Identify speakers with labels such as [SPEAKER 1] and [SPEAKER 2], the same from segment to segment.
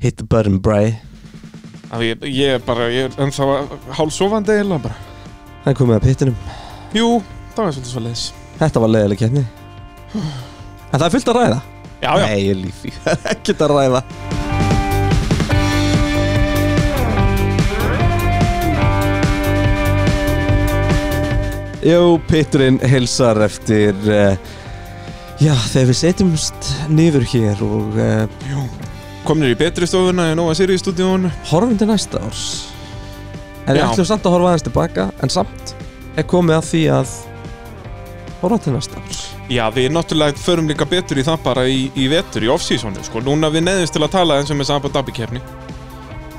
[SPEAKER 1] Hit the button, bræ
[SPEAKER 2] Af Ég, ég er bara, ég er ennþá hálfsofandi eiginlega bara.
[SPEAKER 1] Það er komið að pittinum
[SPEAKER 2] Jú, það var svolítið svo leiðis.
[SPEAKER 1] Þetta var leiðileg keppni En það er fullt að ræða
[SPEAKER 2] Já, já.
[SPEAKER 1] Nei, ég lífi Ekkert að ræða Jó, Pitturinn hilsar eftir uh, Já, þegar við setjumst niður hér og uh,
[SPEAKER 2] Jú. Komnir í betri stofuna í Nova Sirius stúdíónu.
[SPEAKER 1] horfum til næsta árs En við
[SPEAKER 2] Já.
[SPEAKER 1] ætlum samt að horfa aðeins tilbaka En samt er komið að því að horfa til næsta árs
[SPEAKER 2] Já, við náttúrulega förum líka betur í það bara í, í vetur, í off-seasonu, sko. Núna við neðumst til að tala um eins og með Samba Dabbi keppni.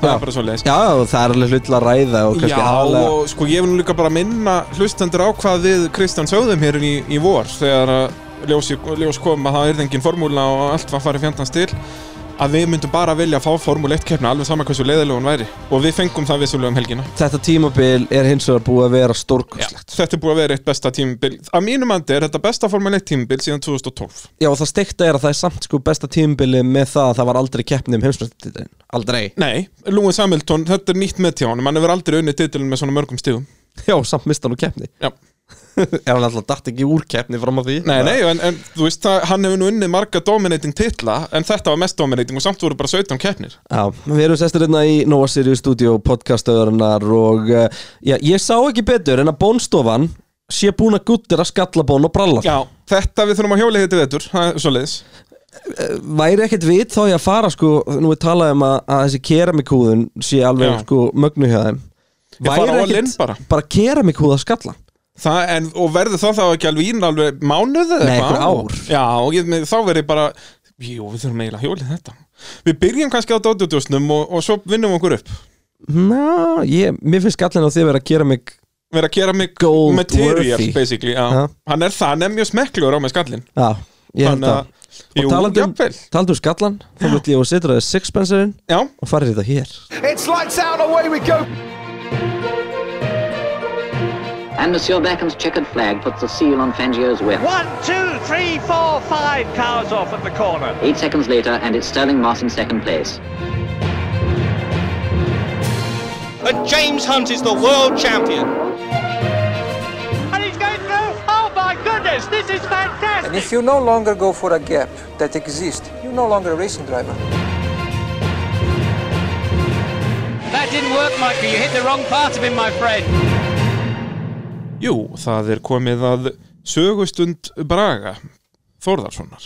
[SPEAKER 2] Það
[SPEAKER 1] Já.
[SPEAKER 2] er bara svo leiðis.
[SPEAKER 1] Já, og það er alveg hlutil að ræða og
[SPEAKER 2] Já,
[SPEAKER 1] kannski aðalega-
[SPEAKER 2] og sko ég vil nú líka bara minna hlustendur á hvað við Kristján sögðum hér í, í vor þegar að ljós, ljós kom að það er engin formúla og allt var farið fjandans til að við myndum bara vilja fá formúla 1 keppna alveg sama hversu leiðilega hún væri og við fengum það vissulega um helgina
[SPEAKER 1] Þetta tímabil er hins vegar búið að vera stórkostlegt
[SPEAKER 2] Þetta er búið að vera eitt besta tímabil að mínum andi er þetta besta formúla 1 tímabil síðan 2012
[SPEAKER 1] Já og það stekta er að það er samt sko besta tímabili með það að það var aldrei keppni um heimsmyndstitilin Aldrei
[SPEAKER 2] Nei, Lewis Hamilton, þetta er nýtt með hjá honum hann hefur aldrei unnið titilin með svona mörgum stíðum
[SPEAKER 1] Já, samt mista nú keppni
[SPEAKER 2] Já.
[SPEAKER 1] Ef hann alltaf datt ekki úr keppni fram að því
[SPEAKER 2] Nei, nei, en, en þú veist, það, hann hefur nú unnið marga dominating titla en þetta var mest dominating og samt voru bara 17 keppnir
[SPEAKER 1] Já, við erum sestur hérna í Nova Sirius Studio podcastöðurnar og uh, já, ég sá ekki betur en að bónstofan sé búin að guttir að skalla bón og bralla
[SPEAKER 2] Já, þetta við þurfum að hjóla hétti vetur, það er svoleiðis
[SPEAKER 1] Væri ekkert vit þá ég að fara sko nú við talaðum að, að þessi keramikúðun sé alveg
[SPEAKER 2] Já.
[SPEAKER 1] sko mögnu hjá þeim
[SPEAKER 2] Ég fara all in bara.
[SPEAKER 1] bara keramikúða skalla
[SPEAKER 2] það, en, Og verður það þá ekki alveg ín alveg mánuð eða
[SPEAKER 1] Nei, einhver
[SPEAKER 2] eitthvað á?
[SPEAKER 1] ár.
[SPEAKER 2] Já, og ég, með- þá verður bara, jú, við þurfum eiginlega að hjóla í þetta Við byrjum kannski á dóttjóðdjóðsnum og, og svo vinnum okkur upp
[SPEAKER 1] Ná, ég, mér finnst skallin á því að vera keramik
[SPEAKER 2] Verða að gera mig
[SPEAKER 1] Gold
[SPEAKER 2] material,
[SPEAKER 1] worthy.
[SPEAKER 2] basically já.
[SPEAKER 1] Já.
[SPEAKER 2] Hann er það, hann er mjög smekklur á með skallin
[SPEAKER 1] Já, ég held
[SPEAKER 2] Þannig að-
[SPEAKER 1] að Og
[SPEAKER 2] Jú,
[SPEAKER 1] talandi um,
[SPEAKER 2] jafnvel
[SPEAKER 1] talandi um skallan þá vill ég að sitra þið sixpenserinn
[SPEAKER 2] Já,
[SPEAKER 1] og farið þetta hér
[SPEAKER 3] It's lights out, away we go.
[SPEAKER 4] And Monsieur Beckham's checkered flag puts the seal on Fangio's whip.
[SPEAKER 5] One, two, three, four, five cars off at the corner.
[SPEAKER 4] Eight seconds later, and it's Sterling Moss in second place.
[SPEAKER 6] And James Hunt is the world champion.
[SPEAKER 5] And he's going through. Oh my goodness, this is fantastic.
[SPEAKER 7] And if you no longer go for a gap that exists, you're no longer a racing driver.
[SPEAKER 8] That didn't work, Michael. You hit the wrong part of him, my friend.
[SPEAKER 2] jú, það er komið að sögustund Braga Þórðarssonar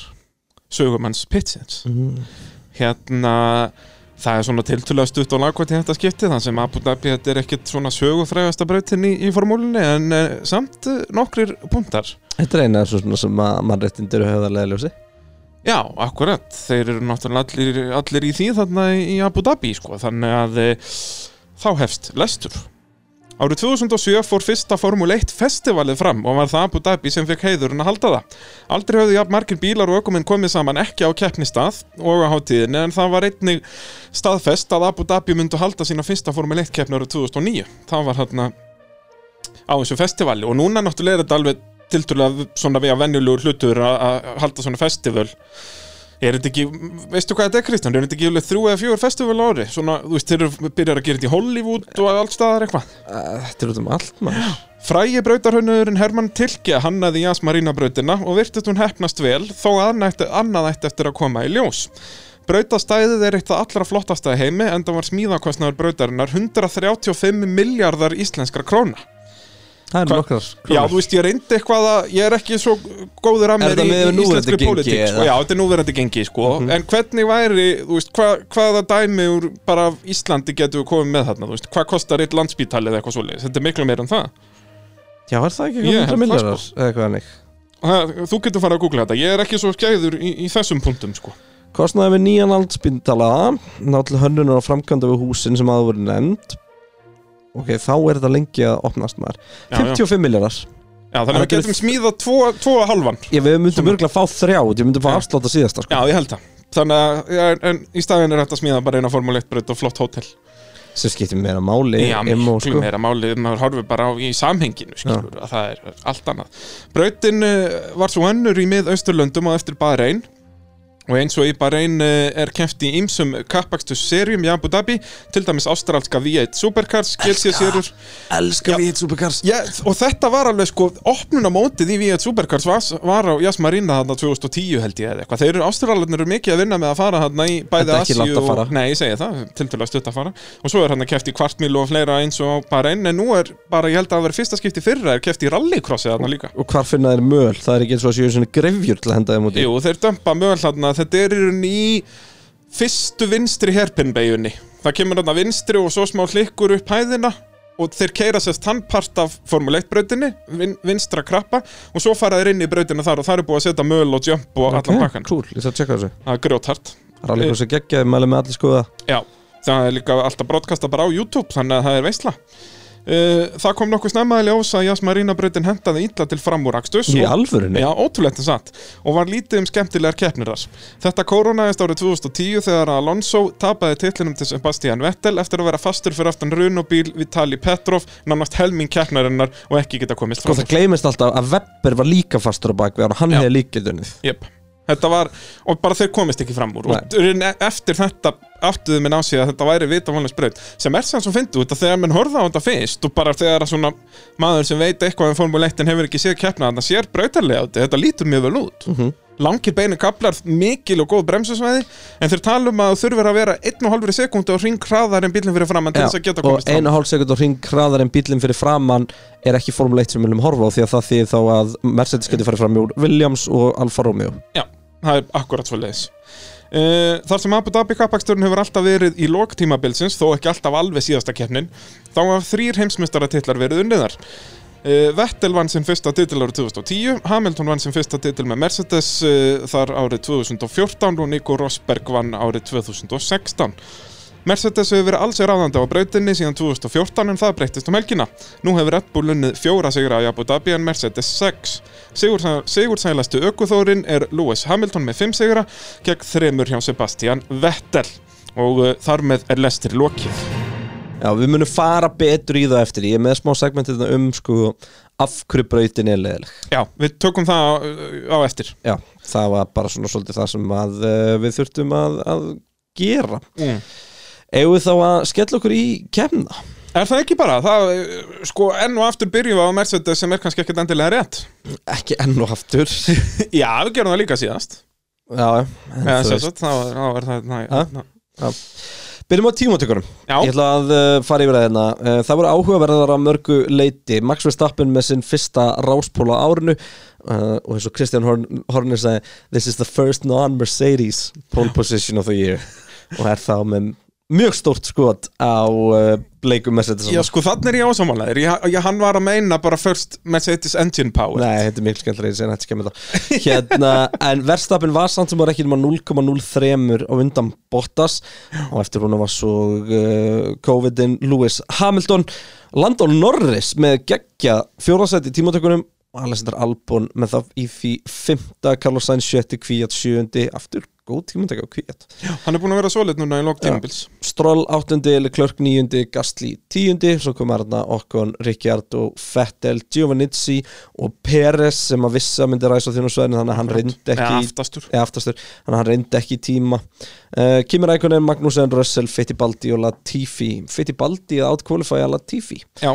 [SPEAKER 2] sögumanns Pitsins hérna það er svona tiltölulega stutt og lagkvæmt í þetta skipti þann sem Abu Dhabi þetta er ekkit svona sögufrægasta brautin í, í formúlinni en eh, samt eh, nokkrir punktar
[SPEAKER 1] Þetta er eina af þessu svona sem að mannréttindur höfða leðljósi
[SPEAKER 2] Já, akkurat, þeir eru náttúrulega allir, allir í því þarna í Abu Dhabi sko. þannig að e, þá hefst lestur Árið 2007 fór fyrsta Formule 1 festivalið fram og var það Abu Dhabi sem fekk heiðurinn að halda það. Aldrei höfðu jafn margir bílar og ökumenn komið saman ekki á keppnistað og á hátíðinni en það var einnig staðfest að Abu Dhabi myndu halda sína fyrsta Formule 1 keppni árið 2009. Það var hérna á þessu festivali og núna náttúrulega er þetta alveg tiltúrulega svona við að venjulegur hlutur að að halda svona festival Er þetta ekki, veistu hvað þetta er Kristján? Er þetta ekki alveg þrjú eða fjögur festival á ári? Svona, þú veist, þeir eru- byrjar að gera þetta í Hollywood og allt staðar eitthvað
[SPEAKER 1] Þetta er út um allt maður
[SPEAKER 2] Frægi brautarhönnurinn Hermann Tilke hannaði Jas Marina brautina og virtist hún hefnast vel þó að annað ætti- annað ætti eftir að koma í ljós. Brautastæðið er eitt af allra flottasta í heimi en það var smíðakostnaður brautarinnar 135 miljardar íslenskra króna.
[SPEAKER 1] Það
[SPEAKER 2] Hva-
[SPEAKER 1] eru nokkrar
[SPEAKER 2] Já,
[SPEAKER 1] krónur.
[SPEAKER 2] þú veist, ég reyndi eitthvað að ég er ekki svo góður að
[SPEAKER 1] Er
[SPEAKER 2] mér
[SPEAKER 1] þetta
[SPEAKER 2] í,
[SPEAKER 1] miðað við
[SPEAKER 2] í íslenskri
[SPEAKER 1] núverandi gengi,
[SPEAKER 2] pólitík sko.
[SPEAKER 1] eða? Mhm.
[SPEAKER 2] Já, þetta er núverandi gengi, sko En hvernig væri, þú veist, hva, hvaða dæmi úr bara af Íslandi getur við komið með þarna, þú veist Hvað kostar eitt landsbítal eða eitthvað svoleiðis? Þetta er miklu meira en það
[SPEAKER 1] Já, er það ekki
[SPEAKER 2] Ég
[SPEAKER 1] eitthvað
[SPEAKER 2] held
[SPEAKER 1] 100
[SPEAKER 2] það, sko.
[SPEAKER 1] milljarar eða hvað hannig
[SPEAKER 2] Og það- Þú getur farið að googla þetta, ég er ekki svo skæður í, í þessum punktum, sko
[SPEAKER 1] Kostnaði við nýjan aldspindala Náttúrulega hönnunar og framkvæmda við húsin sem aða voru nefnd Ok, þá er þetta lengi að opnast maður
[SPEAKER 2] Já,
[SPEAKER 1] 55 milljarar
[SPEAKER 2] Já, þannig að við
[SPEAKER 1] Þetta er-
[SPEAKER 2] getum smíðað tvo, tvo og halvan
[SPEAKER 1] Ég við myndum örgulega fá þrjá Ég myndum fá
[SPEAKER 2] Já.
[SPEAKER 1] afslátt að síðasta sko.
[SPEAKER 2] Já, ég held það Þannig að, já, en, en í staðin er hægt að smíða bara eina Formule 1 braut og flott hótel
[SPEAKER 1] sem skiptir meira máli
[SPEAKER 2] Já,
[SPEAKER 1] emo,
[SPEAKER 2] miklu
[SPEAKER 1] sko.
[SPEAKER 2] meira máli maður horfir bara á í samhenginu skilur, að það er allt annað Brautin eh, var svo önnur í mið Austurlöndum og eftir Bahrein Og eins og í Bahrein eh, er keft í ýmsum kappakstur serjum í Abu Dhabi, til dæmis ástraldska V8 Supercars, GC serjur.
[SPEAKER 1] Elskar við hitt supercars
[SPEAKER 2] Já, og þetta var alveg sko, opnunamótið í V8 Supercars var, var á Jas Marina þarna 2010 held ég eða eitthvað. Þeir eru ástralarnir eru mikið að vinna með að fara þarna í bæði
[SPEAKER 1] Þetta er ekki langt að fara.
[SPEAKER 2] og... Nei, ég segi það, til til að stutta að fara. Og svo er hann að keft í kvartmíl og fleira eins og á Bahrein, en nú er bara, ég held að það verið fyrsta skipti fyrra, er keft í rallycrossi þarna líka.
[SPEAKER 1] Og hvar finna þeir möl? Það er ekki eins og að séu svona grefjur til að henda þeim út í
[SPEAKER 2] Jú, þeir dömpa mögul þarna Þetta er í rauninni í fyrstu vinstri herpinbeginni Það kemur þarna vinstri og svo smá hlikkur upp hæðina og þeir keira sérst hann part af Formule 1 brautinni, vin, vinstra krappa og svo fara þeir inn í brautina þar og það er búið að setja möl og jump og allan Eh. pakkan
[SPEAKER 1] Eh, Cool, ég ætla að tjekka þessu
[SPEAKER 2] Það er grjóthart
[SPEAKER 1] Rallið hversu geggjaði, mæli með allir sko. skoða
[SPEAKER 2] Já, það er líka alltaf brotkasta bara á YouTube þannig að það er veisla Uh, það kom nokkuð snemmaðilega ós að Jas Marina brautin hendaði illa til framúrakstus
[SPEAKER 1] Í
[SPEAKER 2] og-
[SPEAKER 1] alvörunni?
[SPEAKER 2] Já, ótrúlegt en satt og var lítið um skemmtilegar keppnir þar Þetta koronaðist árið 2010 þegar Alonso tapaði titlinum til Sebastian Vettel eftir að vera fastur fyrir aftan runobíl Vitali Petrov, nánast helming keppnarinnar og ekki geta komist
[SPEAKER 1] Sko
[SPEAKER 2] fram
[SPEAKER 1] það gleymist alltaf að Webber var líka fastur á bakvið og hann
[SPEAKER 2] Já.
[SPEAKER 1] hefði líka dunnið
[SPEAKER 2] Jep. Þetta var, og bara þeir komist ekki fram úr og
[SPEAKER 1] Nei.
[SPEAKER 2] raunin- e- eftir þetta áttuðu minn á sig að þetta væri vitavonlega spraut sem er sem svo fyndið út að þegar menn horfða á þetta fyrst og bara þegar að svona maður sem veit eitthvað um formuleittin hefur ekki séð keppna þannig að sér brautarlega út, þetta lítur mjög vel út
[SPEAKER 1] Mhm.
[SPEAKER 2] langir beinu kaplar, mikil og góð bremsusvæði en þeir tala um að þú þurfir að vera 1,5 sekundu og hring hraðar en bílinn fyrir framann til
[SPEAKER 1] Já,
[SPEAKER 2] þess að geta
[SPEAKER 1] og
[SPEAKER 2] komist fram
[SPEAKER 1] einu hálf sekund og hring hraðar en bílinn fyrir framann er ekki Formule 1 sem við viljum horfa á því að það þýðir þá að Mercedes getur farið fram úr Williams og Alfa Romeo
[SPEAKER 2] Já, það er akkurat svo leiðis Þar sem Abu Dhabi kappaksturinn hefur alltaf verið í loktímabilsins, þó ekki alltaf alveg síðasta keppnin, þá hafa þrýr heimsmyndstaratillar verið unniðar. Uh, Vettel vann sinn fyrsta titil árið 2010, Hamilton vann sinn fyrsta titil með Mercedes uh, þar árið 2014 og Nico Rosberg vann árið 2016. Mercedes hefur verið alls ráðandi á brautinni síðan 2014 en það breyttist um helgina. Nú hefur Red Bull unnið fjóra sigra í Abu Dhabi en Mercedes 6. Sigursælastu aukuþórin er Lewis Hamilton með 5 sigra gegn þremur hjá Sebastian Vettel og uh, þar með er lestir lokið.
[SPEAKER 1] Já, við munum fara betur í það eftir ég er með smá segmentið um sko af hverju brautin er leðileg
[SPEAKER 2] Já, við tökum það á, á eftir.
[SPEAKER 1] Já, það var bara svona svolítið það sem að uh, við þurftum að, að gera
[SPEAKER 2] Mm.
[SPEAKER 1] Eigum við þá að skella okkur í kemna?
[SPEAKER 2] Er það ekki bara? Það, uh, sko, enn og aftur byrjum við á Mercedes sem er kannski ekkert endilega rétt.
[SPEAKER 1] Ekki enn og aftur Já,
[SPEAKER 2] Já, við gerum það líka síðast.
[SPEAKER 1] en
[SPEAKER 2] Já,
[SPEAKER 1] þú
[SPEAKER 2] sem
[SPEAKER 1] veist
[SPEAKER 2] sagt, þá, þá er það... Næ,
[SPEAKER 1] Ha?
[SPEAKER 2] næ.
[SPEAKER 1] Byrjum á tímatökurum
[SPEAKER 2] Já.
[SPEAKER 1] Ég ætla að uh, fara yfir að hérna uh, Það voru áhugaverðar að mörgu leiti Max Verstappen með sinn fyrsta ráspóla á árinu uh, og eins og Christian Horn Horner sagði This is the first non-Mercedes pole position of the year og er þá með mjög stórt skot á uh, bleikum Mercedes
[SPEAKER 2] Já, sko, þannig er ég ásamálaðir. Ég, ég, hann var að meina bara first Mercedes engine power.
[SPEAKER 1] Nei, þetta er mikil skemmtilega, ég segir þetta skemmið þá Hérna, en verðstapin var samt sem var ekki nema 0,03 á undan Bottas og eftir hún var svo uh, COVID-in Lewis Hamilton Landon Norris með geggja fjórasætt í tímatökunum og Alessandr Albon með það í því fymta, Carlos Sainz sjötti, Kvíat sjöundi aftur góð tímataka á Kvíat
[SPEAKER 2] Hann er búin að vera svolít núna í lók tímabils.
[SPEAKER 1] Stroll áttundi, Leclerc níundi, Gastli tíundi, svo kom Arna Okkon, Ricciardo, Fettel, Giovannizzi og Peres sem að vissa myndi ræsa á þjónusvæðinu þannig að hann reyndi ekki
[SPEAKER 2] Eða
[SPEAKER 1] í-
[SPEAKER 2] aftastur.
[SPEAKER 1] eða aftastur, þannig að hann reyndi ekki í tíma uh, Kimi Rækonen, Magnussen, Russell, Fittibaldi og Latifi Fittibaldi að outqualifya Latifi
[SPEAKER 2] Já,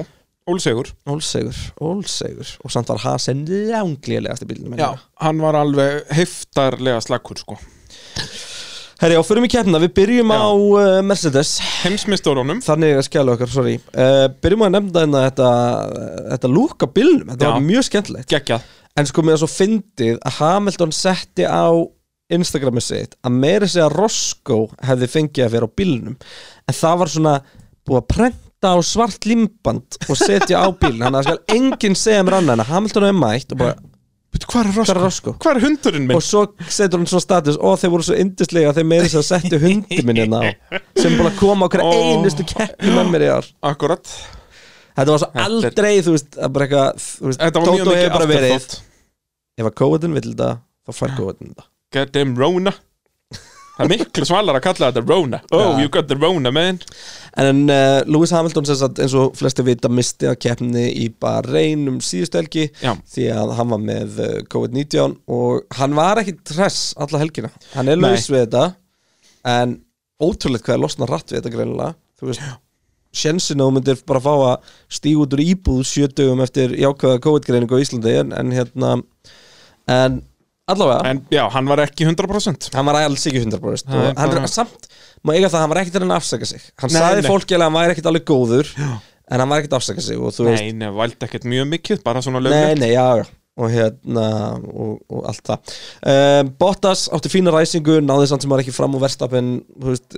[SPEAKER 2] ólsegur.
[SPEAKER 1] Ólsegur, ólsegur og samt var Hasen langlíðlegast í bílunum
[SPEAKER 2] Já, hann var alveg heftarlega slakkur, sko.
[SPEAKER 1] Herri, og förum í keppna, við byrjum
[SPEAKER 2] Já.
[SPEAKER 1] á uh, Mercedes
[SPEAKER 2] Heimsmyndstórunum.
[SPEAKER 1] þannig að skjála okkar, sorry uh, byrjum að nefnda hérna þetta, þetta lúka bílnum, þetta
[SPEAKER 2] Já.
[SPEAKER 1] var mjög skemmtilegt
[SPEAKER 2] Geggjað.
[SPEAKER 1] en sko með það svo fyndið að Hamilton setti á Instagramið sitt að meira segja Roscoe hefði fengið að vera á bílnum en það var svona búið að prenta á svart limband og setja á bíln þannig að það skal enginn segja mér annað en að Hamilton hefði mætt og bara
[SPEAKER 2] Veitu, Hvar er
[SPEAKER 1] Hvar er
[SPEAKER 2] Rosco?
[SPEAKER 1] Roscoe?
[SPEAKER 2] Hvar er hundurinn minn?
[SPEAKER 1] og svo setur hann svona status og þeir voru svo yndislega að þeir meira segja að setja hundi minni á sem er búin að koma á hverja
[SPEAKER 2] Ó.
[SPEAKER 1] einustu keppni með mér í ár
[SPEAKER 2] Akkurat.
[SPEAKER 1] Þetta var svo
[SPEAKER 2] Þetta er-
[SPEAKER 1] aldrei, þú veist, að bara eitthvað þú veist,
[SPEAKER 2] Þetta var mjög
[SPEAKER 1] Tóto hefur
[SPEAKER 2] mikið
[SPEAKER 1] bara verið
[SPEAKER 2] afturþótt.
[SPEAKER 1] Ef að kóðin vill þetta, þá fær kóðin þetta
[SPEAKER 2] Goddamn Rona. Það er miklu svalar að kalla þetta Rona Oh, you got the Rona, man
[SPEAKER 1] En uh, Lewis Hamilton sem sagt eins og flesti vita misti að keppni í Bahrein um síðustu helgi
[SPEAKER 2] Já.
[SPEAKER 1] því að hann var með eh, COVID-19 og hann var ekki tress alla helgina hann er
[SPEAKER 2] Nei.
[SPEAKER 1] laus við þetta en ótrúlegt hvað er losna rætt við þetta greinilega þú veist sjensin að þú myndir bara fá að stíga út úr íbúð sjö dögum eftir jákvæða COVID-greiningu á Íslandi en, en hérna en allavega
[SPEAKER 2] En já, hann var ekki 100%
[SPEAKER 1] hann var alls ekki 100%
[SPEAKER 2] Nei,
[SPEAKER 1] og hann,
[SPEAKER 2] bara-
[SPEAKER 1] samt, maður eiga það að hann var ekkert að reyna að afsaka sig hann
[SPEAKER 2] Nei,
[SPEAKER 1] sagði
[SPEAKER 2] nei.
[SPEAKER 1] fólki alveg að hann væri ekkert alveg góður en hann var ekkert að afsaka sig og þú veist,
[SPEAKER 2] Nei, nei, valdi ekkert mjög mikið, bara svona
[SPEAKER 1] nei,
[SPEAKER 2] lögum
[SPEAKER 1] nei, já, já og hérna, og, og allt það um, Bottas átti fína ræsingu náði samt sem var ekki fram úr verstapin veist,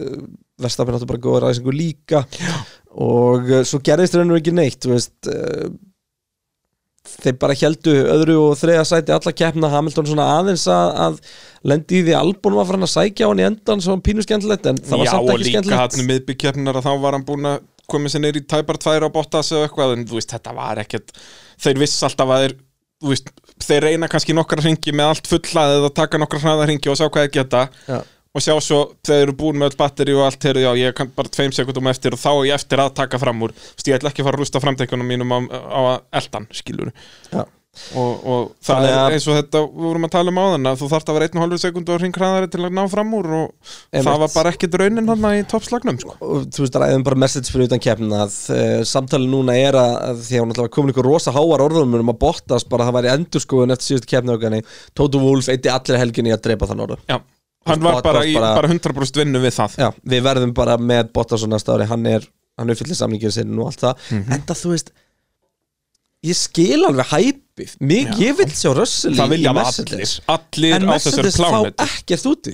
[SPEAKER 1] verstapin átti bara góða ræsingu líka já. og uh, svo gerðist raunum ekki neitt þú veist, uh, þeir bara heldu öðru og þriða sæti alla keppna Hamilton svona aðeins að, að lendi í því albúnum að fara hann að sækja á hann í endan svo pínu skemmtilegt en það var
[SPEAKER 2] Já,
[SPEAKER 1] samt
[SPEAKER 2] og
[SPEAKER 1] ekki
[SPEAKER 2] líka
[SPEAKER 1] skemmtilegt
[SPEAKER 2] hann miðbyggkeppnar að þá var hann búin að komið sér neyri í tæpar tvær á Bottas eða eitthvað, en þú veist, þetta var ekkert þeir viss alltaf að þeir þú veist, þeir reyna kannski nokkra hringi með allt fullaðið eða taka nokkra hraðarringi og sjá hvað þeir geta
[SPEAKER 1] Já.
[SPEAKER 2] og sjá svo þeir eru búin með öll batteri og allt heyrðu, já, ég kann bara tveim sekundum eftir og þá er ég eftir að taka fram úr þú veist, ég ætla ekki að fara að rústa framtækjunum mínum á, á eldan, skilur
[SPEAKER 1] Já.
[SPEAKER 2] og, og það
[SPEAKER 1] Þannig að-
[SPEAKER 2] er eins og þetta við vorum að tala um áðan að þú þarft að vera 1,5 sekund og hring hraðari til að ná fram úr og
[SPEAKER 1] Einmitt.
[SPEAKER 2] það var bara ekkit raunin hann í toppslagnum sko.
[SPEAKER 1] og þú veist, ræðum bara message fyrir utan keppna að uh, samtali núna er að, að því að hún alltaf var komin ykkur rosa háar orðum um að Bottas bara að það væri endurskoðun eftir síðustu keppna okkar Tóto Wolf eitti allir helginni í að dreipa þann orðum
[SPEAKER 2] já, hann var
[SPEAKER 1] Bottas
[SPEAKER 2] bara, í,
[SPEAKER 1] bara-
[SPEAKER 2] bara 100% vinnu við það
[SPEAKER 1] Já, við verðum bara með Bottas á næsta ári hann er, hann uppfyllir samlingin sinn og allt það
[SPEAKER 2] Mhm.
[SPEAKER 1] en það, þú veist ég skil alveg hæpið Mig, ég vil sjá Russell
[SPEAKER 2] það
[SPEAKER 1] í- í
[SPEAKER 2] vilja bara allir,
[SPEAKER 1] Mercedes
[SPEAKER 2] allir
[SPEAKER 1] en
[SPEAKER 2] á þessari
[SPEAKER 1] Mercedes fá
[SPEAKER 2] plánetu
[SPEAKER 1] ekkert út í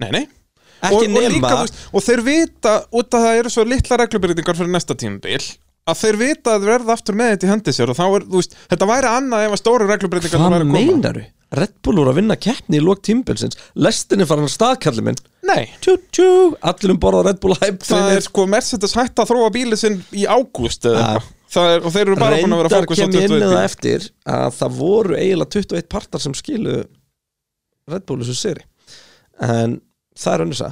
[SPEAKER 2] nei, nei
[SPEAKER 1] Ekki
[SPEAKER 2] og, og,
[SPEAKER 1] nema-
[SPEAKER 2] líka, þú veist, og þeir vita út að það eru svo litla reglubyrtingar fyrir næsta tímabil að þeir vita að þeir verða aftur með þetta í hendi sér og þá er, þú veist, þetta væri annað ef að stóru reglubyrtingar
[SPEAKER 1] hvað
[SPEAKER 2] væri að koma
[SPEAKER 1] meinaru? Red Bull úr að vinna keppni í lók tímbilsins lestin er farin að staðkalli minn
[SPEAKER 2] Nei,
[SPEAKER 1] tjú, tjú, allir um borða á Red Bull Hype
[SPEAKER 2] það
[SPEAKER 1] trainið.
[SPEAKER 2] er sko Mercedes hætt að þróa bíli sinn í ágúst eða
[SPEAKER 1] Ja.
[SPEAKER 2] eitthvað Það er, og þeir eru sko bara búin að vera
[SPEAKER 1] reyndar
[SPEAKER 2] fókus á
[SPEAKER 1] kem ég inn
[SPEAKER 2] 21
[SPEAKER 1] í það
[SPEAKER 2] bíl.
[SPEAKER 1] eftir að það voru eiginlega 21 partar sem skilu Red Bull þessu seri en það er önnisa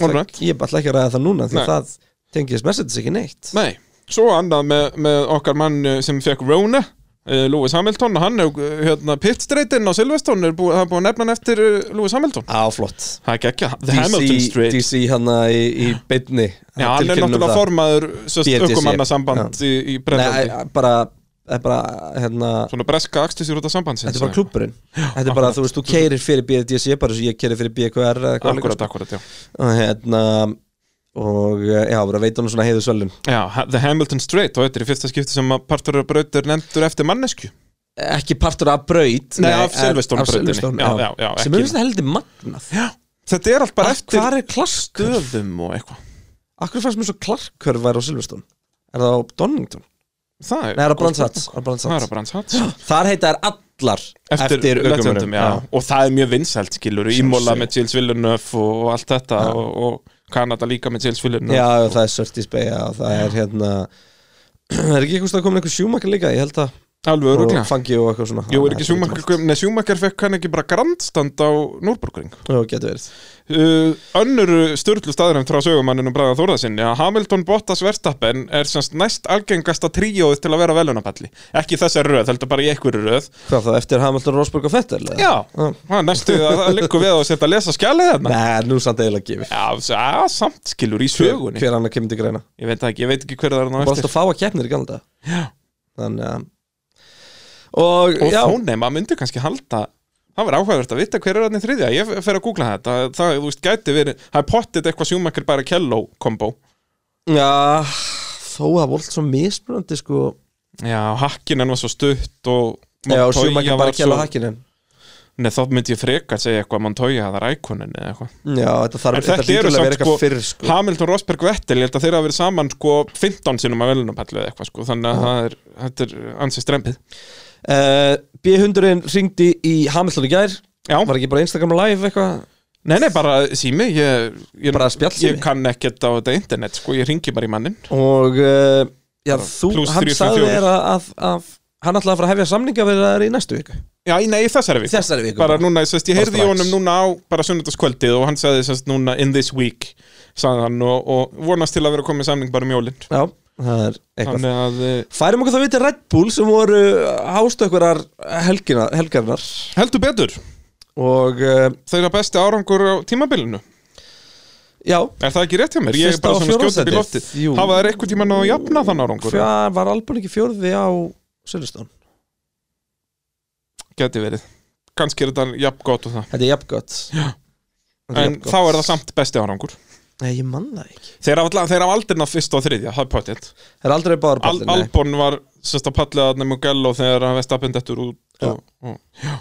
[SPEAKER 2] Alright.
[SPEAKER 1] ég er bara ekki að ræða það núna því
[SPEAKER 2] Nei.
[SPEAKER 1] það tengist Mercedes ekki neitt
[SPEAKER 2] Nei, svo annað með, með okkar mann eh, sem fekk Rona eh, Lewis Hamilton, hann er eh, hérna, pitstreitinn á Silveston, er búið, það er búið að nefna hann eftir eh, Lewis Hamilton
[SPEAKER 1] á flott
[SPEAKER 2] Það er gekkja, The Hamilton
[SPEAKER 1] DC,
[SPEAKER 2] Straight
[SPEAKER 1] DC hana hérna í, í beinni
[SPEAKER 2] Já, hann er
[SPEAKER 1] Tilkynnum um
[SPEAKER 2] náttúrulega
[SPEAKER 1] það.
[SPEAKER 2] formaður
[SPEAKER 1] BTC.
[SPEAKER 2] ökumannasamband í, í Breitlandi
[SPEAKER 1] Nei, bara, eh, bara hérna
[SPEAKER 2] Svona breska axtis í rúta sambandsins
[SPEAKER 1] Þetta er bara klúburinn Þetta er bara, þú veist, þú keirir fyrir BDC bara eins og ég keirir fyrir BQR eða eitthvað
[SPEAKER 2] Akkurat,
[SPEAKER 1] líka.
[SPEAKER 2] akkurat, já
[SPEAKER 1] og hérna og eh, já, bara veit hann svona heiðu svölum
[SPEAKER 2] Já, ha- The Hamilton Straight og þetta er í fyrsta skipti sem að partur og brautur nefndur eftir mannesku
[SPEAKER 1] ekki partur af braut
[SPEAKER 2] Nei, af
[SPEAKER 1] en-
[SPEAKER 2] Silverstone
[SPEAKER 1] af
[SPEAKER 2] brautinni.
[SPEAKER 1] Silverstone,
[SPEAKER 2] Já, já, já,
[SPEAKER 1] sem
[SPEAKER 2] ekki-
[SPEAKER 1] er þetta heldur magnað
[SPEAKER 2] Já, þetta er allt bara eftir
[SPEAKER 1] hvað er klaskur?
[SPEAKER 2] döðum og eitthvað
[SPEAKER 1] Akkur fannst mér svo klarkur væri á Silverstone er það á Donington?
[SPEAKER 2] Það
[SPEAKER 1] Nei,
[SPEAKER 2] er
[SPEAKER 1] það er á
[SPEAKER 2] góð
[SPEAKER 1] Brandsats,
[SPEAKER 2] spurning.
[SPEAKER 1] á Brandsats.
[SPEAKER 2] Það er á Brandsats
[SPEAKER 1] þar heita er allar eftir, eftir
[SPEAKER 2] lögmönnum, já. Og það er mjög vinsælt, skilur Ímóla með Gilles Villeneuve og, og allt þetta og, og Kanada líka með Gilles Villeneuve
[SPEAKER 1] já, já, það er Surtis Bay og það er hérna er ekki eitthvað komin eitthvað sjúmakar líka ég held að
[SPEAKER 2] Alveg öruglega
[SPEAKER 1] og fangi og eitthvað svona
[SPEAKER 2] Jú, er ekki Sjúmakar kom- Nei, Sjúmakar fekk hann ekki bara grandstand á Núrburgring
[SPEAKER 1] Jú, getur verið
[SPEAKER 2] uh, Önnur störlu staðræmt frá sögumanninum Braga Þórðarsinni að Hamilton Bottas Verstappen er semst næst algengasta tríóið til að vera á velunapalli Ekki í þessari röð, heldur bara í einhverju röð
[SPEAKER 1] Hvað þá, eftir Hamilton, Rosberg og Fettel? eða?
[SPEAKER 2] Já, það er næstu að það liggur við að setja að lesa skjalið þarna
[SPEAKER 1] Nei, nú samt eiginlega gefið
[SPEAKER 2] Já, s- að, samt skilur í sögunni
[SPEAKER 1] Hver annar kemur til greina
[SPEAKER 2] Ég veit það ekki, ég veit ekki hver það er ná
[SPEAKER 1] Bara alltaf
[SPEAKER 2] eftir
[SPEAKER 1] að fá að keppnir í galda Já Þannig að Og,
[SPEAKER 2] Og
[SPEAKER 1] já,
[SPEAKER 2] þá nei, maður myndi kannski halda Það var áhugavert að vita hver er hann í þriðja Ég fer að googla þetta, það, þú veist, gæti verið Það er pottið eitthvað sjúmakir bara kelló kombo
[SPEAKER 1] já Þó að voru svo mismunandi sko
[SPEAKER 2] Já, hakkinen var svo stutt og
[SPEAKER 1] Já,
[SPEAKER 2] Montoya
[SPEAKER 1] sjúmakar
[SPEAKER 2] var
[SPEAKER 1] bara kjæla
[SPEAKER 2] svo-
[SPEAKER 1] hakkinin
[SPEAKER 2] Nei, þá myndi ég frekar segja eitthvað Montoya, það er ækonin eða eitthvað
[SPEAKER 1] Já, þetta
[SPEAKER 2] En
[SPEAKER 1] þarf
[SPEAKER 2] þetta
[SPEAKER 1] hlýtur
[SPEAKER 2] eru
[SPEAKER 1] að
[SPEAKER 2] samt
[SPEAKER 1] vera
[SPEAKER 2] sko,
[SPEAKER 1] eitthvað fyrr sko
[SPEAKER 2] Hamilton, Rosberg, Vettel Ég held að þeirra hafa verið saman sko 15 sinum að velunapallu eða eitthvað sko Þannig að það er, þetta er ansið strempið
[SPEAKER 1] uh, B100-in ringdi í Hamilton í gær
[SPEAKER 2] Já,
[SPEAKER 1] Var ekki bara Instagram live eitthvað
[SPEAKER 2] Nei, nei, bara sími Ég, ég,
[SPEAKER 1] Bara spjallsími?
[SPEAKER 2] ég kann ekkert á þetta internet sko, Ég ringi bara í mannin
[SPEAKER 1] Og, uh, já, þú,
[SPEAKER 2] plús
[SPEAKER 1] hann
[SPEAKER 2] þrír, fjórir,
[SPEAKER 1] sagði
[SPEAKER 2] fjórir.
[SPEAKER 1] þér að, að, að hann ætlaði að fara að hefja samninga við það í næstu viku
[SPEAKER 2] Já, í- nei, í þessari viku
[SPEAKER 1] Þessari viku
[SPEAKER 2] Bara núna, sest, ég
[SPEAKER 1] Bara
[SPEAKER 2] heyrði í
[SPEAKER 1] strax.
[SPEAKER 2] honum núna á bara sunnudagskvöldið og hann sagði sest, núna in this week sagði hann og, og vonast til að vera komið samning bara um jólinn
[SPEAKER 1] Já, það er eitthvað
[SPEAKER 2] Þannig að eh,
[SPEAKER 1] Færum okkur þá við til Red Bull sem voru hástökvarar helgina, helgarnar
[SPEAKER 2] heldur betur
[SPEAKER 1] og uh,
[SPEAKER 2] þeirra besti árangur á tímabilinu
[SPEAKER 1] já,
[SPEAKER 2] Er það ekki rétt hjá mér? Ég er
[SPEAKER 1] Fyrsta
[SPEAKER 2] bara
[SPEAKER 1] og
[SPEAKER 2] svona
[SPEAKER 1] fjórða
[SPEAKER 2] skjótið í
[SPEAKER 1] sætið.
[SPEAKER 2] loftið
[SPEAKER 1] Jú.
[SPEAKER 2] Hafa þær eitthvað tíma náðu að jafna þann árangur?
[SPEAKER 1] hvað var Albon ekki fjórði á Silverstone?
[SPEAKER 2] Geti verið Kanski er þetta jafn gott og það
[SPEAKER 1] Þetta er jafngott
[SPEAKER 2] En þá er það samt besti árangur
[SPEAKER 1] Nei, ég mann það ekki
[SPEAKER 2] Þeir hafa þeir hafa aldrei náð fyrst og þriðja, það er potið
[SPEAKER 1] Það er aldrei báður
[SPEAKER 2] Al
[SPEAKER 1] ballin
[SPEAKER 2] Albon var sérst að pallið að nefnum Gello þegar hann veist að dettur út og, og, já.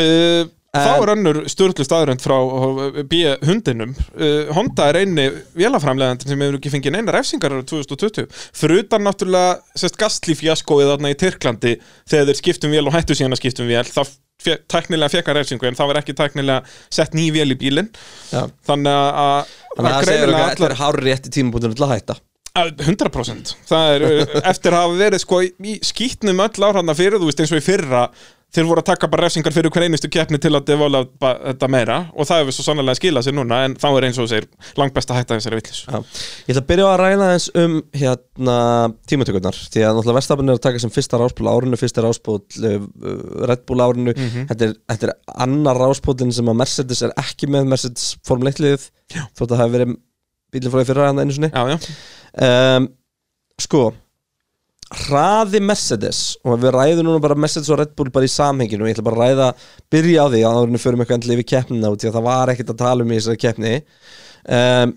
[SPEAKER 2] Uh, Þá er önnur störtlu staðrönd frá eh, B-hundinum uh, Honda er eini vélaframlegandi sem hefur ekki fengið neina refsingar árið 2020 fyrir utan náttúrulega sérst gastlífjaskoið þarna í Tyrklandi þegar þeir skiptum vél og hættu síðan að skiptum vél þá fe- tæknilega fekk hann refsingu en það var ekki tæknilega sett ný vél í bílinn
[SPEAKER 1] Já.
[SPEAKER 2] þannig að- að
[SPEAKER 1] Þannig að það segir okkur
[SPEAKER 2] greinilega
[SPEAKER 1] að þetta er hár rétti tímabúndinu til að hætta
[SPEAKER 2] Að 100% Það er uh, eftir að hafa verið sko í skýtnum öll áhrana fyrir þú veist eins og í fyrra þeir voru að taka bara refsingar fyrir hver einustu keppni til að devala þetta meira og það hefur svo sannlega skilað sér núna en þá er eins og þú segir langbest að hætta þessari villis
[SPEAKER 1] Já. Ég ætla að byrja á að ræða eins um hérna, tímatökurnar því að náttúrulega verstafinn er að taka sem fyrsta ráspól á árinu, fyrsta ráspól uh, uh, Red Bull á árinu þetta, er, þetta er annar ráspólin sem að Mercedes er ekki með Mercedes formleitliðið þótt að það hafi verið bílinn fór að fyrra hann einu sinni
[SPEAKER 2] Já, já,
[SPEAKER 1] um, sko hraði Mercedes og við ræðum núna bara Mercedes og Red Bull bara í samhenginu, ég ætla bara að ræða byrja á því að árinu förum eitthvað endli yfir keppnina út því að það var ekkert að tala um í þessari keppni um,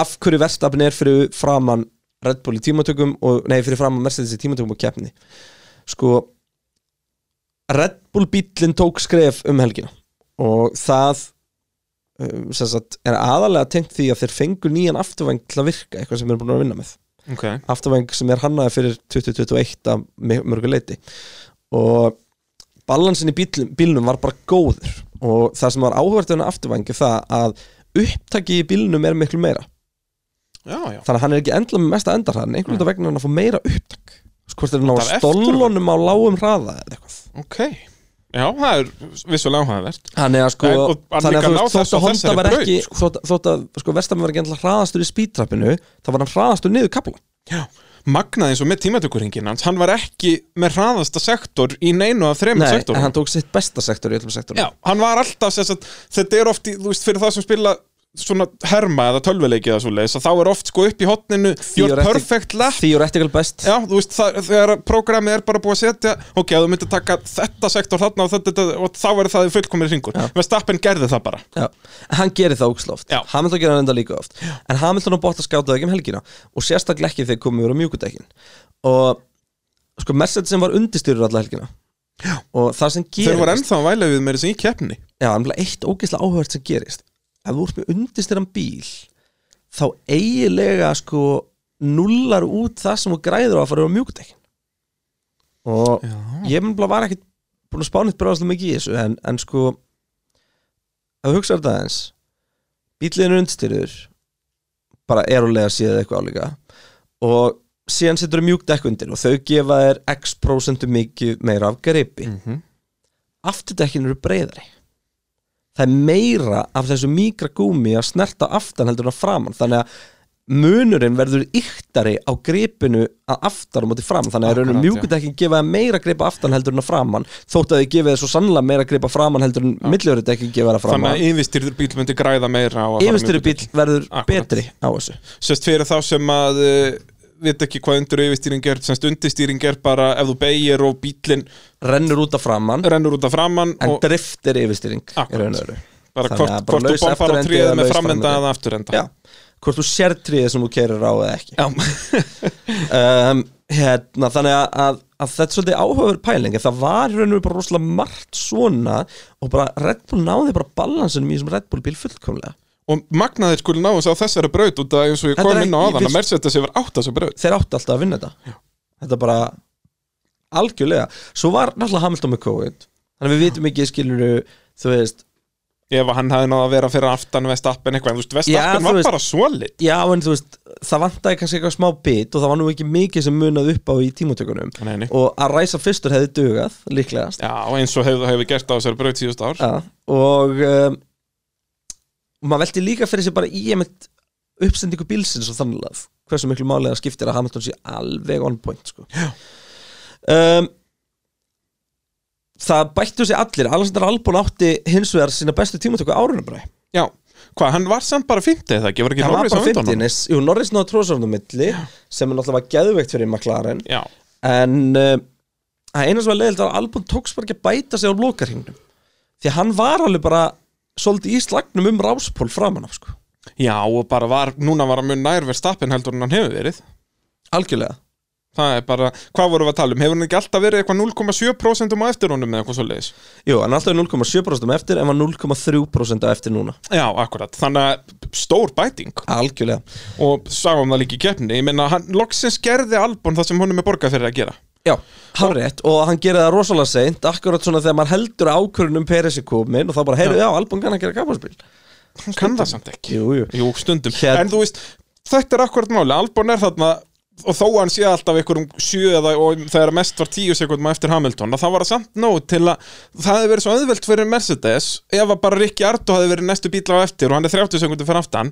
[SPEAKER 1] af hverju verstafn er fyrir framann Red Bull í tímatökum og, nei, fyrir framann Mercedes í tímatökum og keppni sko Red Bull bílinn tók skref um helgina og það um, sem sagt, er aðalega tengt því að þeir fengu nýjan afturvæng til að virka, eitthvað sem við erum búin að vinna með
[SPEAKER 2] ok
[SPEAKER 1] afturvæng sem er hannaði fyrir 2021 að mi- mörgu leiti og balansin í bíl, bílnum var bara góður og það sem var áhvert en afturvæng er það að upptaki í bílnum er miklu meira
[SPEAKER 2] Já, já
[SPEAKER 1] þannig að hann er ekki endla með mesta endarhraðin einhvern
[SPEAKER 2] Mm.
[SPEAKER 1] veginn vegna hann að fá meira upptak Þú veist, hvort er hann
[SPEAKER 2] Út af
[SPEAKER 1] á
[SPEAKER 2] eftirvagn.
[SPEAKER 1] stólunum á lágum hraða eða eitthvað
[SPEAKER 2] Ok Já, það er vissulega áhugavert
[SPEAKER 1] Þannig að sko
[SPEAKER 2] En- og hann
[SPEAKER 1] Þannig
[SPEAKER 2] líka
[SPEAKER 1] að þú
[SPEAKER 2] ná
[SPEAKER 1] veist
[SPEAKER 2] þessu
[SPEAKER 1] þótt
[SPEAKER 2] á
[SPEAKER 1] að Honda
[SPEAKER 2] þessari
[SPEAKER 1] var
[SPEAKER 2] braut,
[SPEAKER 1] ekki þótt, þótt að sko Vestam var ekki endilega hraðastur í speedtrapinu þá var hann hraðastur niður kapla
[SPEAKER 2] Já Magnað eins og með tímatökuringin hans hann var ekki með hraðasta sektor í neinu af þremur
[SPEAKER 1] Nei,
[SPEAKER 2] sektorum
[SPEAKER 1] en hann tók sitt besta sektor í öllum sektorum
[SPEAKER 2] Já, hann var alltaf sem sagt, þetta er oft, í, þú veist, fyrir það sem spila svona herma eða tölvuleiki eða svoleiðis að þá er oft sko upp í hotninu your
[SPEAKER 1] Theoretic-
[SPEAKER 2] perfect lap
[SPEAKER 1] Theoretical best
[SPEAKER 2] Já, þú veist, það, þegar prógramið er bara búið að setja ok, ef þú myndir taka þetta sektor þarna og, þetta, þetta, og þá er það fullkomir ringur Verstappen gerði það bara
[SPEAKER 1] Já, hann gerir það ógislega oft
[SPEAKER 2] Já.
[SPEAKER 1] Hamilton gerir það enda líka oft En Hamilton og Bottas skátaði ekki um helgina Og sérstaklega ekki þegar komið voru á mjúkudekkin Og sko Mercedes sem var undistyrur alla helgina Já. Og það sem gerist
[SPEAKER 2] Þeir voru ennþá að væla við meira sem í keppni
[SPEAKER 1] Já, en eitt ógislega áhört sem gerist Ef þú ert með undistyran bíl Þá eiginlega sko Nullar út það sem þú græður á að fara á mjúkudekkin Og Já. ég mun bara var ekkit Búin að spánið bráðast mikið í þessu En, en sko Ef þú hugsaðu þetta eins bíliðin undirstyrður bara erulega síðan eitthvað álíka og síðan setur þau mjúk dekk undir og þau gefa þér x prósentum mikið meira af gripi mm
[SPEAKER 2] Mhm.
[SPEAKER 1] -hmm. afturdekkin eru breyðari það er meira af þessu mikra gúmi að snerta aftan heldur en að framan þannig að munurinn verður yktari á gripinu að aftar á móti fram þannig að raunum
[SPEAKER 2] Akkurát, já.
[SPEAKER 1] mjúkudekkin gefa þér meira gripa aftan heldur en að framan þótt að þau gefa þér svo sannlega meira gripa framan heldur en milljóriðdekkin gefa þér að framan
[SPEAKER 2] Þannig að yfirstyrður bíl myndi græða meira á að fara
[SPEAKER 1] yfirstyrri bíl
[SPEAKER 2] mjúkudekk.
[SPEAKER 1] verður
[SPEAKER 2] Akkurat.
[SPEAKER 1] betri á þessu
[SPEAKER 2] Sest fyrir þá sem að uh, veit ekki hvað undur yfirstýring er semst undirstýring er bara ef þú beigir og bílinn
[SPEAKER 1] rennur út af framan
[SPEAKER 2] rennur út af framann
[SPEAKER 1] en
[SPEAKER 2] og
[SPEAKER 1] drift er yfirstyrring í
[SPEAKER 2] Akkurat.
[SPEAKER 1] raun og veru.
[SPEAKER 2] bara
[SPEAKER 1] Þannig
[SPEAKER 2] hvort,
[SPEAKER 1] að bara
[SPEAKER 2] hvort
[SPEAKER 1] laus
[SPEAKER 2] þú bombar á
[SPEAKER 1] afturendi
[SPEAKER 2] tríðið
[SPEAKER 1] eða
[SPEAKER 2] með
[SPEAKER 1] laus
[SPEAKER 2] framenda
[SPEAKER 1] framenda.
[SPEAKER 2] eða afturenda
[SPEAKER 1] Já. hvort þú sér tríðið sem þú keirir á eða ekki
[SPEAKER 2] Já.
[SPEAKER 1] um, hérna, þannig að, að, að þetta er svolítið áhugaverð pæling en það var í raun og veru bara rosalega margt svona og bara Red Bull náði bara balansinum í þessum Red Bull bíl fullkomlega
[SPEAKER 2] og magnaðir skulle ná þess að þessari braut út að eins og ég
[SPEAKER 1] Þetta
[SPEAKER 2] kom
[SPEAKER 1] er
[SPEAKER 2] inn á
[SPEAKER 1] ekki-
[SPEAKER 2] aðan
[SPEAKER 1] við-
[SPEAKER 2] að Mercedes hefur átt þessa braut
[SPEAKER 1] þeir áttu alltaf að vinna þetta þetta bara algjörlega svo var náttúrulega Hamilton með COVID þannig að við vitum ekki skilur þú veist
[SPEAKER 2] ef að hann hefði náð að vera fyrir aftan Vestappen eitthvað, en þú veist,
[SPEAKER 1] Já, þú
[SPEAKER 2] Vestappen var
[SPEAKER 1] veist-
[SPEAKER 2] bara svolít
[SPEAKER 1] Já, en þú veist, það vantaði kannski eitthvað smá bit og það var nú ekki mikið sem munað upp á í tímatökunum
[SPEAKER 2] Nei, nei.
[SPEAKER 1] og að ræsa fyrstur hefði dugað líklegast
[SPEAKER 2] Já, eins og hefur hef gert á þessari braut síðust ár
[SPEAKER 1] ja. og um, maður velti líka fyrir sér bara í einmitt uppsendingu bílsins og þannig að hversu miklu máli það skiptir að Hamilton sé alveg on point sko. um, það bættu sér allir Alexander Albon átti hins vegar sína bestu tímatöku árunum bara
[SPEAKER 2] Já, hvað, hann var samt bara 50 eða ekki, var ekki
[SPEAKER 1] það var
[SPEAKER 2] Norris á
[SPEAKER 1] bara
[SPEAKER 2] undan
[SPEAKER 1] 15
[SPEAKER 2] honum?
[SPEAKER 1] nes- Jú, Norris náða tróðsofnum milli sem er náttúrulega var geðveikt fyrir McLaren
[SPEAKER 2] Já,
[SPEAKER 1] en uh, það eina sem var leiðilt var að Albon tóks bara ekki að bæta sig á lokarhingnum því að hann var alveg bara svolítið í slagnum um ráspól framan af sko.
[SPEAKER 2] já, og bara var, núna var hann mun nær verðstappin heldur en hann hefur verið
[SPEAKER 1] algjörlega
[SPEAKER 2] Það er bara, hvað vorum við að tala um? Hefur hann ekki alltaf verið eitthvað 0,7% um á eftir honum eða eitthvað svo leiðis?
[SPEAKER 1] Jú, hann er alltaf 0,7% á um eftir en var 0,3% á eftir núna
[SPEAKER 2] Já, akkurat, þannig að stór bæting
[SPEAKER 1] algjörlega
[SPEAKER 2] og sáum það líka í keppni ég meina, hann loksins gerði Albon það sem honum er borgað fyrir að gera
[SPEAKER 1] Já, hárétt og hann gerir það rosalega seint akkurat svona þegar maður heldur ákvörunum Peres er komin og þá bara, heyrðu, já, Albon kann að gera kapparspil
[SPEAKER 2] hann kann það samt ekki
[SPEAKER 1] Jú, jú
[SPEAKER 2] Jú, stundum
[SPEAKER 1] Hér-
[SPEAKER 2] En þú veist, þetta er akkurat máli Albon er þarna og þó hann sé alltaf einhverjum sjö eða og þegar mest var tíu sekundum á eftir Hamilton að það var samt nóg til að það hefði verið svo auðvelt fyrir Mercedes ef að bara Rikki Arto hefði verið næstu bíla á eftir og hann er 30 sekundum fyrir aftan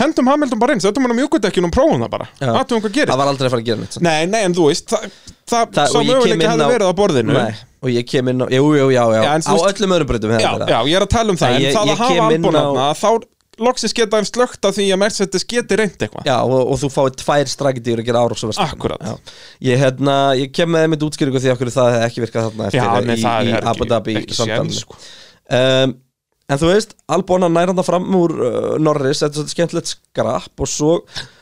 [SPEAKER 2] hendum Hamilton bara eins, þetta hann á mjúkudekkinu og prófum það bara,
[SPEAKER 1] Já.
[SPEAKER 2] aðtum hvað gerir
[SPEAKER 1] Það var aldrei að fara að gera neitt samt.
[SPEAKER 2] Nei, nei, en þú veist, það, það,
[SPEAKER 1] Það-
[SPEAKER 2] sá
[SPEAKER 1] og ég kem
[SPEAKER 2] möguleika
[SPEAKER 1] inn
[SPEAKER 2] hefði
[SPEAKER 1] á-
[SPEAKER 2] verið á borðinu
[SPEAKER 1] Nei, og ég kem inn á, jú, jú, já, já,
[SPEAKER 2] Já,
[SPEAKER 1] á
[SPEAKER 2] en þú veist-
[SPEAKER 1] öllum öðrum breytum
[SPEAKER 2] já, já, ég er að tala um það,
[SPEAKER 1] Nei, ég-
[SPEAKER 2] en það
[SPEAKER 1] ég
[SPEAKER 2] að hafa
[SPEAKER 1] kem inn á-
[SPEAKER 2] albúnaðna, þá loksins geta þeim slögt að því að Mercedes geti reynd eitthvað.
[SPEAKER 1] Já, og, og þú fáið tvær strækidýr að gera árás á verðstæðan
[SPEAKER 2] Akkúrat.
[SPEAKER 1] ég, hérna, ég kem með einmitt útskýringu því okkur það hefði ekki virkað þarna eftir
[SPEAKER 2] Já, nei,
[SPEAKER 1] í,
[SPEAKER 2] það
[SPEAKER 1] í
[SPEAKER 2] er
[SPEAKER 1] Abu
[SPEAKER 2] ekki-
[SPEAKER 1] Dhabi
[SPEAKER 2] ekki
[SPEAKER 1] samdæmi.
[SPEAKER 2] séns, sko.
[SPEAKER 1] um, En þú veist, Albona næranda fram úr uh, Norris, þetta er svolítið skemmtilegt skrap og svo,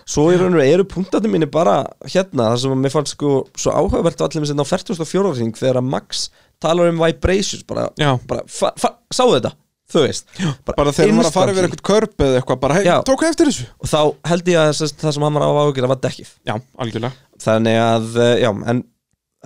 [SPEAKER 1] svo í raun og veru eru punktatni mínir bara hérna það sem að mér fannst sko svo áhugavert allir minn á 44. ring þegar að Max talar um vibrations, bara,
[SPEAKER 2] Já.
[SPEAKER 1] bara fa, fa, sáu þetta, þú veist Já,
[SPEAKER 2] bara þegar maður var að fara yfir eitthvað körp eða eitthvað, bara hei,
[SPEAKER 1] Já.
[SPEAKER 2] tók eftir þessu
[SPEAKER 1] og þá held ég að þess- það sem hann var á áhugjur var dekkið
[SPEAKER 2] já, algjörlega,
[SPEAKER 1] þannig að, eh, já, en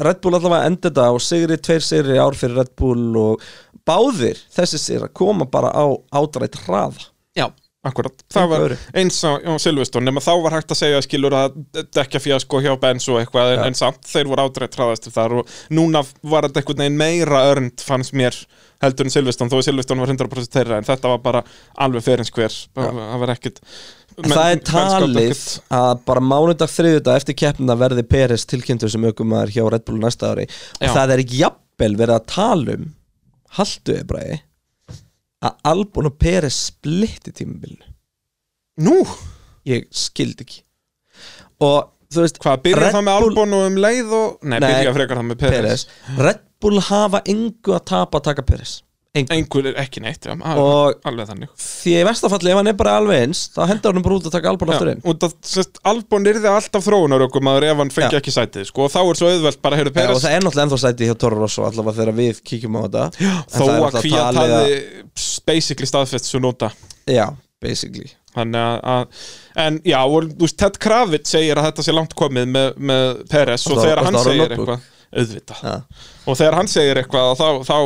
[SPEAKER 1] Red Bull allavega endi þetta á sigri, tveir sigri í ár fyrir Red Bull og báðir þessi sigri að koma bara á ádrætt hraða
[SPEAKER 2] já, akkurat það
[SPEAKER 1] Engu
[SPEAKER 2] var
[SPEAKER 1] öðru.
[SPEAKER 2] eins á, á Silveston, nema þá var hægt að segja skilur að dekka fjasko hjá Benz og eitthvað, en, en samt þeir voru ádreitt hraðastir þar og núna var þetta einhvern veginn meira örnd fannst mér heldur en Silveston, þó að Silveston var 100% þeirra en þetta var bara alveg ferins hver það var ekkit
[SPEAKER 1] En það er talið að bara mánudag þriðudag eftir keppnina verði Peres tilkynntur sem aukumæður hjá Red Bull næsta ári og
[SPEAKER 2] Já.
[SPEAKER 1] það er ekki jafnvel verið að tala um haldu eða bræði að Albon og Peres splitti tímabil
[SPEAKER 2] nú,
[SPEAKER 1] ég skildi ekki og þú veist
[SPEAKER 2] hvað, byrja
[SPEAKER 1] Red
[SPEAKER 2] það með
[SPEAKER 1] Bull-
[SPEAKER 2] Albon og um leið og, nei,
[SPEAKER 1] Nei,
[SPEAKER 2] byrja frekar það með Peres
[SPEAKER 1] Peres Red Bull hafa engu að tapa að taka Peres engu.
[SPEAKER 2] einhver er ekki neitt, já,
[SPEAKER 1] Og-
[SPEAKER 2] alveg, alveg þannig
[SPEAKER 1] því að í vestafalli ef hann er bara alveg eins þá hendur hann bara út að taka Albon aftur
[SPEAKER 2] Já,
[SPEAKER 1] inn
[SPEAKER 2] út að sérst, Albon yrði alltaf þróunarökum maður ef hann
[SPEAKER 1] Já.
[SPEAKER 2] fengi ekki sætið sko, og þá er svo auðvelt bara
[SPEAKER 1] Já,
[SPEAKER 2] heyrðu
[SPEAKER 1] og
[SPEAKER 2] Peres
[SPEAKER 1] það er náttúrulega ennþá sæti hjá Toro Rosso allavega þegar við kíkjum á þetta Já,
[SPEAKER 2] þó að kvíja taði basically staðfest svo nota
[SPEAKER 1] Já, basically
[SPEAKER 2] Þannig að, að en já, og, þú veist, Ted Kravitz segir að þetta sé langt komið með, með Peres
[SPEAKER 1] Og
[SPEAKER 2] og,
[SPEAKER 1] þá-
[SPEAKER 2] þegar
[SPEAKER 1] og
[SPEAKER 2] hann
[SPEAKER 1] þá er hann
[SPEAKER 2] segir
[SPEAKER 1] notebook.
[SPEAKER 2] eitthvað auðvitað,
[SPEAKER 1] Já.
[SPEAKER 2] og þegar hann segir eitthvað þá, þá,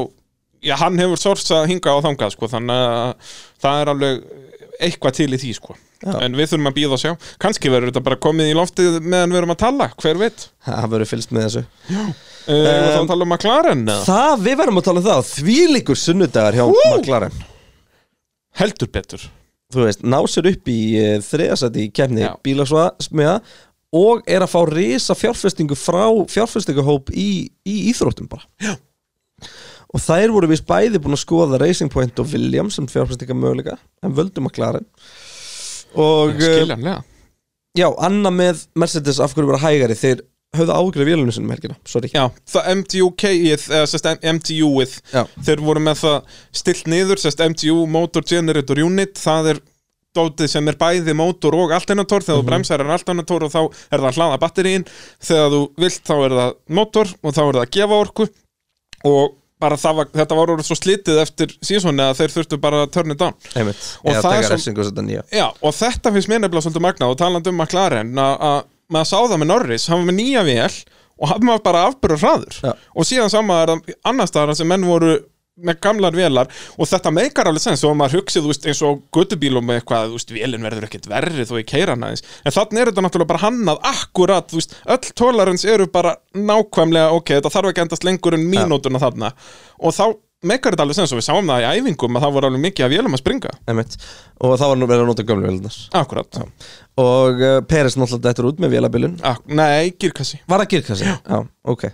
[SPEAKER 2] já, hann hefur sorsað hingað og þangað, sko, þannig að það er alveg eitthvað til í því, sko
[SPEAKER 1] Já.
[SPEAKER 2] en við þurfum að býða og sjá, kannski verður þetta bara komið í loftið meðan við erum að tala, hver veit
[SPEAKER 1] Það verður fylgst með þessu
[SPEAKER 2] Uh, og þá tala um McLaren eða?
[SPEAKER 1] Það, við verðum að tala um það Því líkur sunnudagar hjá McLaren
[SPEAKER 2] Heldur betur
[SPEAKER 1] Þú veist, ná sér upp í uh, þriðasæti í kemni
[SPEAKER 2] Já.
[SPEAKER 1] bílasmiða og er að fá risa fjárfestingu frá fjárfestingahóp í, í íþróttum bara Já. og þær voru vist bæði búin að skoða Racing Point og Williams sem fjárfestingamöguleika en völdum að klaren og eh,
[SPEAKER 2] Skiljanlega
[SPEAKER 1] já, annað með Mercedes af hverju vera hægari þeir höfðu ágrið vélunum sinum helgina, sorry
[SPEAKER 2] Já, það MTUK-ið, eða sérst MTU-ið
[SPEAKER 1] Já.
[SPEAKER 2] Þeir voru með það stilt niður, sérst MTU Motor Generator Unit Það er dótið sem er bæði mótor og alternator Þegar þú bremsar er alternator og þá er það að hlaða batteríin Þegar þú vilt þá er það mótor og þá er það að gefa orku Og bara það var, þetta var orðið svo slitið eftir sísoni að þeir þurftu bara að törni down
[SPEAKER 1] Einmitt.
[SPEAKER 2] Og
[SPEAKER 1] eða
[SPEAKER 2] það
[SPEAKER 1] taka
[SPEAKER 2] er sem-
[SPEAKER 1] refsingu og setja nýja
[SPEAKER 2] Já, og þetta finnst mér nefnilega svolítið magnað og talandi um McLaren að að maður sá það með Norris, hann var með nýja vél og hann var bara afbyrður hraður
[SPEAKER 1] Já.
[SPEAKER 2] og síðan sama er það annars staðar sem menn voru með gamlar vélar og þetta meikar alveg sens og maður hugsið þú veist, eins og á göttubílum með eitthvað, þú veist, vélin verður ekkert verri þó ég keira hana aðeins, en þannig er þetta náttúrulega bara hannað akkurat, þú veist, öll tolerans eru bara nákvæmlega, ok, þetta þarf ekki að endast lengur en mínútuna þarna og þá meikar þetta alveg sens og við sáum það í æfingum að það voru alveg mikið af vélum að springa
[SPEAKER 1] Einmitt. og þá var nú verið að nota gömlu velunar
[SPEAKER 2] akkurat,
[SPEAKER 1] og uh, Peres náttúrulega dættur út með vélabilun
[SPEAKER 2] Ak Ah, nei, girkassi
[SPEAKER 1] var það girkassi? Já. Já, ok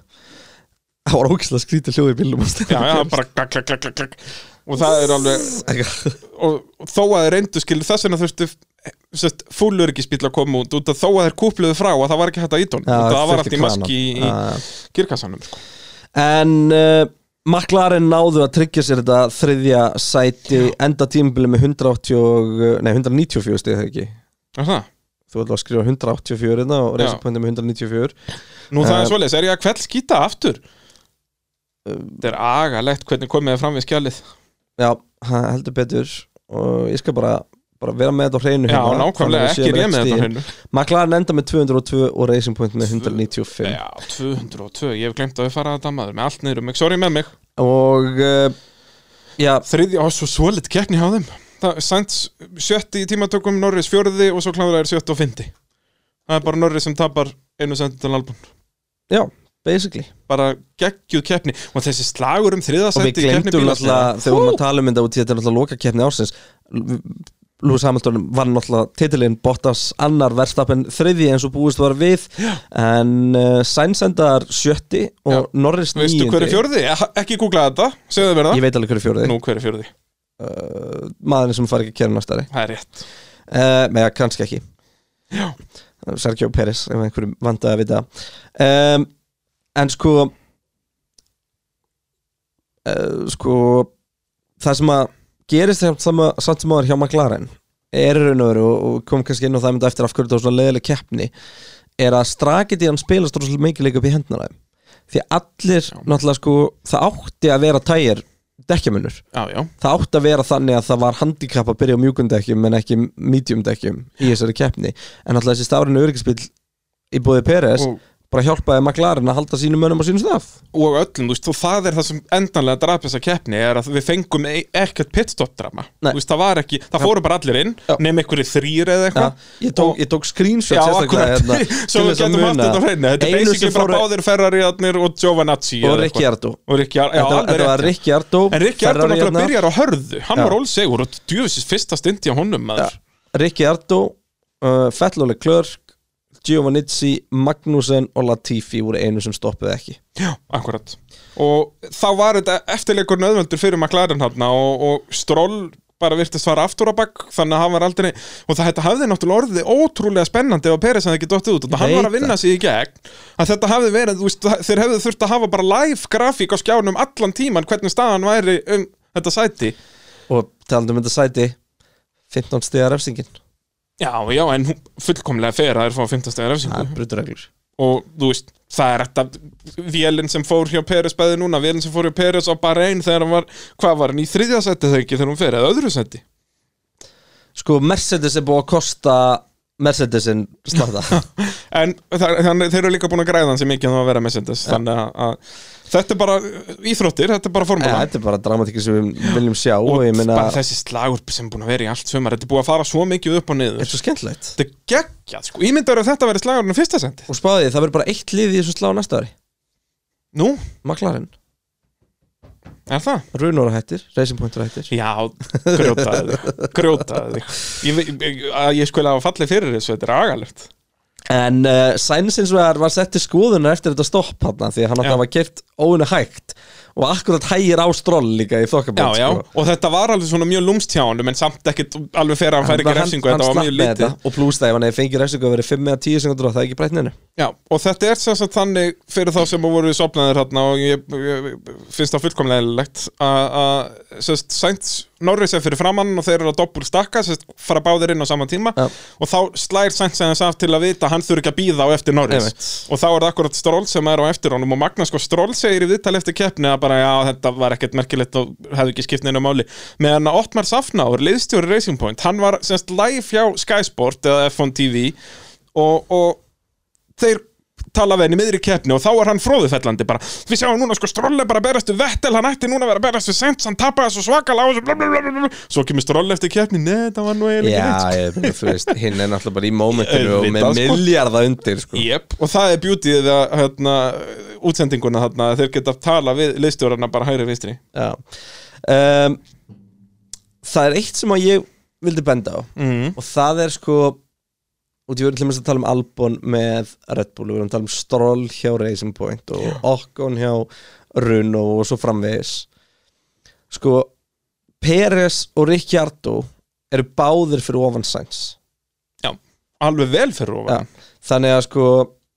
[SPEAKER 1] það var ógislega skrítið hljóði í bílum
[SPEAKER 2] já, já, bara klak, klak, klak, klak, klak. og það er alveg og þó að þeir reyndu skilur þess vegna þurftu sest, full öryggisbíl að koma út, út að þó að þeir kúpluðu frá að það var ekki hægt að íta hún
[SPEAKER 1] Já,
[SPEAKER 2] það var
[SPEAKER 1] þurfti
[SPEAKER 2] allt í maski í, í
[SPEAKER 1] kranan. Já, já.
[SPEAKER 2] kirkassanum sko.
[SPEAKER 1] en uh, McLaren náðu að tryggja sér þetta þriðja sæti enda tímabili með 180, og- nei, 194 stig það ekki
[SPEAKER 2] Er það?
[SPEAKER 1] þú ætlaði að skrifa 184 hérna og
[SPEAKER 2] Já.
[SPEAKER 1] reysapundi með 194
[SPEAKER 2] Nú það
[SPEAKER 1] Eh.
[SPEAKER 2] er svoleiðis, er ég að kveld skýta aftur? Þetta er agalegt hvernig komið þið fram við skjalið
[SPEAKER 1] já, hann heldur betur og ég skal bara, bara vera með þetta á hreinu
[SPEAKER 2] Já,
[SPEAKER 1] hérna, þannig
[SPEAKER 2] nákvæmlega,
[SPEAKER 1] að við
[SPEAKER 2] ekki er
[SPEAKER 1] séum
[SPEAKER 2] ég með
[SPEAKER 1] öll
[SPEAKER 2] þetta
[SPEAKER 1] stigin.
[SPEAKER 2] hennu
[SPEAKER 1] McLaren enda með 202 og Racing Point með 195
[SPEAKER 2] Já, 202, ég hef glemt að við fara að damaður með allt niður um mig, sorry með mig
[SPEAKER 1] og uh, já,
[SPEAKER 2] Þriðja, á svo svoleitt keppni hjá þeim Það- Sainz sjötti í tímatökum, Norris fjörði og svo kláður sjötti og fyndi Það er bara Norris sem tapar einu sendintal albún
[SPEAKER 1] já, basically
[SPEAKER 2] bara geggjuð keppni og þessi slagur um
[SPEAKER 1] og við
[SPEAKER 2] þriðasendi
[SPEAKER 1] glemdum náttúrulega þegar við vorum að tala um þetta og þetta er náttúrulega loka keppni ársins L- Lewis Hamilton vann náttúrulega titilinn Bottas annar verðstappen þriði eins og búist var við en uh, Sainz endar sjötti og
[SPEAKER 2] Já.
[SPEAKER 1] Norris
[SPEAKER 2] Veistu hver er
[SPEAKER 1] níundi
[SPEAKER 2] fjörði? Ekki googla þetta, segðu þið verða
[SPEAKER 1] ég veit alveg hver er fjórði
[SPEAKER 2] Nú hver er fjörði,
[SPEAKER 1] maðurinn sem fari ekki að kæra næstari
[SPEAKER 2] það er rétt
[SPEAKER 1] uh, með að kannski ekki Já. Sergio Pérez ef einhverjum vandaði að vita um, en sko uh, sko það sem að gerist samt sama- samt sem áður hjá McLaren er raun og veru og- og kom kannski inn á það mynda eftir af hverju þetta var svona leðileg keppni er að strakið í hann spilast rosalega mikið leik upp í hendnar þeim því að allir náttúrulega sko það átti að vera tægir dekkjamunur
[SPEAKER 2] Já, já,
[SPEAKER 1] það átti að vera þannig að það var handikap að byrja á mjúkum dekkjum en ekki medium dekkjum í þessari keppni en alltaf þessi stafrinu öryggisbíl í bóði Peres
[SPEAKER 2] Og-
[SPEAKER 1] bara hjálpaði McLaren að halda sínum mönnum á sínum stað
[SPEAKER 2] og öllum, þú veist, og það er það sem endanlega draf þessa keppni er að við fengum e ekkert pitstop-drama
[SPEAKER 1] Nei.
[SPEAKER 2] Þú veist, það var ekki, það fóru bara allir inn
[SPEAKER 1] Já.
[SPEAKER 2] nema einhverju þrýr eða
[SPEAKER 1] ja,
[SPEAKER 2] eitthvað
[SPEAKER 1] ég, tók, Ah, ég tók screenshot
[SPEAKER 2] Já,
[SPEAKER 1] sérstaklega
[SPEAKER 2] akkurat,
[SPEAKER 1] hérna,
[SPEAKER 2] svo
[SPEAKER 1] til þess
[SPEAKER 2] við
[SPEAKER 1] að
[SPEAKER 2] getum haft
[SPEAKER 1] muna.
[SPEAKER 2] þetta á hreinu Þetta er
[SPEAKER 1] Einu
[SPEAKER 2] basically
[SPEAKER 1] sem
[SPEAKER 2] bara
[SPEAKER 1] fóru-
[SPEAKER 2] báðir Ferrari-arnir og Giovanazzi
[SPEAKER 1] og
[SPEAKER 2] eða eitthvað.
[SPEAKER 1] Ricciardo
[SPEAKER 2] Og Ricciardo, já,
[SPEAKER 1] Þetta var-
[SPEAKER 2] alveg
[SPEAKER 1] þetta var
[SPEAKER 2] rétt, já.
[SPEAKER 1] Ricciardo
[SPEAKER 2] En Ricciardo
[SPEAKER 1] Ferrari
[SPEAKER 2] náttúrulega
[SPEAKER 1] hérna.
[SPEAKER 2] byrjar á hörðu Hann
[SPEAKER 1] Já.
[SPEAKER 2] var ólsegur og djúfisins fyrsta stundi á honum maður
[SPEAKER 1] Ricciardo uh, Fettlóli Klörk Giovanizzi, Magnussen og Latifi voru einu sem stoppuði ekki
[SPEAKER 2] Já, akkurat Og þá var þetta eftirleikur nöðvöldur fyrir McLaren hann og, og Stroll bara virtist fara aftur á bakk þannig að hann var aldrei og það þetta hafði náttúrulega orðið ótrúlega spennandi ef að Peres hefði ekki dottið út og hann
[SPEAKER 1] Veit
[SPEAKER 2] var að vinna sig í gegn að þetta hafði verið, þú veist, þeir hefðu þurft að hafa bara live grafík á skjánum allan tíman hvernig staðan væri um þetta sæti
[SPEAKER 1] og talandum um þetta sæti 15 stigar refsingin
[SPEAKER 2] Já, já, en hún- fullkomlega fer að þeir fá 15 stegar
[SPEAKER 1] það
[SPEAKER 2] refsingu
[SPEAKER 1] er brutureglur
[SPEAKER 2] og þú veist, það er þetta vélinn sem fór hjá Peres bæði núna vélinn sem fór hjá Peres á bara einn þegar hann var hvað var hann í þriðja seti þegar ekki þegar hún fer eða öðru seti
[SPEAKER 1] sko Mercedes er búið að kosta Mercedesin starta
[SPEAKER 2] en það- þannig þeir eru líka búin að græða hann sem ekki að það var að vera með sendes þannig að, að þetta er bara íþróttir, þetta er bara
[SPEAKER 1] ja,
[SPEAKER 2] formúla
[SPEAKER 1] þetta er bara dramatíkin sem við viljum sjá og,
[SPEAKER 2] og
[SPEAKER 1] ég meina,
[SPEAKER 2] bara þessi slagur sem er búin að vera í allt sumar þetta er búin að fara svo mikið upp og
[SPEAKER 1] þetta er
[SPEAKER 2] niður
[SPEAKER 1] svo skemmtilegt
[SPEAKER 2] þetta er geggjað, sko, ímyndar að þetta verið slagurinn á fyrsta seti
[SPEAKER 1] og spáði því, það verður bara eitt lið í þessu slá næsta ári
[SPEAKER 2] nú,
[SPEAKER 1] McLaren,
[SPEAKER 2] er það?
[SPEAKER 1] Runora hættir Racing Pointur hættir
[SPEAKER 2] Já, grjótaði þig Grjótaði þig Ég, vei- ég, að ég skuli hafa fallið fyrir þessu, þetta er agalegt
[SPEAKER 1] en uh, Sainz eins og það var sett til skoðunar eftir þetta stopp hann því að hann átti
[SPEAKER 2] Já.
[SPEAKER 1] að hafa keift óinu hægt og akkurat hægir á stról líka í sko.
[SPEAKER 2] Já,
[SPEAKER 1] þokkabótt
[SPEAKER 2] já, og þetta var alveg svona mjög lúmst hjá honum en samt ekkit alveg fyrir að hann fær ekki refsingu þetta var mjög lítið
[SPEAKER 1] og plus það, ef hann hefði fengið refsingu að verið 5 eða 10 sekundur og það er ekki breytninu
[SPEAKER 2] Já, og þetta er sem sagt þannig fyrir þá sem voru sopnaðir hérna og ég, ég, ég finnst það fullkomlega eðlilegt að- að sem sagt, Sainz Norris er fyrir framann og þeir eru að doppul stakka sem sagt, fara báðir inn á sama tíma
[SPEAKER 1] Já.
[SPEAKER 2] og þá slær Sainz aðeins af til að vita að hann þurfi ekki að býða á eftir Norris
[SPEAKER 1] Einmitt.
[SPEAKER 2] og þá er það akkurat Stroll sem er á eftir honum og Magnus sko Stroll segir í viðtal eftir keppni að bara já þetta var ekkert merkilegt og hefði ekki skipt neina máli meðan að Ottmar Safnáur, liðstjóri Racing Point hann var semst live hjá Sky Sport eða F1 TV og, og þeir tala við henni í miðri keppni og þá er hann fróðufellandi bara Við sjáum núna sko Stroll er bara að berast við Vettel, hann ætti núna að vera að berast við Sainz, hann tapaði svo svakalega á þessu bla, bla, bla, bla, bla. Svo kemur Stroll eftir keppni, neða, það var nú eiginlega ekki neitt sko.
[SPEAKER 1] Já, ég meina, þú veist, hinn er náttúrulega bara í mómentinu og með
[SPEAKER 2] Auðvitað, sko.
[SPEAKER 1] milljarða undir sko.
[SPEAKER 2] Jep, og það er beautyð að hérna, útsendinguna þarna að þeir geta tala við liðstjórarna bara hægri vinstri
[SPEAKER 1] Já. um, Það er eitt sem að ég vildi benda á
[SPEAKER 2] mm.
[SPEAKER 1] og það er sko og ég voru til dæmis að tala um Albon með Red Bull, við vorum að tala um Stroll hjá Racing Point og Okkon hjá Runo og svo framvegis sko Peres og Ricciardo eru báðir fyrir ofan Sainz
[SPEAKER 2] Alveg vel fyrir
[SPEAKER 1] Já,
[SPEAKER 2] ofan
[SPEAKER 1] þannig að sko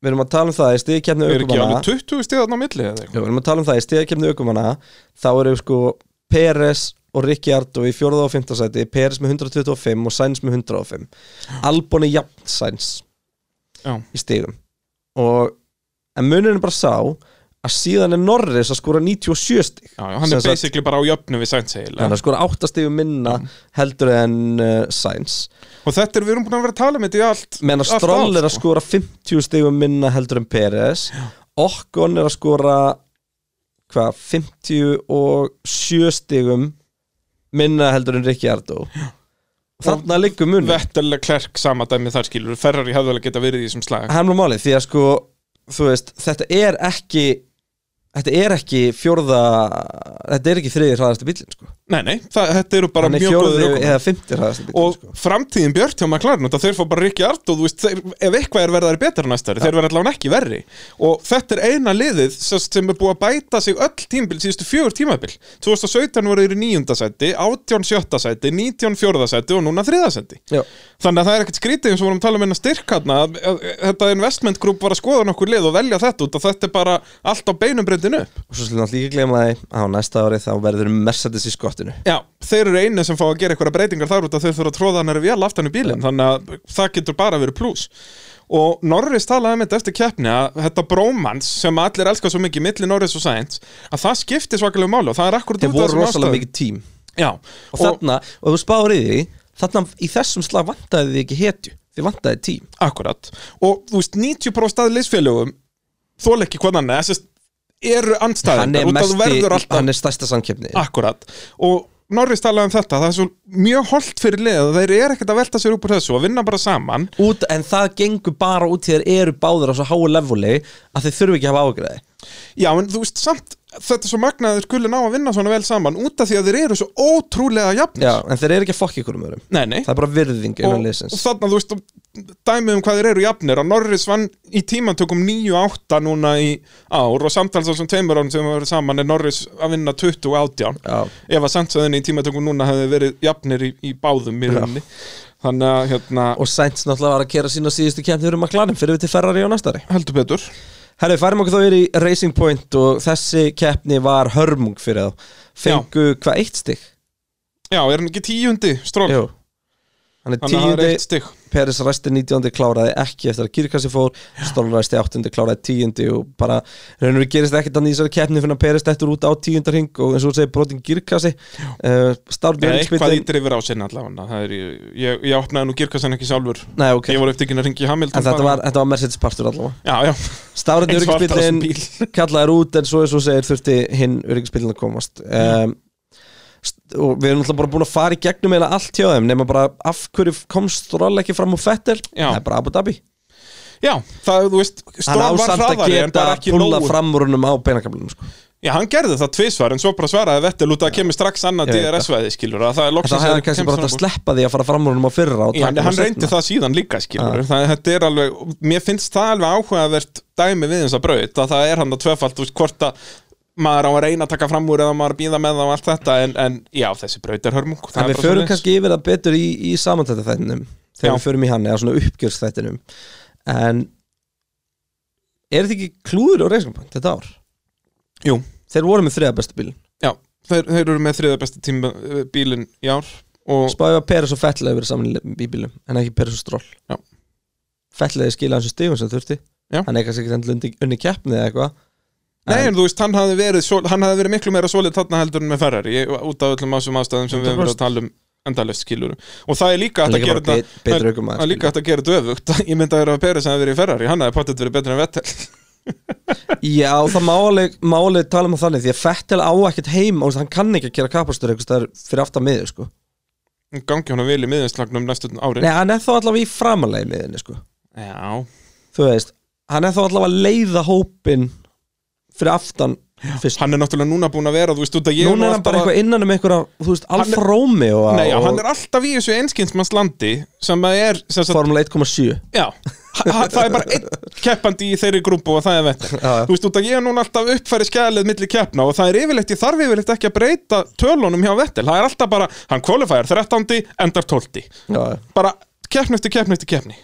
[SPEAKER 1] við erum að tala um það í stíðkjæmni
[SPEAKER 2] Við erum ekki
[SPEAKER 1] aukumanna
[SPEAKER 2] alveg 20 stíðan á milli eða
[SPEAKER 1] Já,
[SPEAKER 2] eitthvað
[SPEAKER 1] við erum að tala um það í stíðakefni aukumanna þá eru sko Peres og Ricciardo í fjórða og fimmta sæti Peres með 125 og Sainz með 105 Albon er jafn Sainz
[SPEAKER 2] Já.
[SPEAKER 1] í stíðum og en munin er bara sá að síðan er Norris að skora 97 stíg
[SPEAKER 2] Já, já, hann er basically bara á jöfnu við Sainz
[SPEAKER 1] hann er
[SPEAKER 2] eiginlega
[SPEAKER 1] að skora 8 stígum minna heldur en uh, Sainz
[SPEAKER 2] Og þetta er, við erum búin að vera að tala um þetta í allt
[SPEAKER 1] meðan að
[SPEAKER 2] allt
[SPEAKER 1] Stroll
[SPEAKER 2] ár,
[SPEAKER 1] er að
[SPEAKER 2] sko.
[SPEAKER 1] skora 50 stigum minna heldur en Peres Okkon er að skora hvað, 57 stigum minna heldur en Ricciardo Og þarna liggur munum
[SPEAKER 2] Vettel Klerk sama dæmi þar skilur Ferrari hefði alveg geta verið í þessum slag
[SPEAKER 1] hann var málið því að sko þú veist, þetta er ekki þetta er ekki fjórða þetta er ekki þriði hraðasti bílinn sko
[SPEAKER 2] Nei, nei, það, þetta eru bara
[SPEAKER 1] hann er
[SPEAKER 2] mjög góður
[SPEAKER 1] fjórði
[SPEAKER 2] aukum
[SPEAKER 1] eða fymti hraðasti bílinn
[SPEAKER 2] Og
[SPEAKER 1] sko
[SPEAKER 2] framtíðin Björn hjá McLaren þetta þeir fá bara Rikki Art og þú veist þeir, ef eitthvað er verðar betra næsta ári, þeir verða allavega ekki verri og þetta er eina liðið sem- sem er búið að bæta sig öll tímabil síðustu fjögur tímabil 2017 voru þeir í níunda sæti 18 sjötta sæti, 19 fjórða sæti og núna þriða sæti
[SPEAKER 1] Já.
[SPEAKER 2] þannig að það er ekkert skrítið eins og vorum að tala um hennar styrkarna þetta investment group var að skoða nokkur lið og velja þetta út og þetta er bara allt á beinum breyndin upp
[SPEAKER 1] og svo slúna alltaf líka glemma því að á næsta ári þá verður Mercedes í skottinu
[SPEAKER 2] Já, þeir eru einu sem fá að gera einhverja breytingar þar út að þeir þurfa að tróða hann er vel aftan í bílinn þannig að það getur bara verið pluss og Norris talaði um þetta eftir keppni að þetta brómans sem allir elskar svo mikið milli Norris og Sainz að það skipti svakalega máli og það er akkurat
[SPEAKER 1] þeir
[SPEAKER 2] af
[SPEAKER 1] voru
[SPEAKER 2] þessum
[SPEAKER 1] rosalega
[SPEAKER 2] ástæðum.
[SPEAKER 1] mikið tím
[SPEAKER 2] Já,
[SPEAKER 1] og þarna, og þú spáður í því þarna í þessum slag vantaði þið ekki hetju þið vantaði tím
[SPEAKER 2] Akkurat og þú veist 90% af liðsfélögum þól ekki hvað hann er þess að eru
[SPEAKER 1] hann er,
[SPEAKER 2] andstæðingar út að
[SPEAKER 1] mesti,
[SPEAKER 2] þú verður alltaf Ah.
[SPEAKER 1] hann er stærsta samkeppni
[SPEAKER 2] Akkurat og Norris talaði um þetta, það er svo mjög holdt fyrir liða, þeir eru ekkert að velta sér upp úr þessu og vinna bara saman
[SPEAKER 1] út, en það gengur bara út því þeir eru báður á svo háu leveli að þeir þurfi ekki að hafa ágræði
[SPEAKER 2] Já, en þú veist samt þetta er svo magna að þeir skuli ná að vinna svona vel saman út af því að þeir eru svo ótrúlega jafnir
[SPEAKER 1] Já, en þeir eru ekki að fokka ykkur um öðrum
[SPEAKER 2] Nei, nei
[SPEAKER 1] það er bara virðing
[SPEAKER 2] og,
[SPEAKER 1] innan
[SPEAKER 2] og
[SPEAKER 1] liðsins
[SPEAKER 2] þarna, þú veist, og dæmi um hvað þeir eru jafnir og Norris vann í tímantökum 9-8 núna í ár og samtals á þessum tveimur árum sem við verið saman er Norris að vinna 20-18
[SPEAKER 1] Já.
[SPEAKER 2] ef að samtsaðinni í tímantökum núna hefði verið jafnir í, í báðum í rauninni Þannig að, hérna,
[SPEAKER 1] og Sainz náttúrulega var að kera sína síðustu kemni um að klanum fyrir við til Ferrari á næstari
[SPEAKER 2] heldur betur
[SPEAKER 1] Herri, færum okkur þá yfir í Racing Point og þessi keppni var hörmung fyrir þá fengu hvað eitt stygg?
[SPEAKER 2] Já, er hann ekki tíundi stról?
[SPEAKER 1] Jú Hann er
[SPEAKER 2] Þannig að það er
[SPEAKER 1] tíundi,
[SPEAKER 2] eitt stygg
[SPEAKER 1] Peres ræsti 19. kláraði ekki eftir að kýrkassi fór Stroll ræsti 8. kláraði 10. og bara reynur gerist ekkert annað í þessari keppni fyrir að Peres dettur út á 10. ring og eins og þú segir brotin kýrkassi uh, Stár
[SPEAKER 2] Nei, eitthvað í
[SPEAKER 1] Björnsbyttin
[SPEAKER 2] drifur á sinna allavega Það er, ég, ég, ég opnaði nú girkassan ekki sjálfur
[SPEAKER 1] Nei, ok,
[SPEAKER 2] Ég voru upptekinn að ringi í Hamilton
[SPEAKER 1] en þetta
[SPEAKER 2] bara.
[SPEAKER 1] var, þetta var Mercedes partur allavega
[SPEAKER 2] Já, já,
[SPEAKER 1] Stárandi
[SPEAKER 2] Eins og allt á þessum
[SPEAKER 1] öryggisbílinn kallaði út en svo eins og þú segir þurfti hinn öryggisbílinn að komast um, st- og við erum alltaf bara búin að fara í gegnum eða allt hjá þeim nema bara af hverju komst Stroll ekki fram úr Fettel
[SPEAKER 2] Já.
[SPEAKER 1] það er bara Abu Dhabi
[SPEAKER 2] já, það, þú veist
[SPEAKER 1] hann
[SPEAKER 2] Stroll var
[SPEAKER 1] ásamt að
[SPEAKER 2] hraðari en
[SPEAKER 1] geta
[SPEAKER 2] bara ekki
[SPEAKER 1] púla
[SPEAKER 2] nógu
[SPEAKER 1] fram úr húnum á beinakablinum sko.
[SPEAKER 2] Já, hann gerði það tvisvar en svo bara svaraði Vettel út að það kemur strax annað
[SPEAKER 1] Ég veit
[SPEAKER 2] DRS-væði skilur að það er
[SPEAKER 1] en þá
[SPEAKER 2] loksins
[SPEAKER 1] hefði
[SPEAKER 2] að
[SPEAKER 1] hann kannski
[SPEAKER 2] kemst
[SPEAKER 1] bara átt að
[SPEAKER 2] fram úr.
[SPEAKER 1] sleppa því að fara fram úr húnum á fyrra og
[SPEAKER 2] Já, en
[SPEAKER 1] taka
[SPEAKER 2] hann reyndi
[SPEAKER 1] seinna.
[SPEAKER 2] það síðan líka skilur það, þetta er alveg, mér finnst það alveg áhugavert dæmi við þess að braut að það er hann að tvöfalt úr hvort að maður á að reyna að taka fram úr eða maður að býða með það og allt þetta en, en já, þessi braut er hörmung það
[SPEAKER 1] en
[SPEAKER 2] er
[SPEAKER 1] við
[SPEAKER 2] bara
[SPEAKER 1] förum
[SPEAKER 2] svoleiðis.
[SPEAKER 1] kannski yfir það betur í, í samantættaþættinum þegar
[SPEAKER 2] Já.
[SPEAKER 1] við förum í hann eða svona uppgjörstættinum en er þetta ekki klúður á reiskampunkt þetta ár?
[SPEAKER 2] Jú.
[SPEAKER 1] Þeir voru með þriða bestu bílinn
[SPEAKER 2] Já, þeir, þeir eru með þriða besta tíma eh, bílinn í ár og
[SPEAKER 1] Spáði að Peres og Fettle hefur verið saman í bílum en ekki Peres og Stroll
[SPEAKER 2] Já.
[SPEAKER 1] Fettle hefur skilað hans og stigum sem þurfti
[SPEAKER 2] Já.
[SPEAKER 1] Hann er kannski ekki endilega unni, unni keppni eða eitthvað
[SPEAKER 2] Nei, en þú veist, hann hafði verið, svo, hann hafði verið miklu meira solid þarna heldur en með Ferrari ég, út af öllum ásum ástæðum sem við höfum verið að tala um endalaust skilur og það er líka hægt
[SPEAKER 1] Það er líka
[SPEAKER 2] að gera
[SPEAKER 1] bara
[SPEAKER 2] þetta-
[SPEAKER 1] bet- betri
[SPEAKER 2] það-
[SPEAKER 1] ökumaður,
[SPEAKER 2] það er líka hægt að gera þetta öfugt ég myndi að vera að Peres að verið í Ferrari hann hefði pottet verið betri en Vettel
[SPEAKER 1] Já, það máli, máli tala um það þannig því að Fettel á ekkert heim og hann kann ekki að gera kapastur eitthvað staðar fyrir aftan miðju sko.
[SPEAKER 2] gangi hann vel í miðinslagnum næstu ári
[SPEAKER 1] Nei, hann er þá allavega í framalegi miðjunni sko.
[SPEAKER 2] já,
[SPEAKER 1] Þú veist, hann er þá allavega að leiða hópin fyrir aftan fyrst
[SPEAKER 2] hann er náttúrulega núna búin að vera þú veist út að ég
[SPEAKER 1] Núna
[SPEAKER 2] nú
[SPEAKER 1] er hann
[SPEAKER 2] alltaf
[SPEAKER 1] bara
[SPEAKER 2] að-
[SPEAKER 1] eitthvað innan um einhverja, þú veist, Alfa Romeo og,
[SPEAKER 2] Nei, já, hann
[SPEAKER 1] og
[SPEAKER 2] er alltaf í þessu einskynnsmannslandi sem að er, sem sagt,
[SPEAKER 1] Formule 1,7
[SPEAKER 2] Já, ha- ha- það er bara einn keppandi í þeirri grúpu og það er vettel
[SPEAKER 1] já.
[SPEAKER 2] Þú veist, út að ég er núna alltaf uppfæri skælið milli keppna og það er yfirleitt, ég þarf yfirleitt ekki að breyta tölunum hjá Vettel, það er alltaf bara hann kvalifæjar 13, endar 12
[SPEAKER 1] Já, já
[SPEAKER 2] bara keppn eftir keppn eftir keppni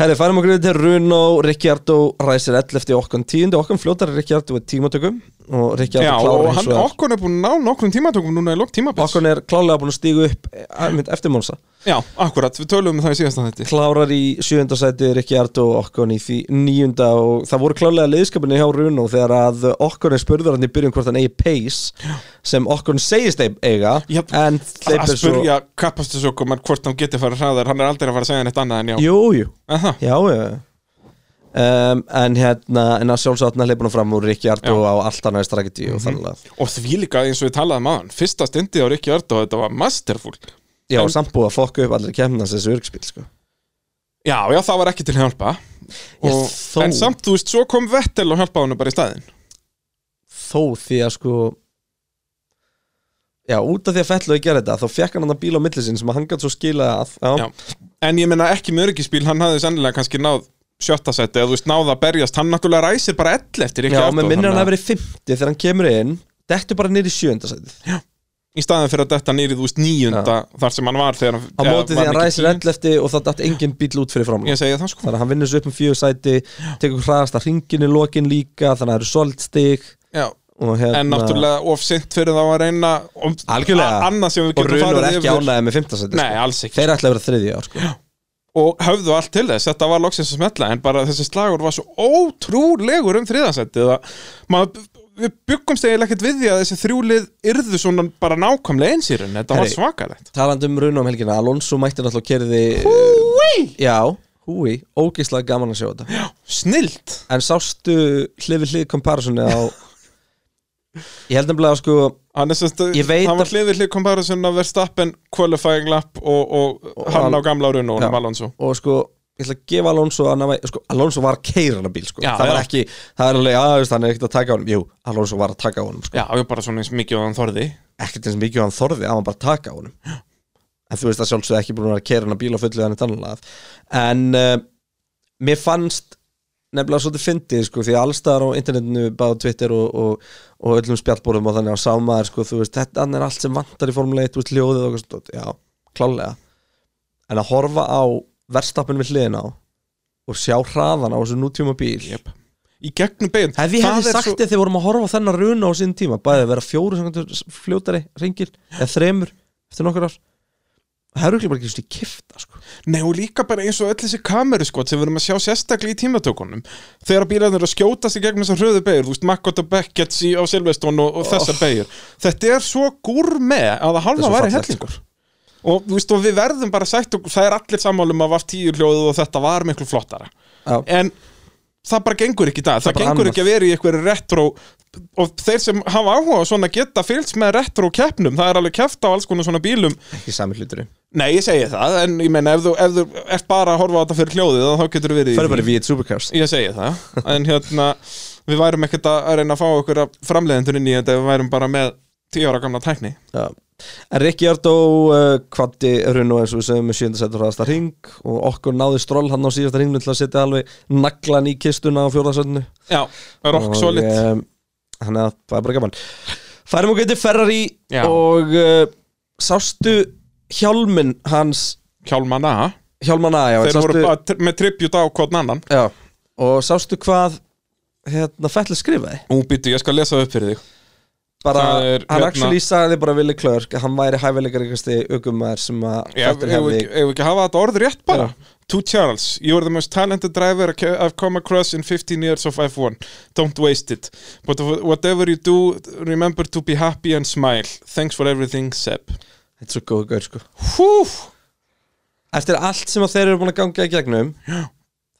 [SPEAKER 1] Herri, færum okkur yfir til Runo, Ricciardo ræsir 11 eftir okkan 10 okkan fljótar er Ricciardo í tímatökum og Ricciardo
[SPEAKER 2] Já,
[SPEAKER 1] klárar
[SPEAKER 2] og
[SPEAKER 1] hins
[SPEAKER 2] hann,
[SPEAKER 1] vegar.
[SPEAKER 2] okkur er búin að ná nokkrum tímatökum núna í lok tímabils
[SPEAKER 1] okkur er klálega búin að stígu upp eh, mynd, eftir Mónsa
[SPEAKER 2] Já, akkurat, við tölum um það í síðasta þetta
[SPEAKER 1] klárar í sjönda sæti Ricciardo og Okkon í því nýjunda og það voru klálega liðskapinni hjá Runo þegar að Okkon er spurður hann í byrjun hvort hann eigi pace sem Okkon segist þeim eiga
[SPEAKER 2] Já,
[SPEAKER 1] en þeim
[SPEAKER 2] Að
[SPEAKER 1] er svo
[SPEAKER 2] spurja kapastusökum hvort hann geti fara hraðar, hann er aldrei að fara að segja neitt annað en já
[SPEAKER 1] Jú, jú,
[SPEAKER 2] Aha.
[SPEAKER 1] já, já, já. Um, en hérna en að sjálfsögna hleypa hann fram úr Ricciardo
[SPEAKER 2] Já. Mhm.
[SPEAKER 1] á allt annað strakiti og þannig að
[SPEAKER 2] Og því líka eins og við talaðum aðan Fyrsta stundi á Rikki Ardó, þetta var masterful
[SPEAKER 1] Já,
[SPEAKER 2] En-
[SPEAKER 1] samt búið að fokka upp allir kemnans þessu örgspil sko.
[SPEAKER 2] Já, já, það var ekki til hjálpa
[SPEAKER 1] Já,
[SPEAKER 2] og,
[SPEAKER 1] þó.
[SPEAKER 2] En samt, þú veist, svo kom Vettel og hjálpaði hann bara í staðinn
[SPEAKER 1] Þó því að sko Já, út af því að fellu að gera þetta þá fekk hann hann bíl á milli sinn sem að hann gætt svo skila að Já,
[SPEAKER 2] Já. En ég meina ekki með öryggisbíl, hann hafði sennilega kannski náð sjötta seti eða þú veist, náða að berjast Hann náttúrulega ræsir bara ell
[SPEAKER 1] já,
[SPEAKER 2] eftir Rikki Ardó
[SPEAKER 1] með minnir hann
[SPEAKER 2] þannig
[SPEAKER 1] að verið 50 þegar hann kemur inn Dettu bara niður í sjöndasætið
[SPEAKER 2] Í staðin fyrir að detta nýrið, þú veist, níunda þar sem hann var þegar hann
[SPEAKER 1] Á
[SPEAKER 2] eða
[SPEAKER 1] móti því
[SPEAKER 2] var
[SPEAKER 1] að hann
[SPEAKER 2] ekki
[SPEAKER 1] ræsir
[SPEAKER 2] tíu.
[SPEAKER 1] 11 eftir og það datt engin bíl út fyrir framlega
[SPEAKER 2] Ég segi það sko
[SPEAKER 1] Þannig að hann vinnur svo upp um fjögur sæti Tekur hraðasta hringin í lokin líka Þannig að það eru solid stig
[SPEAKER 2] já.
[SPEAKER 1] og hérna,
[SPEAKER 2] En náttúrulega of sint fyrir þá að reyna um,
[SPEAKER 1] Algjörlega.
[SPEAKER 2] a- Annað sem við
[SPEAKER 1] Og
[SPEAKER 2] getum
[SPEAKER 1] runur
[SPEAKER 2] farið
[SPEAKER 1] ekki
[SPEAKER 2] yfir
[SPEAKER 1] ánæði með 15 sæti
[SPEAKER 2] Nei, alls ekki
[SPEAKER 1] Þeir ætla að vera þriðja ár sko.
[SPEAKER 2] og höfðu allt til þess, þetta var loksins að smetla en bara þessi slagur var svo ótrúlegur um þriðansættið að maður, við byggumst eiginlega ekkert við því að þessi þrjúlið yrðu svona bara nákvæmlega eins í raun, þetta var
[SPEAKER 1] Herri.
[SPEAKER 2] svakalegt
[SPEAKER 1] Talandi um runum helgina Alonso mætti náttúrulega kerði
[SPEAKER 2] Úi,
[SPEAKER 1] Já, húi, ógeislega gaman að sjá þetta
[SPEAKER 2] snilt
[SPEAKER 1] En sástu hlifi hlið comparisoni á Ég held nefnilega sko
[SPEAKER 2] hann er sérst,
[SPEAKER 1] Ég veit
[SPEAKER 2] hann var
[SPEAKER 1] að-
[SPEAKER 2] hliðið hlið komparison af Verstappen qualifying lap og, og,
[SPEAKER 1] Og
[SPEAKER 2] hann
[SPEAKER 1] Al-
[SPEAKER 2] á gamla raun og
[SPEAKER 1] Já.
[SPEAKER 2] hann Alonso
[SPEAKER 1] og sko ég ætla að gefa Alonso að náma, sko, Alonso var að keira hann að bíl sko.
[SPEAKER 2] Já,
[SPEAKER 1] það var
[SPEAKER 2] já.
[SPEAKER 1] ekki, það er alveg, já, veist, hann er ekkert að taka á honum jú, Alonso var að taka á honum sko.
[SPEAKER 2] já, ég bara svona eins mikið og hann þorði
[SPEAKER 1] ekkert eins mikið og hann þorði, hann var bara að taka á honum en þú veist að sjálfsög ekki búin að vera að keira hann að bíl og fullið hann eitt annað en uh, mér fannst nefnilega svolítið fyndið sko, því að allstaðar á internetinu, bæða á Twitter og, og, og öllum spjallbórum og þannig á sámaður sko, þú veist, þetta hann er allt sem vantar í Formule 1 þú veist, hljóðið og eitthvað svona dót. já, klálega en að horfa á verstappin við hliðina á og sjá hraðan á þessu nútíma bíl
[SPEAKER 2] Jep. í gegnum bein
[SPEAKER 1] Ef ég hefði sagt
[SPEAKER 2] svo,
[SPEAKER 1] þér þegar vorum að horfa á þennan runa á sín tíma bæði að vera fjóru samkvæmt fljótari ringir eða þremur eftir nokkur ár það er auðvitað bara ekki svona í kifta sko.
[SPEAKER 2] Nei og líka bara eins og öll þessi kameru sko sem við erum að sjá sérstaklega í tímatökunum þegar bílarnir eru að skjótast í gegnum þessar hröðu beigur þú veist Makkot og Beckett sí á Silveston og, og þessar beigur þetta er svo gúr með að
[SPEAKER 1] Það Oh.
[SPEAKER 2] það
[SPEAKER 1] er
[SPEAKER 2] halva
[SPEAKER 1] svo
[SPEAKER 2] væri
[SPEAKER 1] fallegt, sko.
[SPEAKER 2] hellingur og, þú veist, og við verðum bara sagt okkur það er allir sammálum að var tíu hljóðu og þetta var miklu flottara
[SPEAKER 1] Já.
[SPEAKER 2] en það bara gengur ekki í dag það,
[SPEAKER 1] bara
[SPEAKER 2] gengur
[SPEAKER 1] annað.
[SPEAKER 2] ekki að vera í einhverju retro og þeir sem hafa áhuga á svona geta fylgst með retro keppnum það er alveg keft á alls konar svona bílum
[SPEAKER 1] ekki sami hluturinn
[SPEAKER 2] Nei, ég segi það, en ég meina ef þú, ef þú ert bara að horfa á þetta fyrir hljóðið þá getur þú verið
[SPEAKER 1] fyrir bara við eitt supercars
[SPEAKER 2] Ég segi það, en hérna við værum ekkert að að reyna að fá okkur framleiðendur inn í þetta ef við værum bara með 10 ára gamla tækni
[SPEAKER 1] Já. en Rikki Ardó uh, kvatti runa eins og við segjum með sjönda setur hraðasta ring og okkur náði stról hann á síðasta ringnum til að setja alveg naglan í kistuna á fjórðarsöndinu
[SPEAKER 2] Já, rock solid
[SPEAKER 1] Þannig að það er bara gaman Færum okkur til Ferrari
[SPEAKER 2] Já.
[SPEAKER 1] og uh, sástu hjálminn hans
[SPEAKER 2] Hjálmana,
[SPEAKER 1] hjálmana já, en
[SPEAKER 2] þeir
[SPEAKER 1] sástu,
[SPEAKER 2] voru bara tr- með tribut á hvort annan
[SPEAKER 1] já, og sástu hvað hérna Fettli skrifaði
[SPEAKER 2] Ú, býttu, ég skal lesa það upp fyrir þig
[SPEAKER 1] bara,
[SPEAKER 2] Það er,
[SPEAKER 1] hann
[SPEAKER 2] hérna-
[SPEAKER 1] actually sagði bara Willi Klörk að hann væri hæfileikar einhversti aukumæður sem að Fettli
[SPEAKER 2] Ef ef við
[SPEAKER 1] hefði
[SPEAKER 2] ekki- ef við ekki hafa þetta orð rétt bara To Charles, you are the most talented driver I've come across in 15 years of F1 Don't waste it But whatever you do, remember to be happy and smile Thanks for everything, Seb
[SPEAKER 1] Þetta er svo góð gaur sko
[SPEAKER 2] Húf
[SPEAKER 1] Eftir allt sem að þeir eru búin að ganga í gegnum
[SPEAKER 2] Já.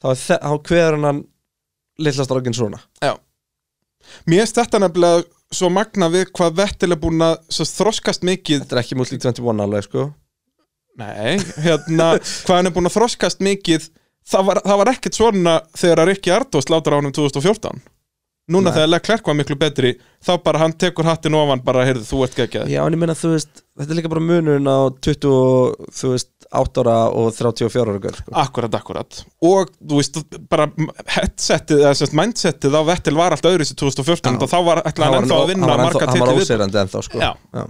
[SPEAKER 1] Þá er þe- þá kveður hann hann Lilla strákinn svona
[SPEAKER 2] Já Mér finnst þetta nefnilega svo magna við hvað vettilega búin að svo þroskast mikið
[SPEAKER 1] Þetta er ekki múlík 21 alveg sko
[SPEAKER 2] Nei, hérna hvað hann er búin að þroskast mikið það var, það var ekkert svona þegar að Rikki Ardós látar á hann 2014 Núna þegar Leclerc var miklu betri þá bara hann tekur hattin ofan bara heyrðu þú ert geggjað
[SPEAKER 1] Já, en ég meina, þú veist, þetta er líka bara munurinn á 28 ára og 34 ára gaur, sko.
[SPEAKER 2] Akkurat, akkurat Og þú veist, bara headsetið eða semst mindsetið á Vettil var allt öðru sér 2014 og þá var ætla hann ennþá að vinna marga
[SPEAKER 1] Hann var
[SPEAKER 2] titli við
[SPEAKER 1] óseirandi ennþá, sko.
[SPEAKER 2] Já.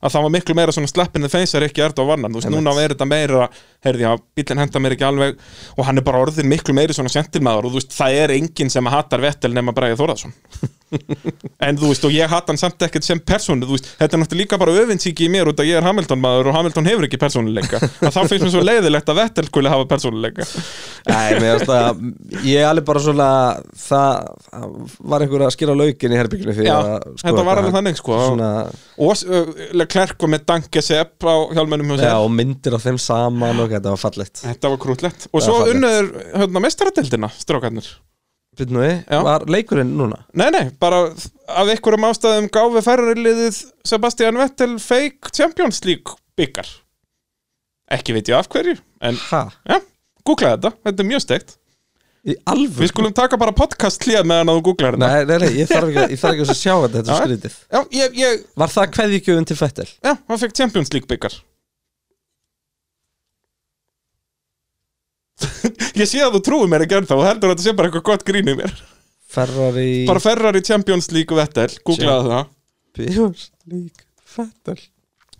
[SPEAKER 2] að það var miklu meira svona sleppin þeim feysar ekki erða á vannan, þú veist,
[SPEAKER 1] Einmitt.
[SPEAKER 2] núna er þetta meira heyrði að bílinn henda mér ekki alveg og hann er bara orðin miklu meiri svona sentilmaður og þú veist, það er enginn sem hattar Vettel nema Bræði Þórðarsson en þú veist, og ég hatt hann samt ekkert sem persónu, þú veist, þetta er náttúrulega líka bara öfinsíki í mér út að ég er Hamilton maður og Hamilton hefur ekki persónuleika, að þá finnst mér svo leiðilegt að Vettel skuli hafa persónuleika
[SPEAKER 1] Nei, mér finnst það, ég er alveg bara svona, það, það var einhver að skýra laukin í herbygginu fyrir
[SPEAKER 2] Já,
[SPEAKER 1] að
[SPEAKER 2] þetta var
[SPEAKER 1] hvað
[SPEAKER 2] alveg
[SPEAKER 1] hann-
[SPEAKER 2] þannig, sko.
[SPEAKER 1] Svona,
[SPEAKER 2] og uh, Leclerc var með Danke Sepp á hjálmennum hjá
[SPEAKER 1] já,
[SPEAKER 2] sér.
[SPEAKER 1] og myndir af þeim saman og þetta var fallegt.
[SPEAKER 2] þetta var krútlegt, og
[SPEAKER 1] Já,
[SPEAKER 2] svo
[SPEAKER 1] fallegt.
[SPEAKER 2] unnaður hérna, mestaradeildina, strákarnir
[SPEAKER 1] Býtum við,
[SPEAKER 2] Já.
[SPEAKER 1] eh, var leikurinn núna?
[SPEAKER 2] Nei, nei, bara af einhverjum ástæðum gáfi ferrariliðið Sebastian Vettel fake Champions League byggar Ekki veit ég af hverju, en
[SPEAKER 1] Ha?
[SPEAKER 2] já, googlaði þetta, þetta er mjög steikt
[SPEAKER 1] Í alvöru?
[SPEAKER 2] Við skulum taka bara podcast hlýða meðan að þú googlar þetta
[SPEAKER 1] Nei, nei, nei, ég þarf ekki, að- ég þarf ekki að sjá þetta, þetta er
[SPEAKER 2] Já.
[SPEAKER 1] skrítið.
[SPEAKER 2] Já, ég, ég,
[SPEAKER 1] Var það kveðjugjöfun til Fettel?
[SPEAKER 2] já, hann fekk Champions League byggar Ég sé að þú trúir mér ekki ennþá og heldur að þetta sé bara eitthvað gott grín í mér
[SPEAKER 1] Ferrari...
[SPEAKER 2] Bara Ferrari Champions League Vettel, googlaði það
[SPEAKER 1] Champions League Fettel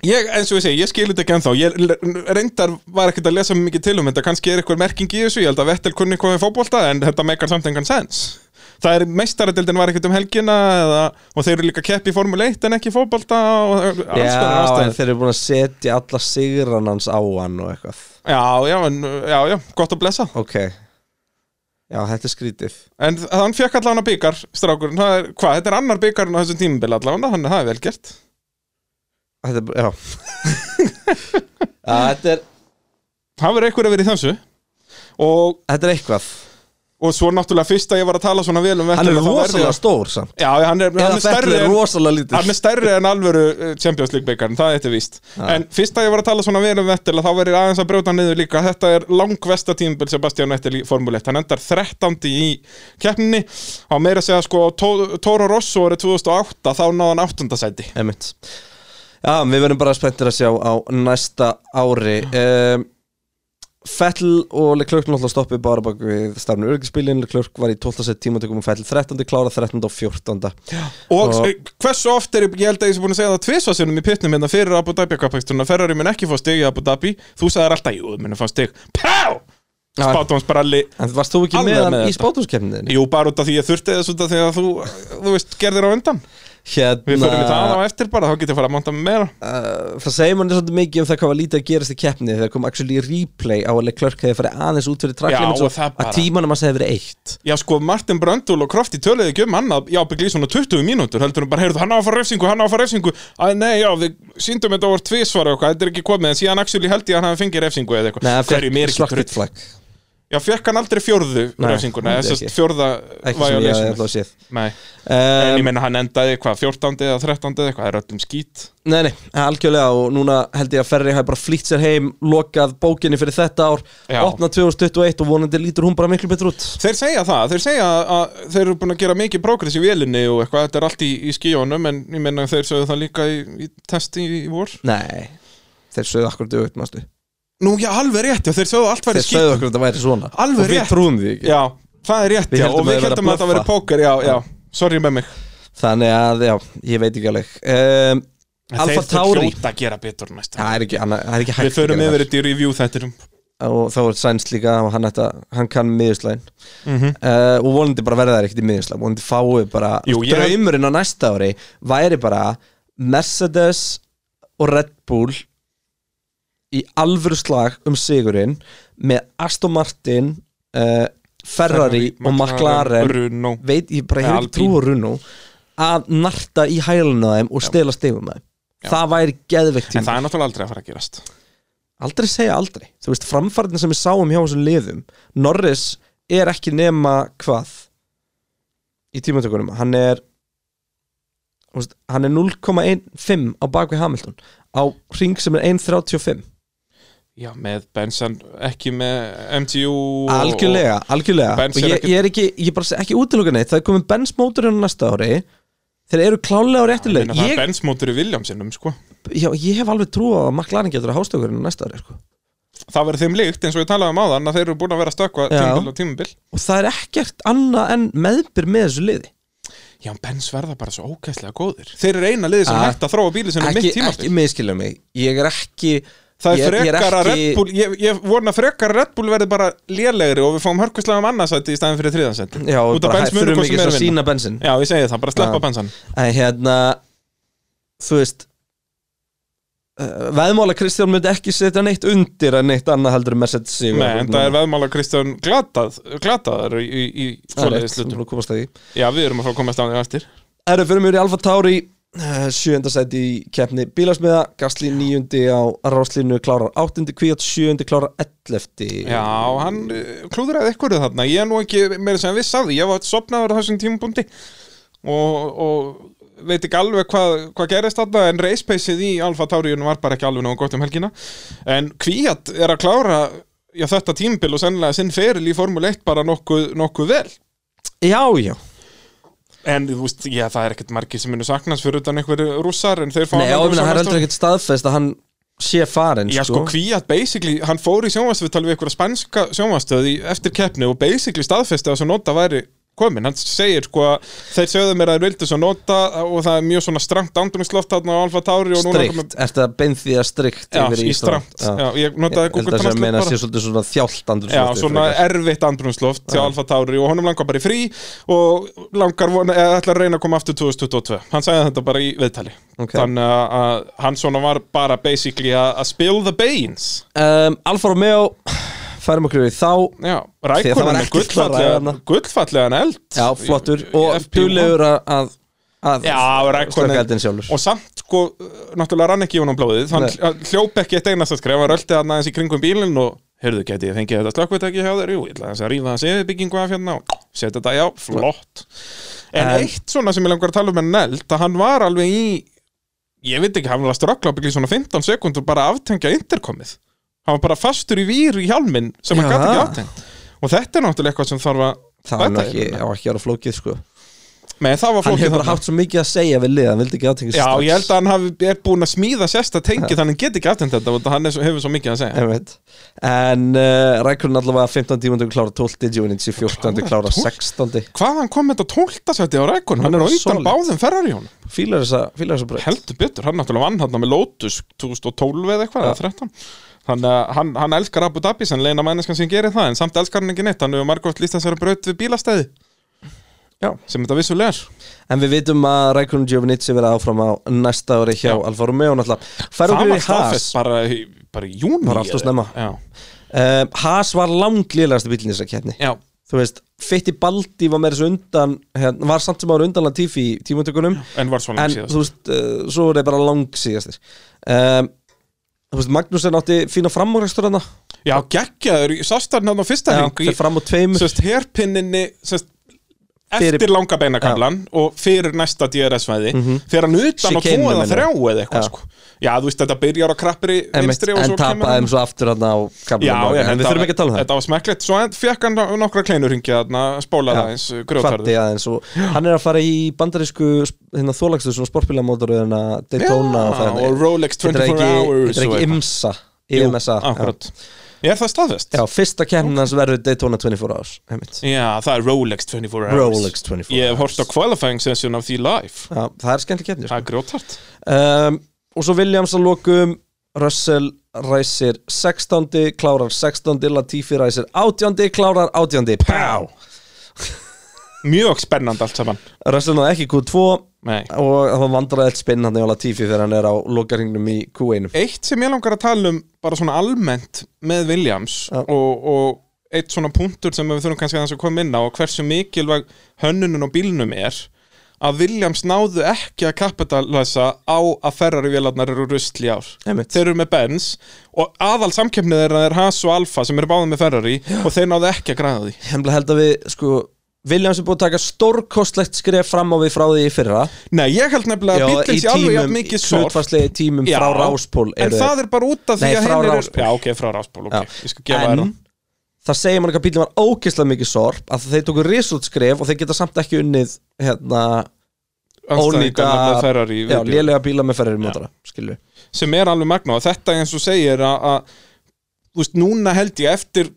[SPEAKER 2] Ég, eins og ég segi, ég skil þetta ekki ennþá Ég l- reyndar var ekkert að lesa mikið til um þetta Kannski er eitthvað merking í þessu Ég held að Vettel kunni hvað við fótbolta En þetta meikar samt engan sens Það er meistaradeldin var ekkert um helgina eða, Og þeir eru líka keppi í Formule 1 en ekki í fótbolta og, alls konar
[SPEAKER 1] Já, en
[SPEAKER 2] ástæður.
[SPEAKER 1] þeir eru búin að setja alla sigran hans á hann og eitthvað
[SPEAKER 2] já, já, en, já, já, gott að blessa
[SPEAKER 1] Ok Já, þetta er skrítið
[SPEAKER 2] En þ- hann fekk allan að byggar, strákur Hvað, þetta er annar byggar en á þessum tímabil allan Þannig að það er vel gert
[SPEAKER 1] Þetta er, bara- já Já, þetta er,
[SPEAKER 2] Það verður eitthvað að vera í þessu Og,
[SPEAKER 1] þetta er eitthvað
[SPEAKER 2] og svo náttúrulega fyrst að ég var að tala svona vel um
[SPEAKER 1] Hann
[SPEAKER 2] Vettel,
[SPEAKER 1] er
[SPEAKER 2] þá verður
[SPEAKER 1] rosalega
[SPEAKER 2] ég-
[SPEAKER 1] stór samt
[SPEAKER 2] Já, hann er, hann
[SPEAKER 1] Eða
[SPEAKER 2] er
[SPEAKER 1] Fettel
[SPEAKER 2] stærri
[SPEAKER 1] er
[SPEAKER 2] en
[SPEAKER 1] rosalega
[SPEAKER 2] hann
[SPEAKER 1] lítill
[SPEAKER 2] er stærri en alvöru eh, Champions League byggarn, það er þetta víst en fyrst að ég var að tala svona vel um Vettel að þá verður aðeins að brjóta hann niður líka þetta er langvesta tímabil Sebastian Vettel í Formule 1 hann endar 13. í keppninni á meira að segja sko Tó- Toro Rosso árið 2008 þá náði hann 8. sæti
[SPEAKER 1] Einmitt Já, við verðum bara spenntir að sjá á næsta ári um, Fettel og Leclerc náttúrulega stoppið bara bak við stafnum örgispilin Leclerc var í 12. set tímatökum og Fettel 13. klára 13. og 14.
[SPEAKER 2] og
[SPEAKER 1] Og-
[SPEAKER 2] og hversu oft er ég held að ég sem búin að segja það tvisvarsinnum í pittnum hérna fyrir Abu Dhabi kappaksturna Ferrari mun ekki fá stig í Abu Dhabi þú sagðir alltaf, jú, mun fá stig Pá! Spátumsbralli
[SPEAKER 1] En varst þú ekki
[SPEAKER 2] Alveg
[SPEAKER 1] með hann
[SPEAKER 2] með
[SPEAKER 1] í
[SPEAKER 2] þetta.
[SPEAKER 1] spátumskefniðinni?
[SPEAKER 2] Jú, bara út af því ég þurfti þess út af því að þú, þú veist, gerðir á undan
[SPEAKER 1] Hérna,
[SPEAKER 2] Við förum í það á eftir bara, þá getur ég fara að monta með meira
[SPEAKER 1] það segir manni svolítið mikið um það hvað var lítið að gerast í keppni þegar kom actually replay á að Leclerc hefði farið aðeins út fyrir
[SPEAKER 2] Já, og
[SPEAKER 1] tracklimits
[SPEAKER 2] það bara.
[SPEAKER 1] að tímanum hans hefði verið eitt
[SPEAKER 2] Já, sko, Martin Bröndul og Krofti töluðu ekki um hann að jábyggli í svona 20 mínútur heldur hann bara, heyrðu, hann á að fara refsingu, hann á að fara refsingu að nei, já, við síndum þetta voru tvísvar og eitthvað, þetta er ekki komið, en síðan Axel held ég að hann hafi fengið refsingu eða
[SPEAKER 1] Nei,
[SPEAKER 2] eitthvað
[SPEAKER 1] hann fékk
[SPEAKER 2] mér ekki
[SPEAKER 1] svart
[SPEAKER 2] drull?
[SPEAKER 1] rautt flagg
[SPEAKER 2] Já, fekk hann aldrei fjórðu
[SPEAKER 1] Nei,
[SPEAKER 2] refsinguna,
[SPEAKER 1] held ég
[SPEAKER 2] þessast
[SPEAKER 1] ekki.
[SPEAKER 2] fjórða
[SPEAKER 1] ekki sem ég hef
[SPEAKER 2] violation.
[SPEAKER 1] alltaf séð
[SPEAKER 2] Nei, en ég
[SPEAKER 1] um,
[SPEAKER 2] meina hann endaði hvað, 14. eða 13. eða eitthvað, það er öllum skít
[SPEAKER 1] Nei, nei, algjörlega og núna held ég að Ferri hafi bara flýtt sér heim lokað bókinni fyrir þetta ár
[SPEAKER 2] Já.
[SPEAKER 1] opnað 2021 og vonandi lítur hún bara miklu betur út
[SPEAKER 2] Þeir segja það, þeir segja að þeir eru búin að gera mikið prógress í vélinni og eitthvað, þetta er allt í, í skíjónum en ég menna þeir sögðu það líka í, í testi í, í vor
[SPEAKER 1] Nei, þeir sögðu akkur dögut, mástu
[SPEAKER 2] Nú já, alveg rétt, já, þeir sögðu allt væri
[SPEAKER 1] Þeir
[SPEAKER 2] skíjónum
[SPEAKER 1] sögðu akkur þetta væri svona
[SPEAKER 2] Alveg
[SPEAKER 1] Og við
[SPEAKER 2] rétt.
[SPEAKER 1] trúum því ekki
[SPEAKER 2] Já, það er rétt,
[SPEAKER 1] Við
[SPEAKER 2] já,
[SPEAKER 1] héldum að
[SPEAKER 2] og við
[SPEAKER 1] þeir væri að
[SPEAKER 2] heldum að það
[SPEAKER 1] bluffa.
[SPEAKER 2] væri póker, já, já, sorry með mig
[SPEAKER 1] Þannig að, já, ég veit ekki alveg um, Alfa
[SPEAKER 2] Þeir
[SPEAKER 1] Tauri
[SPEAKER 2] hljóta að gera betur næsta
[SPEAKER 1] Það er ekki, annað- það er ekki hægt
[SPEAKER 2] Við förum
[SPEAKER 1] að gera
[SPEAKER 2] yfir þetta í review um þættinum
[SPEAKER 1] það. Og þá er Sainz líka, og hann, ætta, hann kann miðuslægin
[SPEAKER 2] Mhm.
[SPEAKER 1] uh, Og vonandi bara verða það ekkert í miðuslæg Vonandi fáið bara
[SPEAKER 2] Jú, ég-
[SPEAKER 1] Draumurinn á næsta ári væri bara Mercedes og Red Bull Í alvöru slag um sigurinn Með Aston Martin uh, Ferrari, og McLaren
[SPEAKER 2] Bruno
[SPEAKER 1] Veit, ég bara
[SPEAKER 2] Nei,
[SPEAKER 1] hefur ekki
[SPEAKER 2] Alpine.
[SPEAKER 1] trúa runnu Að narta í hæluna á þeim og stela stegum með þeim það væri geðveikt
[SPEAKER 2] En
[SPEAKER 1] tíma
[SPEAKER 2] það er náttúrulega aldrei að fara að gerast
[SPEAKER 1] aldrei segja aldrei þú veist, framfærdin sem við sáum hjá þessum liðum Norris er ekki nema hvað í tímatökunum hann er þú veist, hann er 0,15 á bakvið Hamilton á ring sem er 1,35
[SPEAKER 2] Já, með Benson, ekki með MTU og-
[SPEAKER 1] algjörlega, algjörlega
[SPEAKER 2] Benz
[SPEAKER 1] og
[SPEAKER 2] er
[SPEAKER 1] ég,
[SPEAKER 2] ekki-
[SPEAKER 1] ég er ekki, ég bara seg- ekki útiloka neitt það er komið Benz mótur hérna næsta ári þeir eru klálega á
[SPEAKER 2] Ég meina,
[SPEAKER 1] réttileg
[SPEAKER 2] Það er
[SPEAKER 1] ég,
[SPEAKER 2] Benz mótur í Williamsinum, sko
[SPEAKER 1] já, ég hef alveg trú á að McLaren getur að hástökurinn næsta ári sko.
[SPEAKER 2] Það verður þeim líkt, eins og ég talaði um áðan að þeir eru búin að vera að stökkva
[SPEAKER 1] Já.
[SPEAKER 2] tímabil og tímabil
[SPEAKER 1] og það er ekkert annað en meðbyr með þessu liði
[SPEAKER 2] Já, en Benz verða bara svo ókæslega góður Þeir eru eina liði sem
[SPEAKER 1] Ah.
[SPEAKER 2] hægt að þróa bíli sem er Hérna, mitt
[SPEAKER 1] ekki, ekki
[SPEAKER 2] tímabil
[SPEAKER 1] miskilja mig ég er ekki
[SPEAKER 2] Það er
[SPEAKER 1] ég, ég
[SPEAKER 2] frekar að
[SPEAKER 1] ekki-
[SPEAKER 2] Red Bull ég, ég vona frekar að Red Bull verði bara lélegri og við fáum hörkuslega um annarsætti í staðin fyrir þriðansætti
[SPEAKER 1] já,
[SPEAKER 2] Út af
[SPEAKER 1] bara
[SPEAKER 2] Benz munum
[SPEAKER 1] þurfum
[SPEAKER 2] hvað
[SPEAKER 1] ekki
[SPEAKER 2] sem
[SPEAKER 1] svo
[SPEAKER 2] er að
[SPEAKER 1] að
[SPEAKER 2] vinna
[SPEAKER 1] sína bensin
[SPEAKER 2] Já, ég segi það, bara sleppa
[SPEAKER 1] Já.
[SPEAKER 2] Benzan
[SPEAKER 1] en hérna þú veist uh, veðmála Kristján myndi ekki setja neitt undir en neitt annað heldur en Mercedes sigur.
[SPEAKER 2] Nei, en það er veðmála Kristján glatað, glataðar í, í, í
[SPEAKER 1] Það er rétt,
[SPEAKER 2] svoleiðis
[SPEAKER 1] þú
[SPEAKER 2] hlutum
[SPEAKER 1] erum að komast að því
[SPEAKER 2] Já, við erum að fá að komast á því aftur
[SPEAKER 1] Það eru fyrir mjög í Alfa Tauri eh, sjöunda sæti í keppni bílasmiða Gasly níundi á ráslínu klárar áttundi, Kvíat sjöundi klárar ellefti
[SPEAKER 2] Já, hann eh, klúðraði eitthvað þarna Ég er nú ekki meira sem viss að því Ég var sopnaður á þessum tímabundi og, og veit ekki alveg hvað hva gerist þarna En racepaceið í Alfa Tauriun var bara ekki alveg nógu gott um helgina En Kvíat er að klára já, þetta tímabil og sennilega sinn feril í Formule 1 bara nokkuð, nokkuð vel
[SPEAKER 1] já, já.
[SPEAKER 2] En þú veist, já, það er ekkert margir sem munu saknast fyrir utan einhverju rússar En þeir fá
[SPEAKER 1] Nei, já, ég meina,
[SPEAKER 2] hann rússa
[SPEAKER 1] það er
[SPEAKER 2] næsta-
[SPEAKER 1] heldur ekkert staðfest að hann sé farin
[SPEAKER 2] Já sko, Kvíat basically, hann fór í sjónvastöð við einhverja spænska sjónvastöð í eftir keppni og basically staðfesti að svo nota væri komin, hann segir sko að þeir sögðu mér að þeir vildu svo nota og það er mjög svona strangt andrumsloft þarna á Alfa Tauri og núna
[SPEAKER 1] strikt, ertu að bein því að strikt
[SPEAKER 2] Já,
[SPEAKER 1] yfir
[SPEAKER 2] í strangt, já,
[SPEAKER 1] Ég
[SPEAKER 2] ég notaði
[SPEAKER 1] held að
[SPEAKER 2] Google
[SPEAKER 1] það
[SPEAKER 2] Translate
[SPEAKER 1] meina
[SPEAKER 2] bara.
[SPEAKER 1] sé svolítið svona þjált andrúmsloftið
[SPEAKER 2] Já, svona e-
[SPEAKER 1] frekar.
[SPEAKER 2] erfitt andrumsloft til Alfa Tauri og honum langar bara í frí og langar, vona- eða ætlar að reyna að koma aftur 2022, hann sagði þetta bara í viðtali
[SPEAKER 1] Ok.
[SPEAKER 2] þannig að, að hann svona var bara basically að að spill the beans
[SPEAKER 1] um, Alfa Romeo, færum okkur við þá
[SPEAKER 2] Já,
[SPEAKER 1] Því að það var
[SPEAKER 2] rækkonan er
[SPEAKER 1] ekkert klarað
[SPEAKER 2] gullfallega
[SPEAKER 1] þarna.
[SPEAKER 2] gullfallegan eld
[SPEAKER 1] Já, flottur
[SPEAKER 2] Í- í
[SPEAKER 1] og
[SPEAKER 2] FP1.
[SPEAKER 1] duðlegur að- að að
[SPEAKER 2] Já,
[SPEAKER 1] slökka
[SPEAKER 2] rækkonan
[SPEAKER 1] eldinn sjálfur
[SPEAKER 2] Og samt, sko, náttúrulega rann ekki í honum blóðið Hann
[SPEAKER 1] Nei.
[SPEAKER 2] hl- hann hljóp ekki eitt einasta skref Hann röldi hann aðeins í kringum bílinn og Heyrðu, geti ég fengið þetta slökkvitæki hjá þér? Jú, ég ætla aðeins að rífa hans yfirbyggingu af hérna og setja þetta, já, flott En
[SPEAKER 1] En-
[SPEAKER 2] eitt svona sem ég langar að tala um en neld að hann var alveg í ég veit ekki, hann var að ströggla byggja í svona 15 sekundur bara að aftengja interkomið hann var bara fastur í vír í hjálminn sem hann
[SPEAKER 1] Já.
[SPEAKER 2] gæti ekki aftengt og þetta er náttúrulega eitthvað sem þarf að
[SPEAKER 1] Það er nú
[SPEAKER 2] bæta
[SPEAKER 1] ekki,
[SPEAKER 2] í.
[SPEAKER 1] á ekki að vera flókið sko
[SPEAKER 2] Nei, það var
[SPEAKER 1] Hann
[SPEAKER 2] flókið
[SPEAKER 1] hefur bara
[SPEAKER 2] þarna.
[SPEAKER 1] haft svo mikið að segja við lið Hann vildi ekki aðtengja
[SPEAKER 2] Já, ég held að hann hafi, er búin að smíða sérsta tengi þannig hann geti ekki aftengt þetta og hann er, svo- hefur svo mikið að segja
[SPEAKER 1] Einmitt. En uh, rækurinn allavega 15. tímundu klára 12. Giovinci 14.
[SPEAKER 2] Klárar
[SPEAKER 1] klára
[SPEAKER 2] 12.
[SPEAKER 1] 16.
[SPEAKER 2] Hvaðan kom þetta tóltasætti á rækun? Hann er á undan
[SPEAKER 1] Solid.
[SPEAKER 2] báðum ferrar í honum
[SPEAKER 1] Fýlar þessa, fílar þessa breytt
[SPEAKER 2] Heldur betur, hann náttúrulega vann hann með Lotus 2012 eða eitthvað, eða 13 Þannig að hann, hann elskar Abu Dhabi sem leina menneskan sem gerir það en samt elskar hann ekki neitt, hann hefur margótt líst þessari braut við bílastæði
[SPEAKER 1] Já.
[SPEAKER 2] sem þetta vissulega er
[SPEAKER 1] En við vitum að Rækurinn Giovinci verða áfram á næsta ári hjá
[SPEAKER 2] Já.
[SPEAKER 1] Alfa Romeo náttúrulega Færum
[SPEAKER 2] Það
[SPEAKER 1] við
[SPEAKER 2] var
[SPEAKER 1] í Haas
[SPEAKER 2] staðfest bara, í- bara í júni
[SPEAKER 1] Bara allt of snemma.
[SPEAKER 2] Já,
[SPEAKER 1] um, Haas var langlýlegast bílinn í þessa keppni
[SPEAKER 2] já,
[SPEAKER 1] Þú veist, Fitti Baldi var meira svo undan hérna, Var samt sem ára undan Latifi í tímundugunum
[SPEAKER 2] en var svona
[SPEAKER 1] En
[SPEAKER 2] síðast
[SPEAKER 1] þú veist, uh, svo voru þeir bara langsíðastir um, Þú veist, Magnúsin átti fína framúrækstur hana
[SPEAKER 2] Já, geggjaður, sást hann hann á fyrsta
[SPEAKER 1] Já,
[SPEAKER 2] hring í
[SPEAKER 1] fer fram úr tveimur
[SPEAKER 2] sérst, herpinninni sérst, eftir
[SPEAKER 1] Fyrir-
[SPEAKER 2] langa beinakablan og fyrir næsta DRS-væði þegar hann utan á tvo
[SPEAKER 1] Chicaneinu,
[SPEAKER 2] eða
[SPEAKER 1] meina.
[SPEAKER 2] þrjá eða eitthvað
[SPEAKER 1] Mhm. Já.
[SPEAKER 2] sko. já, þú veist, þetta byrjar á krappri
[SPEAKER 1] Einmitt,
[SPEAKER 2] vinstri og
[SPEAKER 1] en
[SPEAKER 2] svo kemur
[SPEAKER 1] tapaði
[SPEAKER 2] hann
[SPEAKER 1] þeim svo aftur hann á kablum
[SPEAKER 2] Já, já,
[SPEAKER 1] en við
[SPEAKER 2] þetta-
[SPEAKER 1] þurfum ekki að tala um það
[SPEAKER 2] Þetta var smekklegt, svo fekk hann nokkra kleinurringi að spóla það eins
[SPEAKER 1] Kvatti
[SPEAKER 2] grjótarði
[SPEAKER 1] aðeins og hann er að fara í bandarísku hérna, þólagslu svona sportbílamótoru en að Daytona og það hérna.
[SPEAKER 2] og Rolex
[SPEAKER 1] Heitir það
[SPEAKER 2] 24
[SPEAKER 1] ekki,
[SPEAKER 2] Hours
[SPEAKER 1] Þetta er ekki
[SPEAKER 2] og eitthvað.
[SPEAKER 1] IMSA
[SPEAKER 2] Jú,
[SPEAKER 1] IMSA já.
[SPEAKER 2] akkurat. Er það staðfest?
[SPEAKER 1] Já, fyrsta keppnin hans verður Daytona 24 hours einmitt.
[SPEAKER 2] Já, það er Rolex 24 Hours
[SPEAKER 1] Rolex 24
[SPEAKER 2] Ég hef
[SPEAKER 1] hours.
[SPEAKER 2] hort á qualifying session af því live
[SPEAKER 1] Já, það er skemmtileg keppni
[SPEAKER 2] Það
[SPEAKER 1] sko.
[SPEAKER 2] er grjótart
[SPEAKER 1] um, Og svo Williams að lokum Russell ræsir 16. klárar 16. Latifi ræsir 18. klárar 18. Pá!
[SPEAKER 2] Mjög spennandi allt saman
[SPEAKER 1] Russell náði ekki Q2
[SPEAKER 2] Nei
[SPEAKER 1] og það vandraði eitt spinn hann í Latifi þegar hann er á lokaringnum í Q1
[SPEAKER 2] eitt sem ég langar að tala um bara svona almennt með Williams
[SPEAKER 1] Já.
[SPEAKER 2] og, og eitt svona punktur sem við þurfum kannski aðeins að koma inn á og hversu mikilvæg hönnunum og bílnum er að Williams náðu ekki að kapitalæsa á að Ferrari vélarnar eru rusl í ár
[SPEAKER 1] Einmitt.
[SPEAKER 2] þeir eru með Benz og aðal samkeppnið þeirra er Haas og Alfa sem eru báðið með Ferrari og þeir náðu ekki að græða því
[SPEAKER 1] Hemla held að við, sko Williams er búin að taka stórkostlegt skref fram á við frá því í fyrra
[SPEAKER 2] Nei, ég held nefnilega að bíllinn sé alveg jafn mikið sorg
[SPEAKER 1] hlutfarslega í tímum
[SPEAKER 2] Já,
[SPEAKER 1] frá Ráspól
[SPEAKER 2] En það er bara út af því
[SPEAKER 1] Nei,
[SPEAKER 2] að
[SPEAKER 1] frá
[SPEAKER 2] hinn eru
[SPEAKER 1] Ráspól.
[SPEAKER 2] Já, ok, frá ráspól, ok, ég skal gefa þér
[SPEAKER 1] en
[SPEAKER 2] það
[SPEAKER 1] það segir mann ekki að bílinn var ógeðslega mikið sorp að þeir tóku risult skref og þeir geta samt ekki unnið hérna, ónýta
[SPEAKER 2] Andstæðingar nefnilega Ferrari í
[SPEAKER 1] já,
[SPEAKER 2] viðbjóði.
[SPEAKER 1] lélega bíla með ferri mótara skilju,
[SPEAKER 2] sem er alveg magna og þetta eins og segir að, að þú veist, núna held ég eftir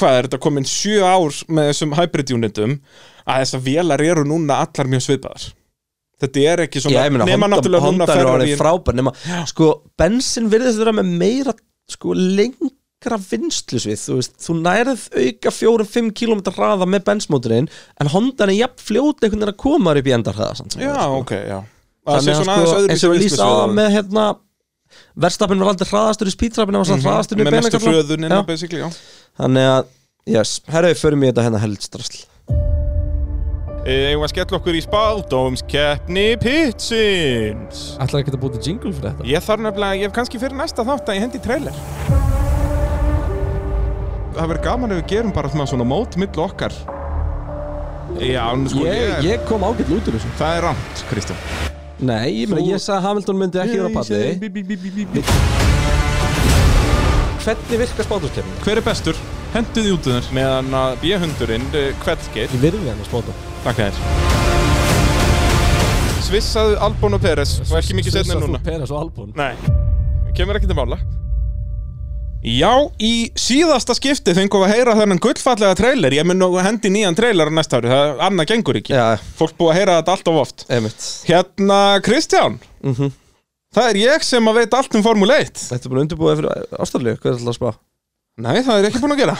[SPEAKER 2] hvað er þetta komin sjö ár með þessum hybrid unitum að þessar vélar eru núna allar mjög svipaðar þetta er ekki
[SPEAKER 1] já,
[SPEAKER 2] svona
[SPEAKER 1] ég meina
[SPEAKER 2] nema
[SPEAKER 1] Honda,
[SPEAKER 2] náttúrulega núna
[SPEAKER 1] Honda er
[SPEAKER 2] Ferrari
[SPEAKER 1] orðið frábær nema, sko, bensin virðist vera með meira sko, lengra vinslusvið, þú veist, þú nærið auka 4-5 km hraða með bensmóturinn en Hondan er jafn fljót einhvern veginn að koma þar upp í endarhraða samt sem
[SPEAKER 2] já,
[SPEAKER 1] áður, sko.
[SPEAKER 2] ok, já það sé
[SPEAKER 1] Þannig að
[SPEAKER 2] svona
[SPEAKER 1] sko,
[SPEAKER 2] aðeins
[SPEAKER 1] eins og við
[SPEAKER 2] öðruvísi
[SPEAKER 1] lýsa á
[SPEAKER 2] vinstlisviðar.
[SPEAKER 1] með hérna verðstapin var aldrei hraðastur í speedtrapin það var samt hraðastur í
[SPEAKER 2] Mhm, með mestu
[SPEAKER 1] beinakafla.
[SPEAKER 2] hröðunina
[SPEAKER 1] Já.
[SPEAKER 2] basically, já
[SPEAKER 1] Þannig að, yes, herru, förum í þetta hérna heldsdrasl
[SPEAKER 2] Eða skell okkur í spaldómskeppni pitsins
[SPEAKER 1] Ætlar ekki að búta jingle fyrir þetta?
[SPEAKER 2] Ég þarf nefnilega, ég hef kannski fyrir næsta þátt að ég hendi í trailer Það verður gaman ef við gerum bara smá svona mót millu okkar Já, en sko
[SPEAKER 1] Ég,
[SPEAKER 2] ég,
[SPEAKER 1] ég kom ágætt út úr þessu
[SPEAKER 2] Það er rámt, Kristján
[SPEAKER 1] Nei, ég meina, ég sagði að Hamilton myndi ekki vera á palli Hvernig virkar spátumskefni?
[SPEAKER 2] Hver er bestur? Hendu því út um þér Meðan að B-hundurinn, eh, Kveldgeir
[SPEAKER 1] Ég virði henni að spáta
[SPEAKER 2] Takk þér Svissaðu Albon og Peres Og ekki mikið setna núna
[SPEAKER 1] Peres og Albon
[SPEAKER 2] Nei, kemur ekki til mála Já, í síðasta skipti fengum við að heyra þennan gullfallega trailer Ég mun nú að hendi nýjan trailer á næsta ári Það er annað gengur ekki
[SPEAKER 1] Já,
[SPEAKER 2] Fólk búið að heyra þetta alltaf oft
[SPEAKER 1] einmitt
[SPEAKER 2] Hérna, Kristján
[SPEAKER 1] Mhm.
[SPEAKER 2] Það er ég sem að veit allt um Formule 1
[SPEAKER 1] Þetta er búin að undirbúa fyrir ástarlegu, hvað er alltaf að spá?
[SPEAKER 2] Nei, það er ég ekki búin að gera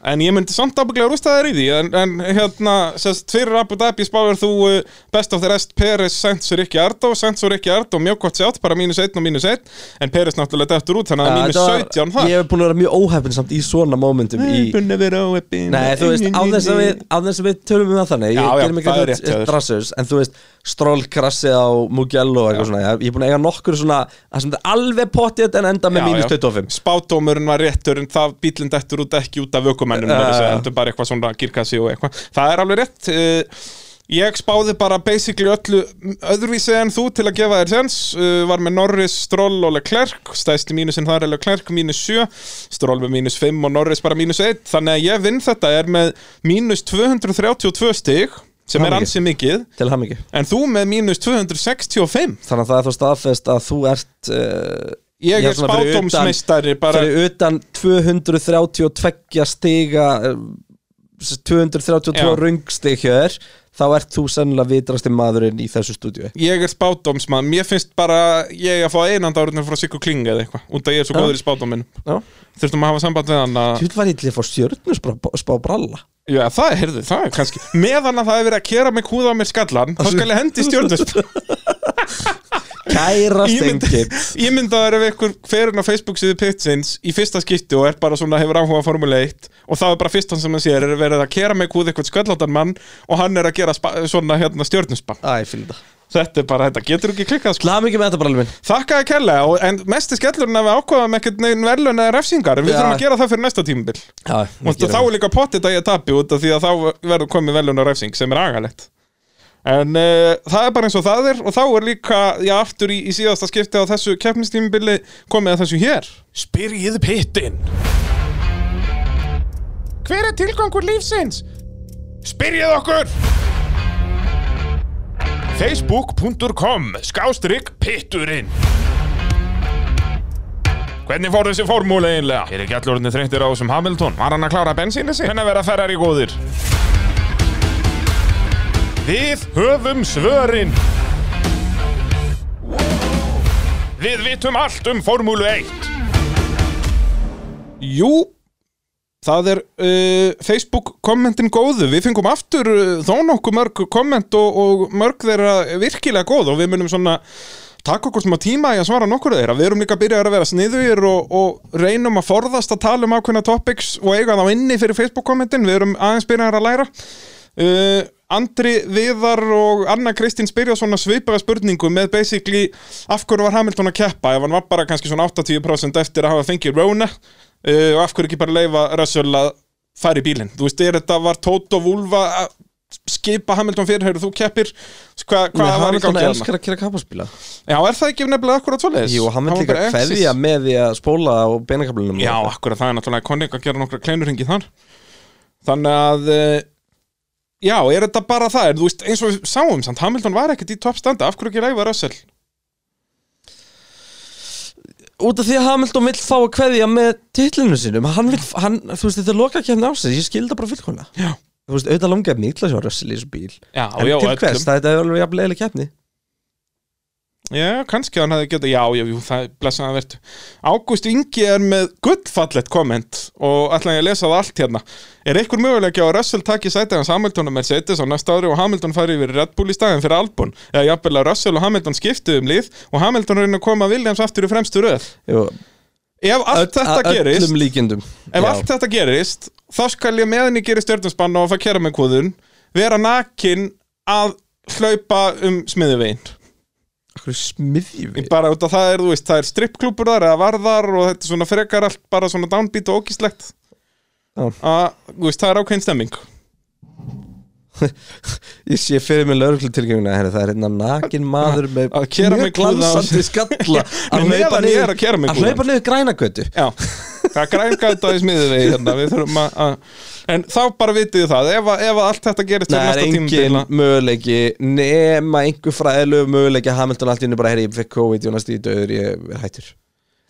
[SPEAKER 2] En ég myndi samt ábygglega rústa þær í því En, en hérna, sérst, fyrir Abu Dhabi spáir þú uh, Best of the rest Peres, Sainz og Rikki Ardó Sainz og Rikki Ardó, mjög gott sjátt Bara mínus 1 og mínus 1 En Peres náttúrulega deftur út, þannig að mínus
[SPEAKER 1] Þetta var-
[SPEAKER 2] 17 þar
[SPEAKER 1] Ég hef búin að vera mjög óhefn samt í svona mómentum í,
[SPEAKER 2] búin að vera óeppin
[SPEAKER 1] Nei, þú veist, á þess að við, á þess að við tölum um það þannig Ég
[SPEAKER 2] Já, já,
[SPEAKER 1] gerum ekki
[SPEAKER 2] það er rétt hjá
[SPEAKER 1] þetta
[SPEAKER 2] þér.
[SPEAKER 1] drassus En þú veist, strollkrassi á Mugello og eitthvað svona Ég er búin að eiga nokkur svona Það sem þetta er alveg pottið en enda með mínus 25
[SPEAKER 2] Spátdómurinn var réttur en það bílinn dettur út ekki út af vökumennum
[SPEAKER 1] Já, já.
[SPEAKER 2] uh. heldur bara eitthvað svona girkassi og eitthvað Það er alveg rétt uh, Ég spáði bara basically öllu öðruvísi en þú til að gefa þér sens uh, Var með Norris, Stroll og Leclerc Stæsti mínusinn þar er Leclerc mínus 7 Stroll með mínus 5 og Norris bara mínus 1 Þannig að ég vinn þetta er með mínus 232 stig sem er
[SPEAKER 1] Hamingju.
[SPEAKER 2] ansi mikið
[SPEAKER 1] Til ham ekki
[SPEAKER 2] En þú með mínus 265
[SPEAKER 1] Þannig að það er þá staðfest að þú ert uh,
[SPEAKER 2] Ég
[SPEAKER 1] já,
[SPEAKER 2] er
[SPEAKER 1] svona fyrir utan-
[SPEAKER 2] spátdómsmeistari, bara-
[SPEAKER 1] Fyrir utan 232 stiga eh, s- 232
[SPEAKER 2] Já.
[SPEAKER 1] rungstig hér Þá ert þú sennilega vitrasti maðurinn í þessu stúdíu
[SPEAKER 2] ég er spátdómsmann, mér finnst bara ég að fá einanda áriðnir frá Sikku Klinga eða eitthvað, út að ég er svo
[SPEAKER 1] Já.
[SPEAKER 2] góður í spátdóminn
[SPEAKER 1] Já.
[SPEAKER 2] þurftum að hafa samband við hann að
[SPEAKER 1] Þú var ég til að fá stjörnusspá bralla
[SPEAKER 2] já, það er, heyrðu, það er kannski meðan að það er verið að kera mig húða á mér skallan þá skal ég hendi stjórnust
[SPEAKER 1] Kæra stengið
[SPEAKER 2] ég mynda að vera við ykkur ferinn á Facebook síðu Pitsins í fyrsta skipti og er bara svona hefur áhuga á Formule 1 og það er bara fyrst hann sem hann sér er verið að kera mig húða eitthvað skallóttan mann og hann er að gera spa, svona hérna stjórnusbann
[SPEAKER 1] Æ, fylgða
[SPEAKER 2] þetta er bara, þetta getur ekki klikkað sko.
[SPEAKER 1] Laða mikið með þetta brallum minn
[SPEAKER 2] Þakka að kella, en mesti skellurinn að við ákvaðum ekkert neginn verðlun eða refsingar en við
[SPEAKER 1] Já.
[SPEAKER 2] þurfum að gera það fyrir næsta tímabil
[SPEAKER 1] Já,
[SPEAKER 2] og þá er líka pottit að ég tapi út af því að þá verður komið verðlun og refsing sem er agalegt en uh, það er bara eins og það er og þá er líka, já, aftur í, í síðasta skipti á þessu keppnistímabili komið að þessu hér Spyrjið pittin Hver er tilgangur lífsins? Spyrjið okkur facebook.com skástrygg pitturinn Hvernig fór þessi formúli eiginlega? Er ekki allur orðinni þreyttir á þessum Hamilton? Var hann að klára bensínu sig? Hennar vera ferrar í góðir Við höfum svörin Við vitum allt um formúlu 1 Jú Það er uh, Facebook kommentin góðu, við fengum aftur uh, þó nokkuð mörg komment og, og mörg þeirra virkilega góð og við munum svona taka okkur smá tíma í að svara nokkur þeirra við erum líka byrjaðar að vera sniðugir og, og reynum að forðast að tala um ákveðna topics og eiga þá inni fyrir Facebook kommentin við erum aðeins byrjaðar að læra uh, Andri Viðar og Anna Kristín spyrja svona svipaða spurningu með basically af hverju var Hamilton að keppa ef hann var bara kannski svona 80% eftir að hafa fengið Rona uh, og af hverju ekki bara leifa Russell að fara í bílinn þú veist, er þetta var Toto Vulva að skipa Hamilton fyrir, heyrðu þú keppir Hva, hvað
[SPEAKER 1] Nei,
[SPEAKER 2] var í
[SPEAKER 1] Hamilton
[SPEAKER 2] gangi þarna?
[SPEAKER 1] elskar að kera kappaspíla
[SPEAKER 2] Já, er það ekki nefnilega akkurat svoleiðis?
[SPEAKER 1] Jú, hann vil
[SPEAKER 2] var
[SPEAKER 1] líka
[SPEAKER 2] bara exis.
[SPEAKER 1] kveðja með því að spóla á beinakablinum
[SPEAKER 2] Já, akkurat, það er náttúrulega koning að gera nokkra kleinurhingi þar Þannig að eh, Já, er þetta bara það? Er, þú veist, eins og við sáum samt, Hamilton var ekkert í toppstanda Af hverju ekki ræfa Russell?
[SPEAKER 1] Út af því að Hamilton vill fá að kveðja með titlinu sínum Hann vil, hann, þú veist, þetta er loka kemni ásins Ég skilda bara fullkona
[SPEAKER 2] Já.
[SPEAKER 1] Þú veist, auðvitað langar mig illa að sjá Russell í þessu bíl
[SPEAKER 2] Já,
[SPEAKER 1] En
[SPEAKER 2] já,
[SPEAKER 1] til hvers,
[SPEAKER 2] öllum.
[SPEAKER 1] það þetta er alveg jafn leiðileg keppni
[SPEAKER 2] Já, kannski hann hefði getað, já, já, jú, það er blessaðan vertu. Ágúst Ingi er með gullfallet komment og ætla ég að lesa það allt hérna. Er einhver möguleiki á að Russell taki sæti hans Hamilton og Mercedes á næsta ári og Hamilton fari yfir í Red Bull í staðin fyrir Albon? Eða jafnvel að Russell og Hamilton skiptu um lið og Hamilton reyna að koma Williams aftur í fremstu röð?
[SPEAKER 1] Jú,
[SPEAKER 2] Ef allt þetta
[SPEAKER 1] að
[SPEAKER 2] gerist,
[SPEAKER 1] Öllum líkindum
[SPEAKER 2] ef
[SPEAKER 1] Já.
[SPEAKER 2] allt þetta gerist þá skal ég meðan ég gerir stjórnarspanna og fæ kæra með kúðun vera nakin að hlaupa um smiðuvegin
[SPEAKER 1] Akkur smiðjum
[SPEAKER 2] bara út af það er, þú veist, það er strippklúpur þar eða varðar og þetta er svona frekar allt bara svona downbeat og ógíslegt
[SPEAKER 1] Já.
[SPEAKER 2] að, þú veist, það er ákveðin stemming
[SPEAKER 1] Ég sé fyrir mig lögreglu tilgjönguna herri, Það er hérna nakin maður með
[SPEAKER 2] Að kera mig
[SPEAKER 1] mjög
[SPEAKER 2] kúða á-
[SPEAKER 1] glansandi skalla
[SPEAKER 2] Nei, meðan ég er að kera mig
[SPEAKER 1] að
[SPEAKER 2] kúða.
[SPEAKER 1] hlaupa niður grænagötu
[SPEAKER 2] já, það grænka þetta í smiðuvegi hérna, við þurfum að, að en þá bara vitið þið það, ef, að- ef að allt þetta gerist
[SPEAKER 1] Það
[SPEAKER 2] fyrir
[SPEAKER 1] er
[SPEAKER 2] næsta
[SPEAKER 1] engin
[SPEAKER 2] tímabila
[SPEAKER 1] möguleiki nema einhver fræðilegu möguleiki að Hamilton allt í henni bara herri, ég fekk COVID, ég var næstu í döður, ég er hættur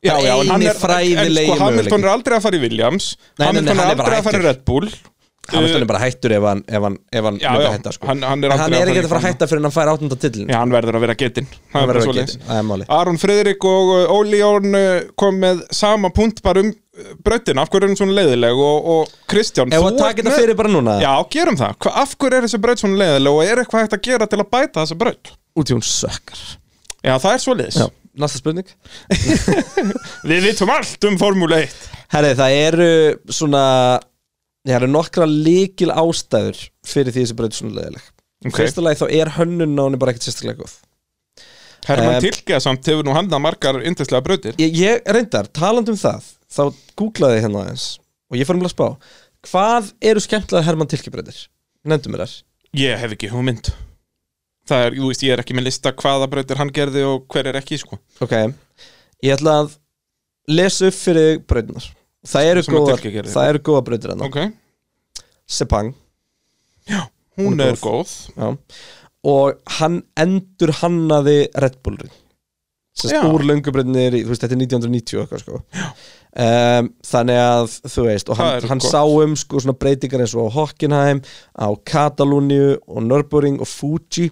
[SPEAKER 2] Eh, Já, já, en
[SPEAKER 1] eini
[SPEAKER 2] hann er, en
[SPEAKER 1] fræðilegi
[SPEAKER 2] sko Hamilton
[SPEAKER 1] möguleiki.
[SPEAKER 2] er aldrei að fara í Williams
[SPEAKER 1] nei, nei,
[SPEAKER 2] Hamilton
[SPEAKER 1] hann
[SPEAKER 2] er
[SPEAKER 1] er bara
[SPEAKER 2] aldrei að fara í
[SPEAKER 1] hættur.
[SPEAKER 2] Red Bull
[SPEAKER 1] Hamilton
[SPEAKER 2] Uh,
[SPEAKER 1] er bara hættur ef hann, ef hann, ef hann
[SPEAKER 2] Já,
[SPEAKER 1] myndi
[SPEAKER 2] já,
[SPEAKER 1] hætta sko.
[SPEAKER 2] hann- hann
[SPEAKER 1] En
[SPEAKER 2] er aldrei að fara
[SPEAKER 1] ekki
[SPEAKER 2] í
[SPEAKER 1] að fara að
[SPEAKER 2] fram.
[SPEAKER 1] hætta fyrir hann fær áttunda tillin
[SPEAKER 2] Já, hann verður að vera getinn Það
[SPEAKER 1] Hann
[SPEAKER 2] er bara
[SPEAKER 1] verður að
[SPEAKER 2] svoleiðis.
[SPEAKER 1] getinn, það er málið.
[SPEAKER 2] Aron Friðrik og uh, Óli Jón uh, kom með sama punkt bara um uh, brautina Af hverju er hann svona leiðileg og, og Kristján
[SPEAKER 1] Ef
[SPEAKER 2] þú
[SPEAKER 1] að taka
[SPEAKER 2] ert
[SPEAKER 1] þetta
[SPEAKER 2] með-
[SPEAKER 1] fyrir bara núna
[SPEAKER 2] Já, gerum það Hva, Af hverju er þessi braut svona leiðileg og er eitthvað hægt að gera til að bæta þessa braut?
[SPEAKER 1] Út í hún sökkar
[SPEAKER 2] Já, það er svoleiðis
[SPEAKER 1] Já, næsta spurning
[SPEAKER 2] Við vitum allt um Formule 1
[SPEAKER 1] Herri, það eru svona Það eru nokkra líkil ástæður fyrir því þessi braut er svona leðileg okay.
[SPEAKER 2] Ok.
[SPEAKER 1] Fyrsta lagi þá er hönnun á henni bara ekkert sérstaklega góð
[SPEAKER 2] Herman
[SPEAKER 1] Eh,
[SPEAKER 2] um, samt hefur nú handað margar yndislega brautir
[SPEAKER 1] ég, ég reyndar, talandi um það þá googlaði ég hérna aðeins og ég fór um að spá hvað eru skemmtilega Herman Tilkibreytir? Nefndu mér þar
[SPEAKER 2] Ég hef ekki hugmynd Það er, þú veist, ég er ekki með lista hvaða brautir hann gerði og hver er ekki, sko
[SPEAKER 1] Ok, ég ætla að lesa upp fyrir þig brautirnar það eru
[SPEAKER 2] Sem að
[SPEAKER 1] góðar,
[SPEAKER 2] Tilki gerði.
[SPEAKER 1] það eru góða brautir hérna
[SPEAKER 2] Ok,
[SPEAKER 1] Sepang
[SPEAKER 2] hún
[SPEAKER 1] er
[SPEAKER 2] er góð
[SPEAKER 1] já. og hann endur hannaði Red Bullrin
[SPEAKER 2] Já.
[SPEAKER 1] sem úr löngubröðinir þú veist, þetta er 1990 og eitthvað sko. um, þannig að þú veist og
[SPEAKER 2] Það
[SPEAKER 1] hann,
[SPEAKER 2] er
[SPEAKER 1] hann
[SPEAKER 2] gott.
[SPEAKER 1] sá um sko, svona breytingar eins og á Hockenheim á Katalúniu og Nürburgring og Fuji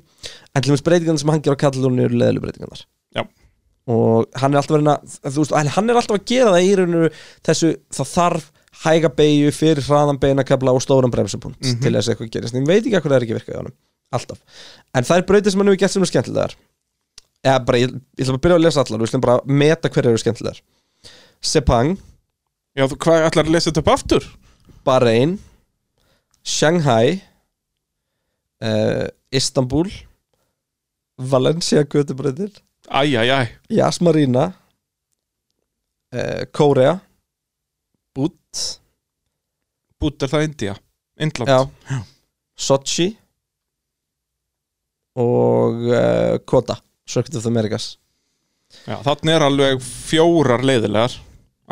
[SPEAKER 1] en til þess breytingarna sem hann ger á Katalúniu eru leðilu breytingarnar
[SPEAKER 2] Já.
[SPEAKER 1] og hann er alltaf verið að þú veist, en hann er alltaf að gera það í rauninu þessu, það þarf hæga beigju fyrir hraðan beinakabla og stóran bremsupunkt til þess að eitthvað gerist, en ég veit ekki að hvað það er ekki virkað í honum alltaf, en það er breytir sem hann hefur gert sem er skemmtilegar eða bara, ég, ég ætla bara að byrja að lesa allar við ætlum bara að meta hverju eru skemmtilegar Sepang,
[SPEAKER 2] Já, þú, hvað ætlar að lesa þetta upp aftur?
[SPEAKER 1] Bahrain Shanghai uh, Istanbul Valencia Götubröðir
[SPEAKER 2] Æ, æ, æ,
[SPEAKER 1] Yas Marina uh, Kórea Bút
[SPEAKER 2] bút er það India Indland
[SPEAKER 1] já, Sochi og uh, Kota Circuit of the Americas
[SPEAKER 2] Já, þannig er alveg fjórar leiðilegar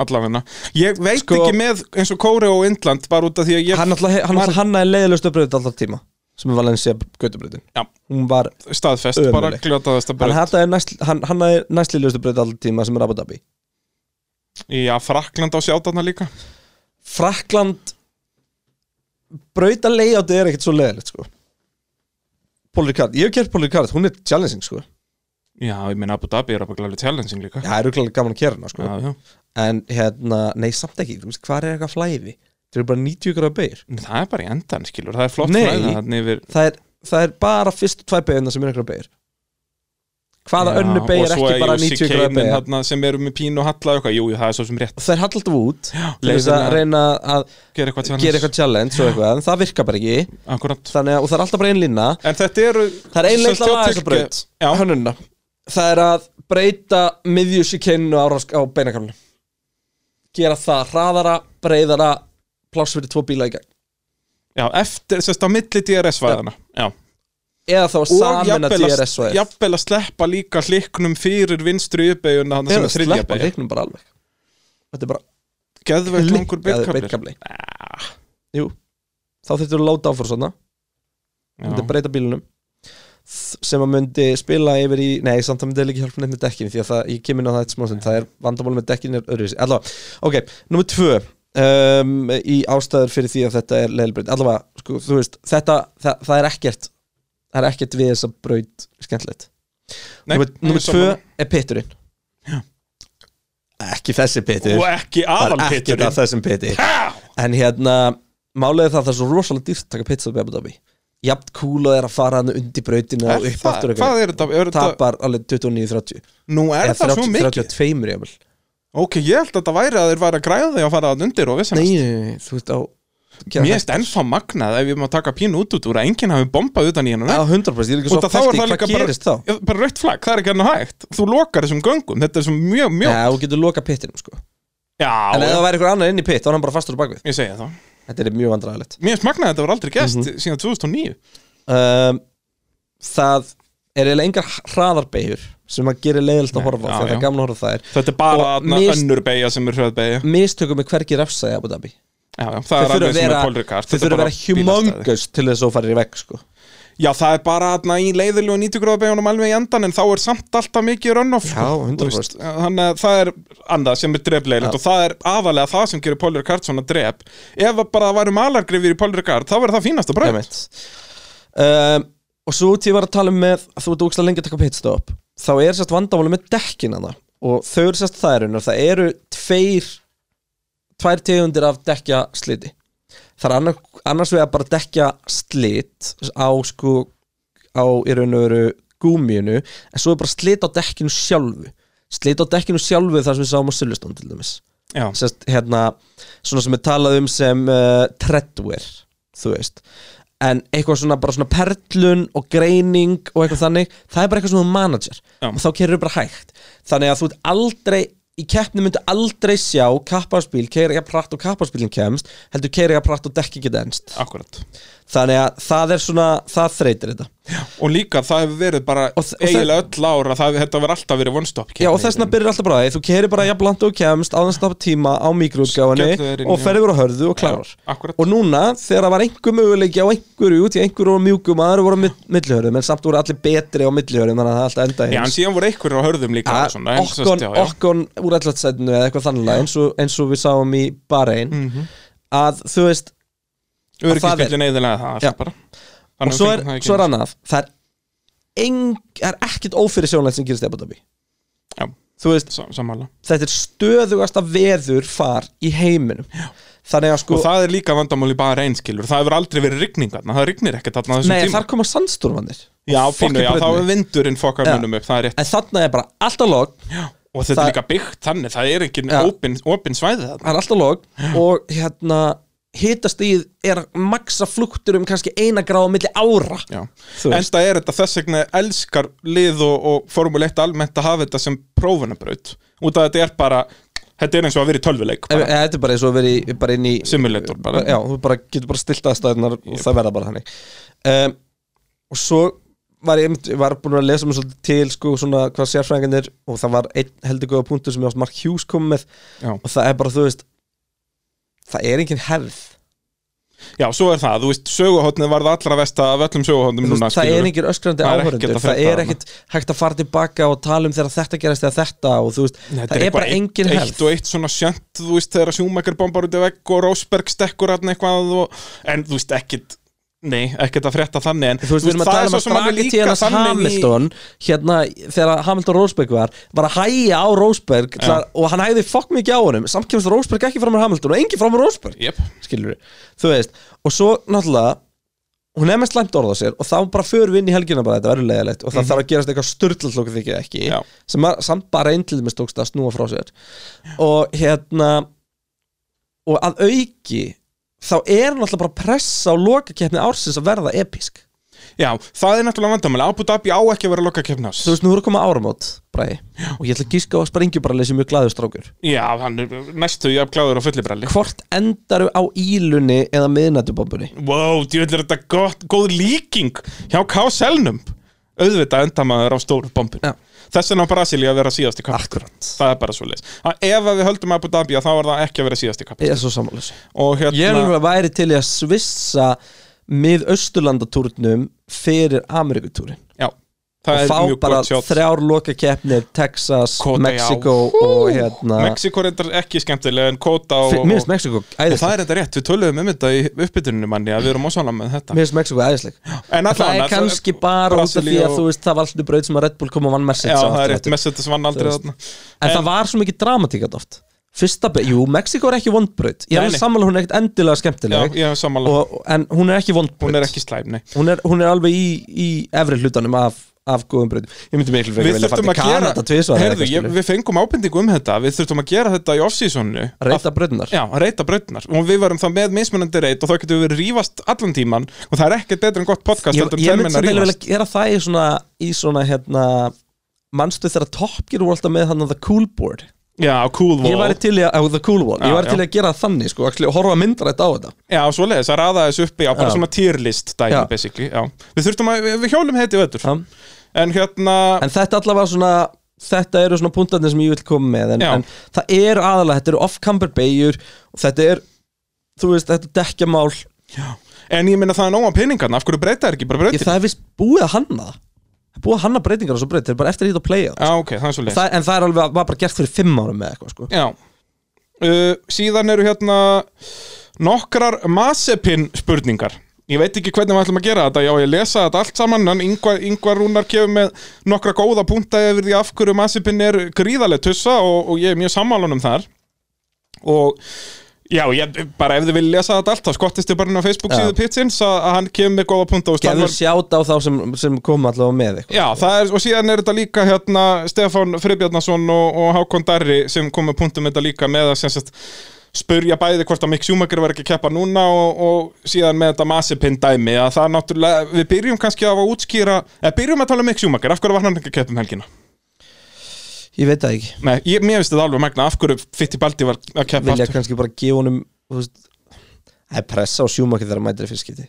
[SPEAKER 2] Allavegna Ég veit
[SPEAKER 1] Sko-
[SPEAKER 2] ekki með eins og Kóri og Indland bara út af því að ég
[SPEAKER 1] hann alltaf, hann alltaf hannaði leiðilegustu bröðið alltaf tíma sem er Valencia Götubröðin
[SPEAKER 2] Já.
[SPEAKER 1] hún var
[SPEAKER 2] staðfest
[SPEAKER 1] Ömurleg.
[SPEAKER 2] bara gljótaðast að
[SPEAKER 1] hann
[SPEAKER 2] braut
[SPEAKER 1] hataði næst, hann, hann hafði næstliðlustu breyta alltaf tíma sem er Abu Dhabi
[SPEAKER 2] Já, Frakland á sjátarna líka
[SPEAKER 1] Frakland breyta leiðjátti er ekkert svo leiðilegt sko Polrikard, ég hef kert Polrikard, hún er challenging sko
[SPEAKER 2] Já, ég meina Abu Dhabi er að bara glæðið challenging líka
[SPEAKER 1] Já, það eru klálega gaman að kera hana sko
[SPEAKER 2] já, já.
[SPEAKER 1] En hérna, nei samt ekki, þú veist, hvað er eitthvað flæði? Það eru bara 90 gráða beir
[SPEAKER 2] En Það er bara í endan, skilur, það er flott
[SPEAKER 1] Nei.
[SPEAKER 2] flæði þarna yfir-
[SPEAKER 1] það er, það er bara fyrstu tvæ beirna sem er eitthvað beir hvaða önnu beigir ekki bara 90 gráða
[SPEAKER 2] græn
[SPEAKER 1] beigja
[SPEAKER 2] þarna, sem eru með pínu og halla og eitthvað, jú, jú, það er svo sem rétt
[SPEAKER 1] þær halla alltaf út til þess
[SPEAKER 2] leiðin
[SPEAKER 1] að
[SPEAKER 2] að-
[SPEAKER 1] reyna að
[SPEAKER 2] gera eitthvað til
[SPEAKER 1] gera eitthvað challenge og eitthvað en það virkar bara ekki
[SPEAKER 2] akkurat
[SPEAKER 1] þannig að, og það er alltaf bara ein lína
[SPEAKER 2] en þetta eru
[SPEAKER 1] það er
[SPEAKER 2] sem
[SPEAKER 1] einlega
[SPEAKER 2] sagt,
[SPEAKER 1] að laga
[SPEAKER 2] hjá
[SPEAKER 1] þessa
[SPEAKER 2] Tyrkja-
[SPEAKER 1] braut
[SPEAKER 2] já,
[SPEAKER 1] hönnunna það er að breyta miðjusíkeinu á, á beinakamlu gera það hraðara, breyðara pláss fyrir tvo bíla í gang
[SPEAKER 2] já, eftir, sérst á milli DRS-væðana já.
[SPEAKER 1] eða þá að
[SPEAKER 2] og
[SPEAKER 1] samina
[SPEAKER 2] jafnvel að-
[SPEAKER 1] DRS og
[SPEAKER 2] jafnvel að sleppa líka hliknum fyrir vinstri uppeiguna þannig sem
[SPEAKER 1] eða
[SPEAKER 2] er þriðja
[SPEAKER 1] sleppa
[SPEAKER 2] beigja
[SPEAKER 1] leiknum bara alveg þetta er bara
[SPEAKER 2] geðveit langur beitkablir
[SPEAKER 1] beitkamli
[SPEAKER 2] Ah.
[SPEAKER 1] jú þá þurftur að láta áfór svona myndi
[SPEAKER 2] Já.
[SPEAKER 1] breyta bílunum Þ- sem að myndi spila yfir í nei, samt að myndi líka hjálpa neitt með dekkinu því að það, ég kem inn á það eitt smá sem það er vandamál með dekkinu er öðruvísi, allavega, ok, nummer tvö um, í ástæður fyrir því að þetta er leilbreyt, allavega, sko, þú veist þetta, það, það er ekkert það er ekkert við þessa braut skemmtilegt
[SPEAKER 2] Nei,
[SPEAKER 1] nummer,
[SPEAKER 2] ég er
[SPEAKER 1] nummer tvö
[SPEAKER 2] sammála.
[SPEAKER 1] er pitturinn ekki þessi pittur
[SPEAKER 2] og ekki
[SPEAKER 1] það er ekkert
[SPEAKER 2] aðalpitturinn
[SPEAKER 1] að þessum piti en hérna, málega það það er svo rosalega dýrt að taka pizza upp í Abu Dhabi jafn cool og það er að fara hann undir brautina
[SPEAKER 2] Er
[SPEAKER 1] og upp
[SPEAKER 2] það?
[SPEAKER 1] aftur og
[SPEAKER 2] Hvað er þetta? Er þetta-
[SPEAKER 1] tapar alveg 29-30
[SPEAKER 2] nú er
[SPEAKER 1] Eða
[SPEAKER 2] það svo
[SPEAKER 1] 30,
[SPEAKER 2] mikið
[SPEAKER 1] 32 jafnvel
[SPEAKER 2] ok, ég held að þetta væri að þeir væri að græða því að fara að undir og vissan
[SPEAKER 1] nei, nei, nei, þú veist á
[SPEAKER 2] Mér finnst ennþá magnað ef ég má taka pínu út út úr að enginn hafi bombað utan í hérna.
[SPEAKER 1] á
[SPEAKER 2] hennu
[SPEAKER 1] 100% ég er líka
[SPEAKER 2] Út
[SPEAKER 1] svo
[SPEAKER 2] að þá er
[SPEAKER 1] pælt í hvað
[SPEAKER 2] það líka bara,
[SPEAKER 1] gerist þá
[SPEAKER 2] Já, bara rautt flagg, það er ekki hennar hægt Þú lokar þessum göngum, þetta er svo mjög, mjög
[SPEAKER 1] Nei, þú getur loka pittinum sko
[SPEAKER 2] Já,
[SPEAKER 1] En ef
[SPEAKER 2] já,
[SPEAKER 1] það væri einhver annar inn í pitt, þá er hann bara fastur á bakvið
[SPEAKER 2] ég segja það
[SPEAKER 1] Þetta er mjög vandræðilegt
[SPEAKER 2] Mér finnst magnað að þetta var aldrei gæst síðan 2009
[SPEAKER 1] um, Það er eiginlega engar hraðarbegjur sem að gera leiðilt að horfa á,
[SPEAKER 2] já,
[SPEAKER 1] þegar það
[SPEAKER 2] já.
[SPEAKER 1] er gaman að horfa á þær
[SPEAKER 2] Þetta er bara
[SPEAKER 1] Og
[SPEAKER 2] þarna
[SPEAKER 1] mis-
[SPEAKER 2] önnur beigja sem er hröð beigja Já,
[SPEAKER 1] mistökum er hvergi refsa í Abu Dhabi
[SPEAKER 2] já, það
[SPEAKER 1] Þau þurfa
[SPEAKER 2] er
[SPEAKER 1] að
[SPEAKER 2] alveg sem
[SPEAKER 1] vera,
[SPEAKER 2] er polrikast
[SPEAKER 1] þau þurfa að vera humongous til þess að þú farir í vegg sko.
[SPEAKER 2] Já, það er bara þarna í leiðilegu 90 gráða beigunum alveg í endan En þá er samt alltaf mikið runoff sko.
[SPEAKER 1] Já, 100%.
[SPEAKER 2] þú veist. eh, Þannig að það er annað sem er drefleilegt Og það er aðalega það sem gerir Paul Ricard svona dref Ef að bara það væri malargrifir í Paul Ricard Þá verður það fínasta bröð
[SPEAKER 1] Einmitt. um, og svo út ég var að tala um með þú ert ógstlega lengi að taka pitstop þá er sérst vandamáli með dekkin hana og þau eru sérst þærun og það eru tveir tvær tegundir af dekja sliti það er annars, annars vegar bara dekja slit á sko á í raun og veru gúmíunu en svo er bara slit á dekkinu sjálfu slit á dekkinu sjálfu þar sem við sáum á Sullustón til dæmis
[SPEAKER 2] Já,
[SPEAKER 1] sest, hérna, svona sem er talað um sem uh, treadwear, þú veist en eitthvað svona bara svona perlun og greining og eitthvað þannig það er bara eitthvað svona manager
[SPEAKER 2] Já.
[SPEAKER 1] og þá kerur bara hægt þannig að þú ert aldrei í keppni myndi aldrei sjá kapparspíl, keira ekki að pratt og kapparspílinn kemst heldur keira ekki að pratt og dekki geta enst
[SPEAKER 2] akkurat
[SPEAKER 1] þannig að það er svona, það þreytir þetta
[SPEAKER 2] Og líka það hefur verið bara
[SPEAKER 1] Og þ- og
[SPEAKER 2] eiginlega öll ára það, Þetta hefur alltaf verið one stop sko.
[SPEAKER 1] Já og þess vegna byrjar alltaf bara því, þú keirir bara jafnlant og kemst á þess að tapa tíma á
[SPEAKER 2] Skellu þér
[SPEAKER 1] mikroútgáfunni
[SPEAKER 2] inn,
[SPEAKER 1] og
[SPEAKER 2] já.
[SPEAKER 1] ferði verið á hörðu og klárar
[SPEAKER 2] Já, akkúrat.
[SPEAKER 1] og núna þegar það var einhver möguleiki á einhverju út í einhverju voru mjúkum aðra voru á mid- millihörðum en samt voru allir betri á millihörðum þannig að það alltaf enda
[SPEAKER 2] Já, en
[SPEAKER 1] eins
[SPEAKER 2] síðan voru einhverjur á hörðum líka
[SPEAKER 1] Ja,
[SPEAKER 2] og svona, en,
[SPEAKER 1] Okkon,
[SPEAKER 2] já, já.
[SPEAKER 1] okkon úr allatsætinu eða eitthvað þannig eins og, eins og við sáum í Bahrein
[SPEAKER 2] Mhm.
[SPEAKER 1] að þú veist
[SPEAKER 2] Öryggisbíllinn eðilega það
[SPEAKER 1] Já.
[SPEAKER 2] allt bara.
[SPEAKER 1] og
[SPEAKER 2] Þannig
[SPEAKER 1] svo
[SPEAKER 2] að
[SPEAKER 1] er,
[SPEAKER 2] það ekki-
[SPEAKER 1] svo er annað það er, eng, það er ekkit ófyrir sjónlega sem gerist í Abu Dhabi
[SPEAKER 2] Já,
[SPEAKER 1] þú veist
[SPEAKER 2] sam- sammála
[SPEAKER 1] þetta er stöðugasta veður far í heiminum þannig að sko
[SPEAKER 2] Og það er líka vandamál í bara einskilur Það hefur aldrei verið rigning þarna, það rignir ekkert þarna á þessum
[SPEAKER 1] nei,
[SPEAKER 2] tíma
[SPEAKER 1] þar koma sandstormannir
[SPEAKER 2] Já,
[SPEAKER 1] Og
[SPEAKER 2] fínu,
[SPEAKER 1] fucking
[SPEAKER 2] já, þá er
[SPEAKER 1] brautinni.
[SPEAKER 2] vindurinn fokkar
[SPEAKER 1] Já.
[SPEAKER 2] munum upp, það er rétt
[SPEAKER 1] en þarna er bara alltaf log
[SPEAKER 2] Og þetta
[SPEAKER 1] það-
[SPEAKER 2] er líka byggt þannig, það er ekki
[SPEAKER 1] Já.
[SPEAKER 2] opin, opin svæði
[SPEAKER 1] það
[SPEAKER 2] þarna
[SPEAKER 1] er alltaf log og hérna hitastíð er að maksa flúktur um kannski eina gráða milli ára
[SPEAKER 2] Já,
[SPEAKER 1] Þú
[SPEAKER 2] en
[SPEAKER 1] veist.
[SPEAKER 2] það er þetta þess vegna elskar lið og, og formuleitt almennt að hafa þetta sem prófunabraut Út að þetta er bara, þetta er eins og að vera í tölvuleik
[SPEAKER 1] En,
[SPEAKER 2] bara.
[SPEAKER 1] en þetta er bara eins og verið bara inn í
[SPEAKER 2] Simulator bara.
[SPEAKER 1] Já, þú bara getur bara stilt aðstæðunar og það verða bara þannig um, Og svo var ég einmitt- var búin að lesa mér svolítið til sko, svona, hvað sérfræðingarnir og það var einn heldur góða punktur sem ég ást Mark Hughes kom með
[SPEAKER 2] Já.
[SPEAKER 1] og það er bara, þú veist það er engin hefð
[SPEAKER 2] Já, svo er það, þú veist, söguhóttnið varð allra vest af öllum söguhóttnum
[SPEAKER 1] Þú
[SPEAKER 2] núna
[SPEAKER 1] veist, það er
[SPEAKER 2] skilurðu.
[SPEAKER 1] engin öskrandi
[SPEAKER 2] Það er ekkert
[SPEAKER 1] áhörundur
[SPEAKER 2] að
[SPEAKER 1] það
[SPEAKER 2] frétta
[SPEAKER 1] er
[SPEAKER 2] þarna.
[SPEAKER 1] ekkit hægt að fara tilbaka og tala um þegar þetta gerist eða þetta og þú veist,
[SPEAKER 2] Nei, þetta
[SPEAKER 1] það er
[SPEAKER 2] eitthvað
[SPEAKER 1] bara engin
[SPEAKER 2] eitt,
[SPEAKER 1] hefð
[SPEAKER 2] eitt og eitt svona sjönt, þú veist, þegar Sjúmakar bombar út í vegg og Rósberg stekkur hann eitthvað og, en þú veist, ekkit nei, ekkit að frétta þannig en
[SPEAKER 1] þú veist, við erum að
[SPEAKER 2] það er
[SPEAKER 1] tala um
[SPEAKER 2] svo
[SPEAKER 1] að
[SPEAKER 2] sem alveg
[SPEAKER 1] strategið
[SPEAKER 2] líka
[SPEAKER 1] hans
[SPEAKER 2] þannig í-
[SPEAKER 1] Hamilton hérna, þegar Hamilton Rósberg var var að hæja á Rósberg ja. og hann hæði fokk mikið á honum, samt kemst Rósberg ekki fram með Hamilton og engi fram með Rósberg
[SPEAKER 2] Jep.
[SPEAKER 1] skilur þú veist, og svo náttúrulega hún er með slæmt orð á sér og þá bara förum við inn í helgina bara þetta verður leiðilegt og það þarf að gerast eitthvað styrlað þókið þykir ekki
[SPEAKER 2] Já.
[SPEAKER 1] sem að, samt bara einn til með stókst að snúa frá sér og hérna og að auki þá er náttúrulega bara pressa á lokakeppni ársins að verða episk
[SPEAKER 2] Já, það er náttúrulega vandamæli Abu Dhabi á ekki að vera loka keppnás
[SPEAKER 1] þú veist nú eru að koma áramót bræði og ég ætla að gíska á að springi bara leysi mjög glæður strákur
[SPEAKER 2] Já, hann er næstu jafn gláður á fullibralli
[SPEAKER 1] hvort endaru á ílunni eða miðnættubombunni
[SPEAKER 2] Wow, djöfull er þetta gott, góð líking hjá K. Selnum auðvitað endamaður á stóru bombun
[SPEAKER 1] Já.
[SPEAKER 2] þess vegna á Brasilíu að vera síðasti kapp
[SPEAKER 1] akkurat
[SPEAKER 2] það er bara svo leis ef að við höldum Abu Dhabi að þá er það ekki að vera síðasti kapp
[SPEAKER 1] ég er svo samanlösi
[SPEAKER 2] og hérna,
[SPEAKER 1] Ég er alveg að væri til í að svissa mið Östurlandatúrnum fyrir Ameríkutúrin
[SPEAKER 2] já, það
[SPEAKER 1] og
[SPEAKER 2] er
[SPEAKER 1] fá
[SPEAKER 2] mjög
[SPEAKER 1] bara
[SPEAKER 2] gott sjátt
[SPEAKER 1] þrjár loka keppnir Texas,
[SPEAKER 2] Kota, já.
[SPEAKER 1] Mexico og hérna
[SPEAKER 2] Mexiko reyndar ekki skemmtilega en Kota og,
[SPEAKER 1] Fi- Mér finnst Mexiko
[SPEAKER 2] og það
[SPEAKER 1] æðisleg
[SPEAKER 2] er þetta rétt, við töluðum um þetta í uppbytuninu manni að við erum ósála með þetta
[SPEAKER 1] Mér finnst Mexiko æðisleg
[SPEAKER 2] en
[SPEAKER 1] Það
[SPEAKER 2] allavega,
[SPEAKER 1] er kannski bara út af því
[SPEAKER 2] Brasilía
[SPEAKER 1] að þú veist það var alltaf braut sem að Red Bull kom og vann Mercedes
[SPEAKER 2] Já,
[SPEAKER 1] á
[SPEAKER 2] það er rétt,
[SPEAKER 1] afturrættu.
[SPEAKER 2] Mercedes vann aldrei
[SPEAKER 1] Þú
[SPEAKER 2] þarna
[SPEAKER 1] En
[SPEAKER 2] En-
[SPEAKER 1] það var svo mikið dramatíkat oft Fyrsta, be- jú, Mexiko er ekki vondbraut Ég er
[SPEAKER 2] Nei,
[SPEAKER 1] alveg
[SPEAKER 2] nei.
[SPEAKER 1] sammála hún er ekkert endilega
[SPEAKER 2] Já,
[SPEAKER 1] skemmtileg
[SPEAKER 2] ég er samanlega,
[SPEAKER 1] og, En hún er ekki vondbraut
[SPEAKER 2] hún er ekki slæm, nei
[SPEAKER 1] hún er, hún er alveg í, í efri hlutanum af, af góðum breytum ég myndi miklu frekar
[SPEAKER 2] Við
[SPEAKER 1] vilja
[SPEAKER 2] þurftum
[SPEAKER 1] fara
[SPEAKER 2] að
[SPEAKER 1] til
[SPEAKER 2] gera
[SPEAKER 1] Kanada tvisvar eða
[SPEAKER 2] Herðu,
[SPEAKER 1] eitthvað,
[SPEAKER 2] ég,
[SPEAKER 1] skilur.
[SPEAKER 2] við fengum ábendingu um þetta Við þurftum að gera þetta í off-seasonu
[SPEAKER 1] reyta breytunar
[SPEAKER 2] Já, að reyta brautnar og við varum þá með mismunandi reyt og þá getum við rífast allan tíman og það er ekkert betur en gott podcast
[SPEAKER 1] ég,
[SPEAKER 2] heldur
[SPEAKER 1] ég
[SPEAKER 2] tveir
[SPEAKER 1] myndi
[SPEAKER 2] menn að
[SPEAKER 1] samt eiginlega
[SPEAKER 2] rífast
[SPEAKER 1] vilja gera það í svona, í svona hérna manstu þegar Top Gear voru alltaf með hann að The Cool Board
[SPEAKER 2] Já, cool
[SPEAKER 1] ég
[SPEAKER 2] wall
[SPEAKER 1] væri til í að, oh, The Cool Wall
[SPEAKER 2] Já,
[SPEAKER 1] ég væri til í
[SPEAKER 2] já.
[SPEAKER 1] að gera það þannig sko, actually, og horfa myndrætt á þetta
[SPEAKER 2] Já, svoleiðis að raða þessu uppi, já, bara
[SPEAKER 1] Já.
[SPEAKER 2] svona tier list dæmi,
[SPEAKER 1] Já.
[SPEAKER 2] basically, já Við þurftum að, við, við hjólum heiti öður
[SPEAKER 1] Já.
[SPEAKER 2] En hérna,
[SPEAKER 1] en þetta allavega svona þetta eru svona puntarnir sem ég vil koma með en,
[SPEAKER 2] Já.
[SPEAKER 1] en það er aðalega, þetta eru off-camber beigur og þetta er, þú veist, þetta er dekkjamál
[SPEAKER 2] en ég minna það er nóg á peningarna, af hverju breyta er ekki bara
[SPEAKER 1] ég,
[SPEAKER 2] breytir
[SPEAKER 1] það er vist búið að hanna það. það er búið að hanna breytingar og svo breytir bara eftir því að playa
[SPEAKER 2] Já, ok, það er svoleiðis
[SPEAKER 1] það, en það er alveg var bara gert fyrir fimm árum með eitthvað sko.
[SPEAKER 2] Já uh, Síðan eru hérna nokkrar Mazepin spurningar Ég veit ekki hvernig við ætlum að gera þetta Já, ég lesa þetta allt saman En Ingvar, Ingvar Rúnar kefur með nokkra góða punta yfir því af hverju Mazepin er gríðarlega tussa og, og ég er mjög sammálanum þar Og Já, ég, bara ef þið vilja lesa þetta allt þá skottist ég bara inn á Facebook
[SPEAKER 1] Já.
[SPEAKER 2] síðu Pitsins að, að hann kemur með góða punta og Stan
[SPEAKER 1] gefur
[SPEAKER 2] var-
[SPEAKER 1] sjáta á þá sem, sem kom allavega með eitthvað
[SPEAKER 2] Já, það er, og síðan er þetta líka hérna Stefán Friðbjarnason og, og Hákon Darri sem kom með punktum þetta líka með að sem sagt, spurja bæði hvort að Mick Schumacher var ekki að keppa núna og, og síðan með þetta Mazepin dæmi að það er náttúrulega, við byrjum kannski á að útskýra, eða byrjum að tala um Mick Schumacher af hverju var hann ekki að keppa um helgina?
[SPEAKER 1] ég veit það ekki,
[SPEAKER 2] Nei, ég, mér finnst þetta alveg magna, af hverju Fittibaldi var að keppa
[SPEAKER 1] vilja
[SPEAKER 2] aftur?
[SPEAKER 1] kannski bara gefa honum þú veist, það er pressa á sjúmakið þegar hann mætir í fyrst skipti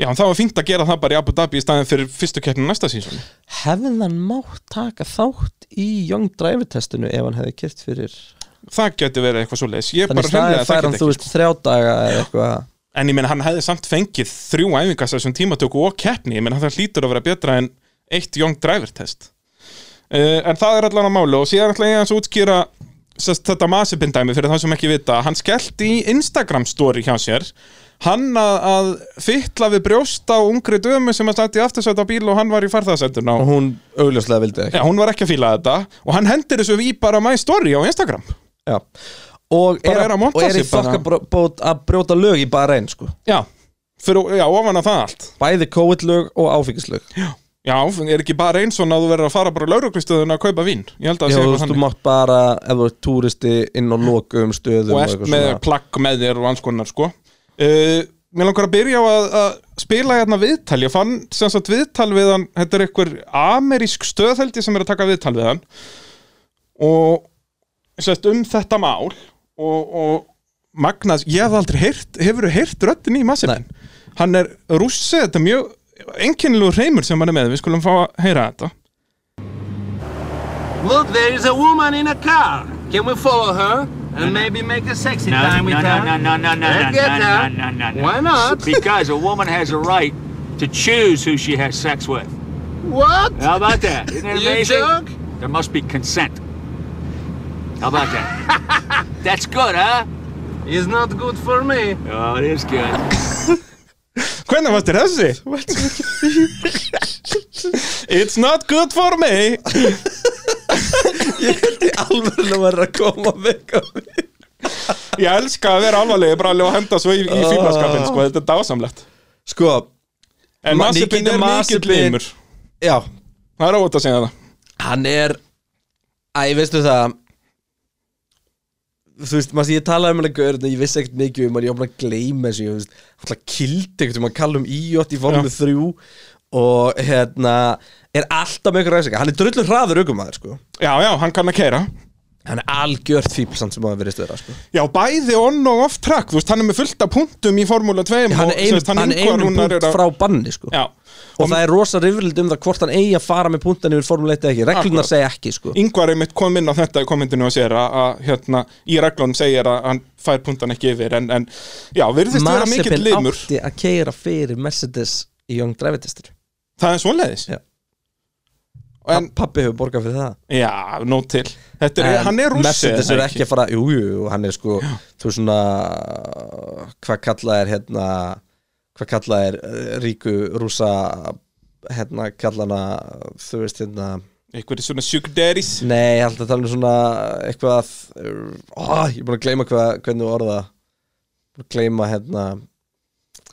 [SPEAKER 2] Já, en það var fínt að gera það bara í Abu Dhabi í staðin fyrir fyrstu keppnum næsta sínsson
[SPEAKER 1] hefði hann mátt taka þátt í Young Driver testinu ef hann hefði kert fyrir
[SPEAKER 2] Það geti verið eitthvað svo leis Ég bara
[SPEAKER 1] þannig staðið
[SPEAKER 2] hreinlega
[SPEAKER 1] fær
[SPEAKER 2] þekki
[SPEAKER 1] hann
[SPEAKER 2] þetta
[SPEAKER 1] þú
[SPEAKER 2] ekki sko.
[SPEAKER 1] veist þrjá daga eða eitthvað
[SPEAKER 2] En ég meina hann hefði samt fengið þrjú æfingas þessum tímatöku og keppni, ég meina það hlýtur að vera betra en eitt young driver test uh, En það er allan að máli og síðan ætla ég aðeins að útskýra sest, þetta masipindæmi fyrir það sem ekki vita Hann skellti í Instagram story hjá sér Hann að, að fytla við brjósta og ungri dömu sem að stætti aftursætt á bíl og hann var í farðarsættuna
[SPEAKER 1] og hún augljóslega vildi ekki
[SPEAKER 2] Já, hún var ekki að fíla þetta og hann hendir þessu í bara my story á Instagram
[SPEAKER 1] Já. og
[SPEAKER 2] Bara
[SPEAKER 1] er,
[SPEAKER 2] er að
[SPEAKER 1] að-
[SPEAKER 2] monta
[SPEAKER 1] og er í
[SPEAKER 2] sig bara.
[SPEAKER 1] þokkabót að brjóta lög í bara einn sko
[SPEAKER 2] Já, fyrir, já ofan að það allt
[SPEAKER 1] bæði COVID-lög og áfengislög
[SPEAKER 2] Já, er ekki bara eins og að þú verður að fara bara á lauruglistöðun að kaupa vín Ég held að
[SPEAKER 1] Já,
[SPEAKER 2] það sé
[SPEAKER 1] þú
[SPEAKER 2] eitthvað
[SPEAKER 1] veist, þú
[SPEAKER 2] þannig
[SPEAKER 1] mátt bara ef þú ert túristi inn á lokum stöðum
[SPEAKER 2] Og ert
[SPEAKER 1] eitthvað
[SPEAKER 2] með
[SPEAKER 1] svona.
[SPEAKER 2] plagg með þér og alls konar sko uh, Mér langar að byrja á að, að spila hérna viðtal Ég fann sem sagt viðtal við hann Þetta er einhver amerísk stöðheldi sem er að taka viðtal við hann Og sem sagt um þetta mál Og, og Magnað, ég hef aldrei heyrt Hefur þú heyrt röddin í massipin? Hann er rússi, þetta er mjög Einkennilegu hreimur sem hann er með Við skulum fá að heyra þetta
[SPEAKER 9] Look, there is a woman in a car. Can we follow her and maybe make a sexy
[SPEAKER 8] No,
[SPEAKER 9] time with
[SPEAKER 8] no,
[SPEAKER 9] her?
[SPEAKER 8] no, no, no, no, no,
[SPEAKER 9] Let's get
[SPEAKER 8] no,
[SPEAKER 9] her.
[SPEAKER 8] no, no, no, no.
[SPEAKER 9] Why not?
[SPEAKER 8] because a woman has a right to choose who she has sex with.
[SPEAKER 9] What?
[SPEAKER 8] How about that? Isn't that
[SPEAKER 9] You
[SPEAKER 8] amazing?
[SPEAKER 9] joke?
[SPEAKER 8] There must be consent. How about that? That's good, huh?
[SPEAKER 9] It's not good for me.
[SPEAKER 8] Oh, it is good.
[SPEAKER 2] Hvernig fannst þér þessi? It's not good for me
[SPEAKER 1] alveg var að koma með eitthvað.
[SPEAKER 2] Ég
[SPEAKER 1] Ah.
[SPEAKER 2] elska að vera alvarlegi bara alveg að henda svo í, í fílaskapin sko, Þetta er dásamlegt
[SPEAKER 1] sko
[SPEAKER 2] En
[SPEAKER 1] Ma-
[SPEAKER 2] Mazepin
[SPEAKER 1] Nikita
[SPEAKER 2] er mikill
[SPEAKER 1] Mazepin-
[SPEAKER 2] limur
[SPEAKER 1] Já,
[SPEAKER 2] Það er óvægt að segja það
[SPEAKER 1] hann er Æ, veistu það Þú veist, maður, ég talaði um hann að görna Ég vissi ekkert mikið um hann, ég var búin að gleyma þessu Ég veist, hann kildi ekkert um að kalla um íjótt í formule 3 Og hérna, er alltaf með ykkur ræsika Hann er drullur hraður aukumæður, sko
[SPEAKER 2] Já, já, hann kann að keira
[SPEAKER 1] Hann er algjört fíbl samt sem að verið stöðra, sko
[SPEAKER 2] Já, bæði on og off track Þú veist, hann er með fullt af punktum í Formúla 2
[SPEAKER 1] Hann er
[SPEAKER 2] og, þú
[SPEAKER 1] einum,
[SPEAKER 2] veist, hann
[SPEAKER 1] hann er
[SPEAKER 2] Ingvar
[SPEAKER 1] einum
[SPEAKER 2] Rúnar
[SPEAKER 1] punkt
[SPEAKER 2] er að-
[SPEAKER 1] frá banni, sko
[SPEAKER 2] Já,
[SPEAKER 1] Og það er rosa rifrild um það hvort hann eigi að fara með punktan yfir Formule 1 eða ekki Reglunar
[SPEAKER 2] Akkurat.
[SPEAKER 1] segja ekki, sko
[SPEAKER 2] Ingvar er mitt kom inn á þetta í kommentinu og sér að, að hérna, í reglunum segir að hann fær puntan ekki yfir en, en já, virðist vera mikill
[SPEAKER 1] Mazepin
[SPEAKER 2] limur
[SPEAKER 1] átti að keira fyrir Mercedes í Young Driver Testur
[SPEAKER 2] Það er svoleiðis
[SPEAKER 1] Já.
[SPEAKER 2] En,
[SPEAKER 1] Pappi hefur borgað fyrir það
[SPEAKER 2] já, nót til Þetta er,
[SPEAKER 1] En
[SPEAKER 2] hann er rússi
[SPEAKER 1] Mercedes
[SPEAKER 2] er
[SPEAKER 1] er
[SPEAKER 2] það
[SPEAKER 1] ekki að fara, jú, jú, jú, hann er sko Þú veist svona Hvað kallað er hérna Hvað kallað er eh, ríku rúsa Hérna kallana Þú veist hérna
[SPEAKER 2] Einhverjir svona sjúkderis
[SPEAKER 1] Nei, ég held að tala um svona Eitthvað uh, ó, Ég er búin að gleyma hva, hvernig þú orða Búin að gleyma hérna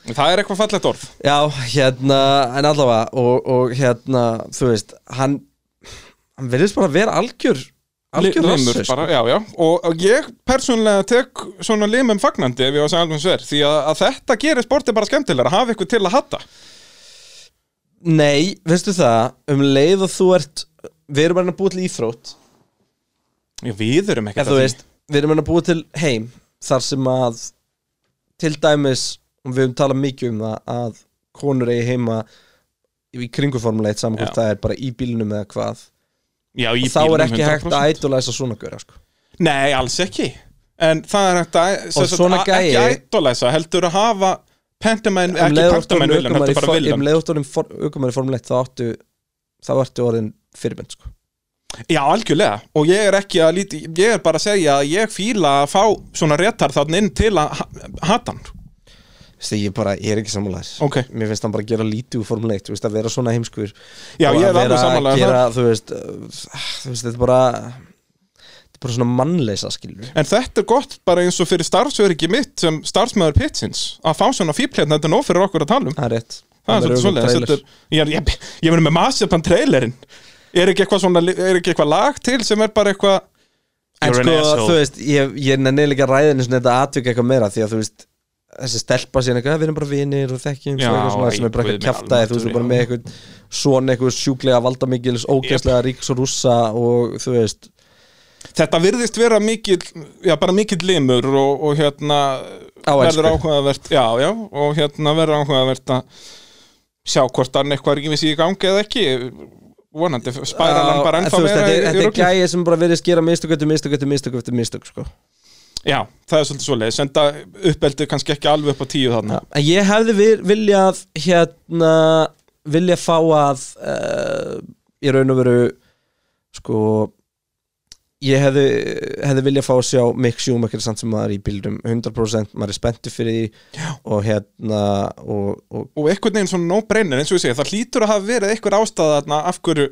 [SPEAKER 2] Það er eitthvað fallegt orð
[SPEAKER 1] Já, hérna, en allavega og, og hérna, þú veist hann, hann verðist bara að vera algjör algjör
[SPEAKER 2] Limur
[SPEAKER 1] rassur, sko.
[SPEAKER 2] bara, já, já. Og, og ég persónlega tek svona limum fagnandi ef ég á að segja alveg sver því að, að þetta gerir sportið bara skemmtilega að hafa ykkur til að hatta
[SPEAKER 1] Nei, veistu það, um leið og þú ert við erum bara að búa til íþrótt
[SPEAKER 2] Já, við erum
[SPEAKER 1] eða
[SPEAKER 2] ekkert
[SPEAKER 1] þú
[SPEAKER 2] að því.
[SPEAKER 1] veist, við erum að búa til heim þar sem að til dæmis, og við höfum talað mikið um það að konur eigi heima í kringuformuleitt saman hvort
[SPEAKER 2] Já.
[SPEAKER 1] það er bara í bílnum eða hvað
[SPEAKER 2] Já, í
[SPEAKER 1] þá er
[SPEAKER 2] bílnum
[SPEAKER 1] ekki hægt
[SPEAKER 2] 100%.
[SPEAKER 1] að ætlulæsa svona gauðra sko.
[SPEAKER 2] Nei, alls ekki En það er hægt að sem sagt,
[SPEAKER 1] svona
[SPEAKER 2] að-
[SPEAKER 1] gæi-
[SPEAKER 2] Ekki ættolæsa, heldur að hafa Pentamenn,
[SPEAKER 1] um
[SPEAKER 2] ekki
[SPEAKER 1] leið og þú
[SPEAKER 2] Pentamenn Viljan, heldur bara
[SPEAKER 1] ert
[SPEAKER 2] Viljan
[SPEAKER 1] orðin aukumæri Formule 1 þá áttu þá ertu orðin fyrirmynd sko.
[SPEAKER 2] Já, algjörlega, og ég er ekki að líti Ég er bara að segja að ég fíla að fá Svona réttar þann inn til að hata hann
[SPEAKER 1] Þessi, ég, bara, ég er ekki sammálaðis
[SPEAKER 2] Ok.
[SPEAKER 1] mér finnst hann bara að gera lítið úr Formule 1 þú veist, að vera svona heimskur
[SPEAKER 2] Já,
[SPEAKER 1] og
[SPEAKER 2] ég er
[SPEAKER 1] að vera
[SPEAKER 2] alveg
[SPEAKER 1] að
[SPEAKER 2] samanlega
[SPEAKER 1] gera,
[SPEAKER 2] það
[SPEAKER 1] þú veist, uh, þú veist þetta er bara þetta er bara svona mannleisa skilur
[SPEAKER 2] En þetta er gott bara eins og fyrir starfsöryggi mitt sem starfsmöður pitsins að fá svona fíplétna, þetta er nóg fyrir okkur að tala um
[SPEAKER 1] það er rétt
[SPEAKER 2] Það er svolítið svoleiðis þetta er- Ég, er- ég, ég verður með Masepan trailerinn Er ekki eitthvað svona, er ekki eitthvað lag til sem er bara eitthvað
[SPEAKER 1] en
[SPEAKER 2] You're an
[SPEAKER 1] sko,
[SPEAKER 2] asshole.
[SPEAKER 1] þú veist, ég, ég nenni líka ræðinu svona þetta atvik eitthvað meira því að þú veist þessi stelpa síðan eitthvað, "Ah, við erum bara vinir og þekkjum
[SPEAKER 2] Já,
[SPEAKER 1] svo eitthvað svona sem er bara eitthvað
[SPEAKER 2] guð minn
[SPEAKER 1] kjaftaði þú veist, þú
[SPEAKER 2] almáttugur,
[SPEAKER 1] er bara með eitthvað svona eitthvað sjúklega valdamikils, ógeðslega ríks og rússa og þú veist
[SPEAKER 2] Þetta virðist vera mikill, já bara mikill limur og, og hérna
[SPEAKER 1] Á
[SPEAKER 2] verður
[SPEAKER 1] ensku.
[SPEAKER 2] áhugavert, já já og hérna verður áhugavert að sjá hvort hann eitthvað rífið sig í gangi eða ekki vonandi spæra hann bara
[SPEAKER 1] en
[SPEAKER 2] ennþá
[SPEAKER 1] þú veist,
[SPEAKER 2] meira
[SPEAKER 1] þetta er,
[SPEAKER 2] í, í
[SPEAKER 1] þetta er
[SPEAKER 2] rugli
[SPEAKER 1] gæið sem bara verið að skera mistök eftir mistök eftir mistök eftir mistök sko.
[SPEAKER 2] Já, það er svolítið svoleiðis, en það uppeldið kannski ekki alveg upp á tíu þarna
[SPEAKER 1] en ég hefði vir, viljað hérna, viljað fá að uh, í raun og veru sko ég hefði, hefði viljað fá að sjá Mick Schumacher samt sem maður er í bílum 100% maður er spenntur fyrir því og hérna og, og
[SPEAKER 2] og einhvern veginn svona no-brainer eins og ég segja, það hlýtur að hafa verið einhver ástæða þarna af hverju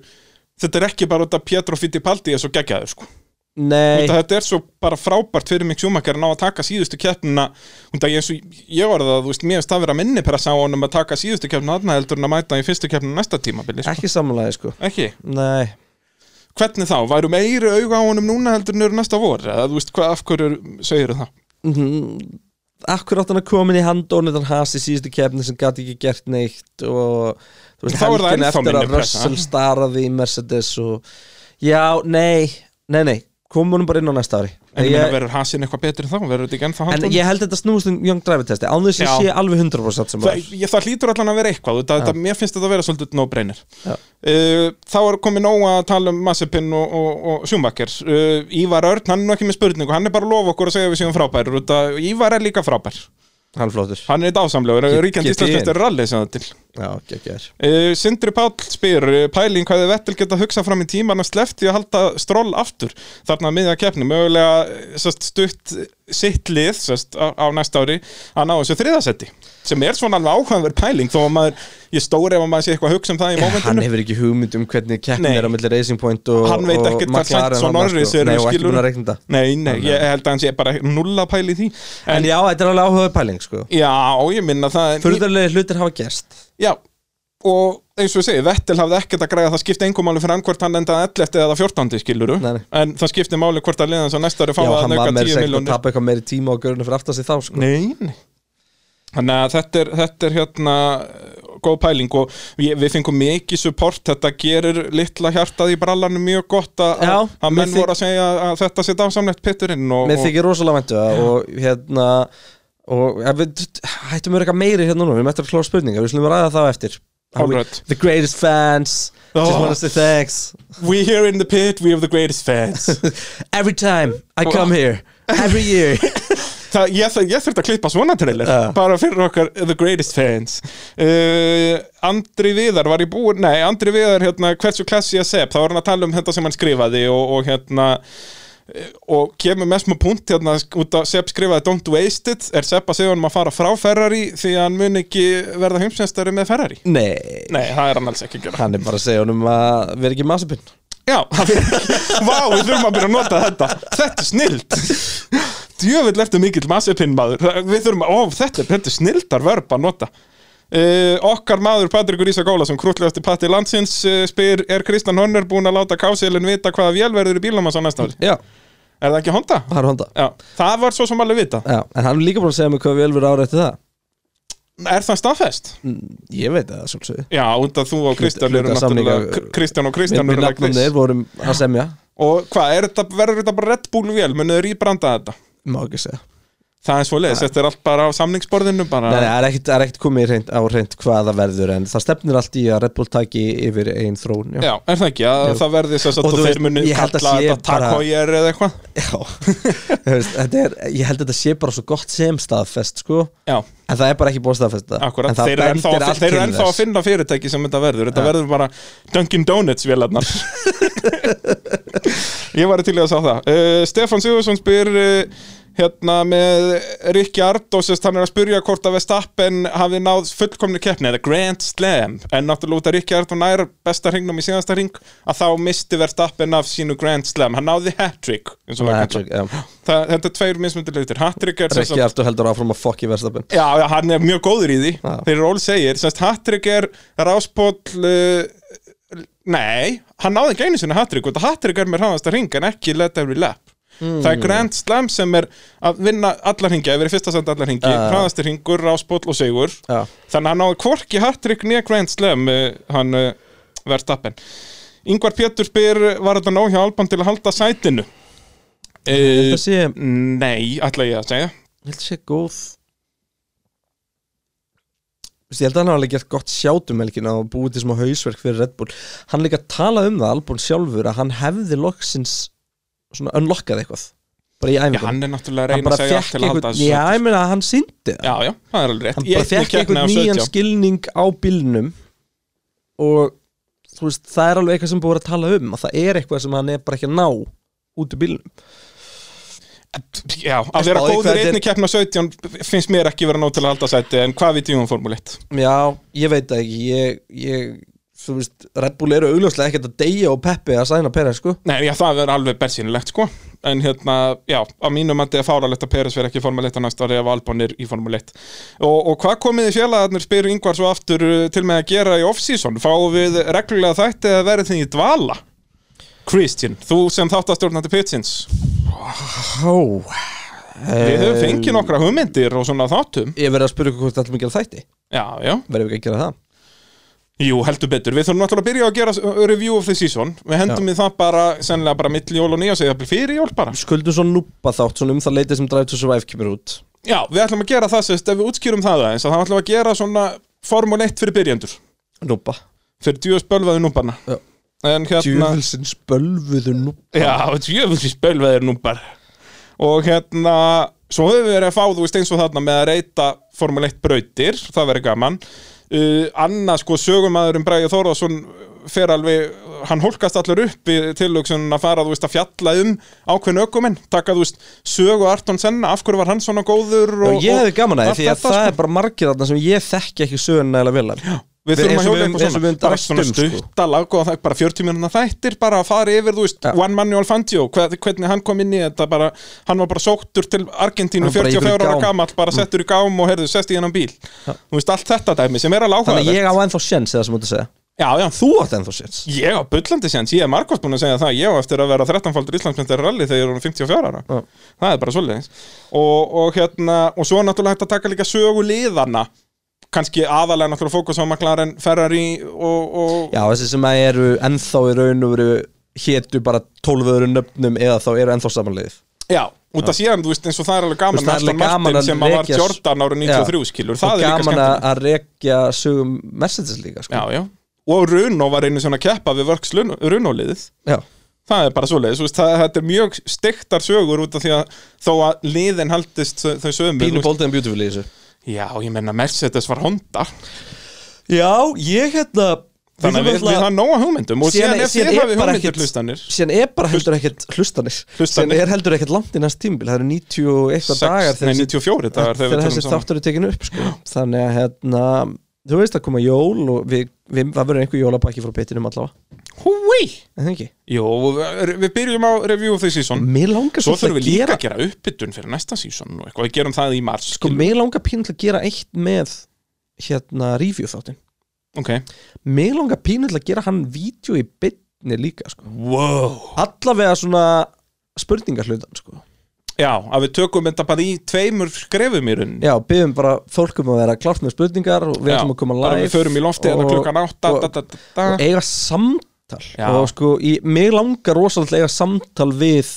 [SPEAKER 2] þetta er ekki bara út af Pietro Fittipaldi er svo geggjaður sko
[SPEAKER 1] nei,
[SPEAKER 2] Þetta, þetta er svo bara frábært fyrir Mick Schumacher að ná að taka síðustu keppnina Þetta ég, eins og ég var það, þú veist, mér finnst það vera minni pressa á honum að taka síðustu keppnina þarna heldur en að mæta í fyrstu keppnina næsta tímabili sko.
[SPEAKER 1] ekki samanlega sko
[SPEAKER 2] Ekki?
[SPEAKER 1] nei,
[SPEAKER 2] Hvernig þá? Væru meiri auga á honum núna heldur en eru næsta vor? Eða þú veist, hvað, af hverju segir það?
[SPEAKER 1] akkur átt hann að koma inn í handóniðan hans í síðustu kefni sem gæti ekki gert neitt og þú veist,
[SPEAKER 2] Þá er það
[SPEAKER 1] helgin
[SPEAKER 2] ennþá
[SPEAKER 1] eftir að
[SPEAKER 2] minni pressa.
[SPEAKER 1] Russell staraði í Mercedes og já, nei, nei, nei komum honum bara inn á næsta ári
[SPEAKER 2] En ég, meina,
[SPEAKER 1] ég,
[SPEAKER 2] verður hasinn eitthvað betur þá? Verður þetta ekki ennþá
[SPEAKER 1] en
[SPEAKER 2] handbólinn?
[SPEAKER 1] ég held þetta snúist um Young Driver testi, án þess að
[SPEAKER 2] Já.
[SPEAKER 1] ég sé alveg 100% sem
[SPEAKER 2] Það,
[SPEAKER 1] var
[SPEAKER 2] ég, það hlýtur allan að vera eitthvað þetta, þetta, Mér finnst þetta að vera svolítið no-brainer
[SPEAKER 1] Já.
[SPEAKER 2] uh, Þá er komið nóg að tala um Massepin og, og, og Schumacher uh, Ívar Örn, hann er nú ekki með spurningu Hann er bara að lofa okkur að segja að við séum frábær út að Ívar er líka frábær
[SPEAKER 1] hann flóttur
[SPEAKER 2] Hann er dásamlegur,
[SPEAKER 1] Get-
[SPEAKER 2] ríkjandi
[SPEAKER 1] get ég
[SPEAKER 2] íslensmestur er allir sem það til
[SPEAKER 1] já, geggjær
[SPEAKER 2] uh, Sindri Páll spyr uh, Pæling hvað þið Vettel geta hugsað fram í tíman að slefti að halda stról aftur Þarna að miðja keppni, mögulega eh, sest, stutt sitt lið sest, á, á næsta ári að ná þessu þriðasetti sem er svona alveg áhugaverð pæling þó að maður, ég stóri ef að maður sé eitthvað að hugsa um það í
[SPEAKER 1] Eh, hann
[SPEAKER 2] mómentinu
[SPEAKER 1] hefur ekki hugmynd um hvernig keppni
[SPEAKER 2] Nei.
[SPEAKER 1] er á milli Racing Point og
[SPEAKER 2] Hann veit
[SPEAKER 1] og
[SPEAKER 2] ekkert
[SPEAKER 1] McLaren
[SPEAKER 2] hvað Sainz og
[SPEAKER 1] þarna,
[SPEAKER 2] Norris
[SPEAKER 1] sko.
[SPEAKER 2] eru,
[SPEAKER 1] nei, og ekki
[SPEAKER 2] skilur.
[SPEAKER 1] búin að reikna þetta
[SPEAKER 2] Nei, nei, ég held að hann sé bara nulla pæli í því
[SPEAKER 1] en
[SPEAKER 2] en,
[SPEAKER 1] já, þetta er alveg áhugaðu pæling sko
[SPEAKER 2] Já, ég minna það
[SPEAKER 1] Furðarlega hlutir hafa gerst
[SPEAKER 2] Já, og eins og ég segi, Vettel hafði ekkert að græða það skipti engum máli fyrir hann hvort hann endaði 11 eða 14 skiluru,
[SPEAKER 1] Nei, nei.
[SPEAKER 2] en það skipti máli hvort að liðan svo næsta ári fá
[SPEAKER 1] Já,
[SPEAKER 2] að
[SPEAKER 1] hann var
[SPEAKER 2] nauka
[SPEAKER 1] með
[SPEAKER 2] 10
[SPEAKER 1] þess að
[SPEAKER 2] miljónir
[SPEAKER 1] tapa eitthvað meiri tíma á görunum fyrir aftar sig þá sko.
[SPEAKER 2] Nei, nei Þannig að þetta er, þetta er hérna uh, góð pæling og við, við fengum mikið support, þetta gerir litla hjartað í brallanum mjög gott að,
[SPEAKER 1] Já,
[SPEAKER 2] að- að
[SPEAKER 1] mér
[SPEAKER 2] menn
[SPEAKER 1] þyk-
[SPEAKER 2] voru að segja að þetta sé dásamlegt pitturinn og,
[SPEAKER 1] Mér
[SPEAKER 2] og
[SPEAKER 1] þykir rosalega væntu það og hérna og ja, við hættum við eitthvað meiri hérna núna við mættum að klára spurningar, við slum að ræða það á eftir How we-
[SPEAKER 2] Alright.
[SPEAKER 1] The greatest fans Just
[SPEAKER 2] Oh.
[SPEAKER 1] wanna say thanks
[SPEAKER 2] We here in the pit, we have the greatest fans
[SPEAKER 1] Every time I come here Every year
[SPEAKER 2] Það, ég, þ- ég þurfti að klippa svona trailer
[SPEAKER 1] Já.
[SPEAKER 2] bara fyrir okkar The Greatest Fans uh, Andri Viðar var í búin nei, Andri Viðar, hérna, hversu klassi ég sep þá var hann að tala um þetta sem hann skrifaði og, og hérna eh, og kemur með smá punkt hérna sk- út að Sepp skrifaði Don't Waste It er Sepp að segja hann að fara frá Ferrari því að hann mun ekki verða heimsmeistari með Ferrari
[SPEAKER 1] Nei,
[SPEAKER 2] Nei, það er hann alls ekki að gera
[SPEAKER 1] hann er bara að segja honum að vera ekki masapinn
[SPEAKER 2] Já, það er Vá, við þurfum að byrja að nota þetta Þetta er snilt Djöfull eftir mikill massipinn maður Við þurfum að, ó, þetta, er- þetta er snildar verb að nota Uh, okkar maður Patrikur Ísak Ólason krútlegasti patti landsins uh, spyr er Kristján Hönner búin að láta kásilin vita hvaða vél verður í bílum hans á næsta ári
[SPEAKER 1] Já,
[SPEAKER 2] er það ekki Honda?
[SPEAKER 1] það er honda
[SPEAKER 2] Já, það var svo sem alveg vita
[SPEAKER 1] Já, en hann er líka búin að segja mig hvað við elfur ára eftir það
[SPEAKER 2] er það staðfest?
[SPEAKER 1] Ég veit það, svolítið
[SPEAKER 2] Já, undan þú og Kristján
[SPEAKER 1] Mm. hluta
[SPEAKER 2] eru
[SPEAKER 1] samninga-
[SPEAKER 2] náttúrulega Kr- Kristján og
[SPEAKER 1] Við
[SPEAKER 2] Kristján
[SPEAKER 1] við
[SPEAKER 2] eru like
[SPEAKER 1] nafnum þeir
[SPEAKER 2] this.
[SPEAKER 1] vorum að semja
[SPEAKER 2] og hvað, er þetta- verður þetta bara Red Bull vél munið þau rýbranda þetta?
[SPEAKER 1] Má ekki segja
[SPEAKER 2] Það er svo leiðis, þetta er allt bara á samningsborðinu bara.
[SPEAKER 1] Nei, nei, það er ekkert- það er ekkert komið í hreint, á reynd hvað það verður en það stefnir allt í að Red Bull taki yfir einn þrón
[SPEAKER 2] Já, er það ekki að
[SPEAKER 1] Jú.
[SPEAKER 2] það verði þess
[SPEAKER 1] Og
[SPEAKER 2] að
[SPEAKER 1] þú
[SPEAKER 2] þeir
[SPEAKER 1] veist,
[SPEAKER 2] muni
[SPEAKER 1] ég held að
[SPEAKER 2] kalla
[SPEAKER 1] sé
[SPEAKER 2] þetta
[SPEAKER 1] bara-
[SPEAKER 2] takhójar eða eitthvað?
[SPEAKER 1] Já, Þú veist, þetta er, ég held að þetta sé bara svo gott sem staðfest sko
[SPEAKER 2] Já,
[SPEAKER 1] En það er bara ekki búið að staðfesta
[SPEAKER 2] akkurat,
[SPEAKER 1] En það
[SPEAKER 2] þeir eru ennþá,
[SPEAKER 1] bendir
[SPEAKER 2] að-
[SPEAKER 1] allt
[SPEAKER 2] þeir eru
[SPEAKER 1] til
[SPEAKER 2] ennþá að
[SPEAKER 1] þess.
[SPEAKER 2] finna fyrirtæki sem þetta verður, þetta verður bara Dunkin Donuts vélarnar Ég var til í að sá það uh, Stefan Sigurðsson spyr uh, hérna með Rikki Ardósist, hann er að spyrja hvort að Vestappen hafi náð fullkomni keppni eða Grand Slam, en náttúrulega út að Rikki Ardó nær besta hringnum í síðasta hring að þá misti Vestappen af sínu Grand Slam hann náði hat-trick, eins
[SPEAKER 1] Nei,
[SPEAKER 2] og það er
[SPEAKER 1] Hattrick,
[SPEAKER 2] kallað.
[SPEAKER 1] já.
[SPEAKER 2] Það- þetta er tveir mismundir leitir, hat-trick er sem sagt-
[SPEAKER 1] Rikki Artur heldur áfram að fokki verðstapin
[SPEAKER 2] Já, já, hann er mjög góður í því
[SPEAKER 1] Já.
[SPEAKER 2] Þeir eru ól segir, semst Hattrick er ráspóll uh, Nei, hann náði ekki einu sinni Hattrick og Hattrick er með hraðasta hring en ekki let every lap Það
[SPEAKER 1] Hmm.
[SPEAKER 2] er Grand Slam sem er að vinna allar hringi, að vera í fyrsta senda allar hringi uh. hraðasti hringur, ráspóll og segur
[SPEAKER 1] Já.
[SPEAKER 2] Þannig að hann náði hvorki Hattrick nýja Grand Slam uh, hann uh, verðt appen Yngvar Pétur spyr, var þetta nóg hjá Alban til að halda sætinu? Uh,
[SPEAKER 1] Það sé, ég
[SPEAKER 2] nei, ætla ég að segja
[SPEAKER 1] held að sé góð Þú veist, Ég held að hann hafa alveg gert gott sjátum helgina og búið til smá hausverk fyrir Red Bull Hann líka talaði um það, Albon sjálfur að hann hefði loksins svona unlockað eitthvað bara í
[SPEAKER 2] Já,
[SPEAKER 1] æfingunum
[SPEAKER 2] hann er náttúrulega að
[SPEAKER 1] hann
[SPEAKER 2] reyna
[SPEAKER 1] bara
[SPEAKER 2] að segja allt
[SPEAKER 1] fekk
[SPEAKER 2] til að halda
[SPEAKER 1] einhvern
[SPEAKER 2] þessu
[SPEAKER 1] já, ég meina að hann síndi það
[SPEAKER 2] Já, já, það er alveg rétt
[SPEAKER 1] hann
[SPEAKER 2] Í
[SPEAKER 1] bara
[SPEAKER 2] einni
[SPEAKER 1] fekk
[SPEAKER 2] keppni á
[SPEAKER 1] einhvern nýjan
[SPEAKER 2] 17.
[SPEAKER 1] skilning á bílnum og þú veist, það er alveg eitthvað sem búið að tala um að það er eitthvað sem hann er bara ekki að ná út úr bílnum
[SPEAKER 2] Já, að
[SPEAKER 1] Spáði
[SPEAKER 2] vera
[SPEAKER 1] hvað
[SPEAKER 2] góður í
[SPEAKER 1] þetta
[SPEAKER 2] einni keppni á 17 finnst mér ekki vera nóg til að halda sæti en hvað um við tíum formúli 1
[SPEAKER 1] já, ég veit það ekki ég, ég, þú veist, Red Bull eru augljóslega ekkert að deyja og peppi að sæna perra, sko
[SPEAKER 2] Nei, já, það er alveg bersýnilegt, sko En hérna, já, á mínum að þetta er fáralegt að Peres vera ekki í formúli 1 að næsta ári ef Albon er í formúli 1 og, og hvað komið í félagarnir spyr yngvar svo aftur uh, til með að gera í off-season Fáum við reglulega þætti að verið þín í dvala? Christian, þú sem þáttastjórnandi pitsins
[SPEAKER 1] Hó,
[SPEAKER 2] Við höfum
[SPEAKER 1] Eh,
[SPEAKER 2] fengið nokkra hugmyndir og svona þáttum
[SPEAKER 1] ég verið að spyrja ykkur hvort það er mikið að gera þætti
[SPEAKER 2] Já, já
[SPEAKER 1] verðum við ekki að gera það
[SPEAKER 2] Jú, heldur betur. Við þurfum náttúrulega að byrja að gera uh, review of the season. Við hendum í það bara, sennilega bara milli jól og nýja, segja jafnvel fyrir jól bara.
[SPEAKER 1] skuldum svo núpa þátt, svona um það leitið sem Drive to Survive kemur út
[SPEAKER 2] Já, við ætlum að gera það, sérst, ef við útskýrum það aðeins, að það ætlum við að gera svona formule 1 fyrir byrjendur.
[SPEAKER 1] núpa,
[SPEAKER 2] Fyrir djúðs bölvaði núbarna.
[SPEAKER 1] Já.
[SPEAKER 2] En hérna...
[SPEAKER 1] djúvilsins bölvuðu núpa
[SPEAKER 2] Já, djúðs bölvaði núbar. Og hérna, svo höfum við verið að fá, þú veist, eins og þarna með að reyta formule 1 brautir, það verið gaman. Uh, annað, sko, sögumæðurinn Bræði Þórðarsson fer alveg, hann hólkast allir upp í tilöksunum að fara, þú veist, að fjalla um ákveðin ökumenn, taka, þú veist, sögu Arton Senna, af hverju var hann svona góður
[SPEAKER 1] Já,
[SPEAKER 2] og,
[SPEAKER 1] ég hefði gaman að
[SPEAKER 2] allt
[SPEAKER 1] því að
[SPEAKER 2] þetta,
[SPEAKER 1] það
[SPEAKER 2] sko.
[SPEAKER 1] er bara margir þarna sem ég þekki ekki söguna nægilega vel af.
[SPEAKER 2] Við Við
[SPEAKER 1] Við-
[SPEAKER 2] þurfum
[SPEAKER 1] eins
[SPEAKER 2] að
[SPEAKER 1] og
[SPEAKER 2] hjóla
[SPEAKER 1] við-
[SPEAKER 2] eitthvað
[SPEAKER 1] eins og við
[SPEAKER 2] svona,
[SPEAKER 1] höfum
[SPEAKER 2] bara
[SPEAKER 1] rætt
[SPEAKER 2] svona
[SPEAKER 1] um, sko.
[SPEAKER 2] stutta laggóða þætt, bara 40 minúna þættir, bara að fara yfir, þú veist,
[SPEAKER 1] Já.
[SPEAKER 2] One Manuel Fangio, hver, hvernig hann kom inn í þetta, bara, hann var bara sóttur til Argentínu
[SPEAKER 1] Hann var bara í
[SPEAKER 2] 44 ára
[SPEAKER 1] ykkur gám. Mm.
[SPEAKER 2] gamall, bara settur í gám og herðu, sest í hennan bíl, þú veist, allt þetta dæmi sem er að lága
[SPEAKER 1] Þannig að ég á ennþá sjens eða sem mútu að segja
[SPEAKER 2] Já, já,
[SPEAKER 1] Þú átt ennþá sjens
[SPEAKER 2] Ég á bullandi séns, ég er margvast búin að segja það Ég á eftir að vera 13-faldur Íslandsmyndar rally þegar ég er orðinn 54 ára
[SPEAKER 1] Já.
[SPEAKER 2] Það er bara svoleiðis og, og hérna, og svo er náttúrulega hægt að taka líka sögu liðana kannski aðalega náttúrulega fókus á McLaren, Ferrari og, og
[SPEAKER 1] Já, þessi sem að eru ennþá í raun og veru hétu bara 12 öðru nöfnum eða þá eru ennþá samanliðið
[SPEAKER 2] Já, út af síðan, þú veist, eins og það er
[SPEAKER 1] Þú
[SPEAKER 2] alveg gaman
[SPEAKER 1] veist, það er
[SPEAKER 2] Aston
[SPEAKER 1] alveg gaman
[SPEAKER 2] Martin
[SPEAKER 1] að
[SPEAKER 2] sem að var
[SPEAKER 1] rekja-
[SPEAKER 2] Jordan árið 93 skilur,
[SPEAKER 1] Og
[SPEAKER 2] það er líka
[SPEAKER 1] gaman að-
[SPEAKER 2] skemmtilegt
[SPEAKER 1] að rekja sögum Mercedes líka sko.
[SPEAKER 2] Já, já, og Runo var einu svona keppa við vörks Runo-liðið
[SPEAKER 1] Já.
[SPEAKER 2] það er bara svoleiðis, þú veist, það, þetta er mjög stektar sögur út af því að þó að liðin haldist þau þau sömu
[SPEAKER 1] Pínu
[SPEAKER 2] þú veist-
[SPEAKER 1] boldið en beautiful í þessu
[SPEAKER 2] Já, ég menna Mercedes var Honda
[SPEAKER 1] Já, ég hérna
[SPEAKER 2] þannig að við, við það nóga hugmyndum og síðan, síðan ef þið hafi hugmyndur hlustanir
[SPEAKER 1] Síðan er bara heldur ekkert hlustanir
[SPEAKER 2] Hlustanir.
[SPEAKER 1] Síðan er heldur ekkert langt í næst tímbil Það eru 91
[SPEAKER 2] Sex-
[SPEAKER 1] dagar
[SPEAKER 2] nei,
[SPEAKER 1] þessi-
[SPEAKER 2] 94 dagar þegar við
[SPEAKER 1] Þegar
[SPEAKER 2] tölum
[SPEAKER 1] þessi
[SPEAKER 2] saman.
[SPEAKER 1] þáttur er tekin upp sko. Þannig að hérna Þú veist að koma jól og við, við, það verður einhver jólapakki frá betinum allavega
[SPEAKER 2] Húi!
[SPEAKER 1] En það ekki
[SPEAKER 2] Jó, við við byrjum á review of the season
[SPEAKER 1] Mér langar
[SPEAKER 2] Svo
[SPEAKER 1] svolítið
[SPEAKER 2] þurfum
[SPEAKER 1] að
[SPEAKER 2] við líka
[SPEAKER 1] gera
[SPEAKER 2] að gera uppbytun fyrir næsta season og eitthvað, við gerum það í mars
[SPEAKER 1] Sko, mér langar pínu til að gera eitt með Hérna review þáttin
[SPEAKER 2] Ok,
[SPEAKER 1] Mér langar pínu til að gera hann vídeo í bitni líka sko.
[SPEAKER 2] wow
[SPEAKER 1] Allavega svona spurningar hlutan sko.
[SPEAKER 2] Já, að við tökum þetta bara í tveimur skrefum í rauninni
[SPEAKER 1] Já, byggjum bara fólkum að vera klárt með spurningar og við
[SPEAKER 2] Já,
[SPEAKER 1] ætlum að koma
[SPEAKER 2] bara
[SPEAKER 1] live
[SPEAKER 2] Við förum í lofti hérna
[SPEAKER 1] og-
[SPEAKER 2] klukkan átta
[SPEAKER 1] og,
[SPEAKER 2] da, da, da, da.
[SPEAKER 1] og eiga samtal
[SPEAKER 2] Já.
[SPEAKER 1] og sko, í, mig langar rosalega að eiga samtal við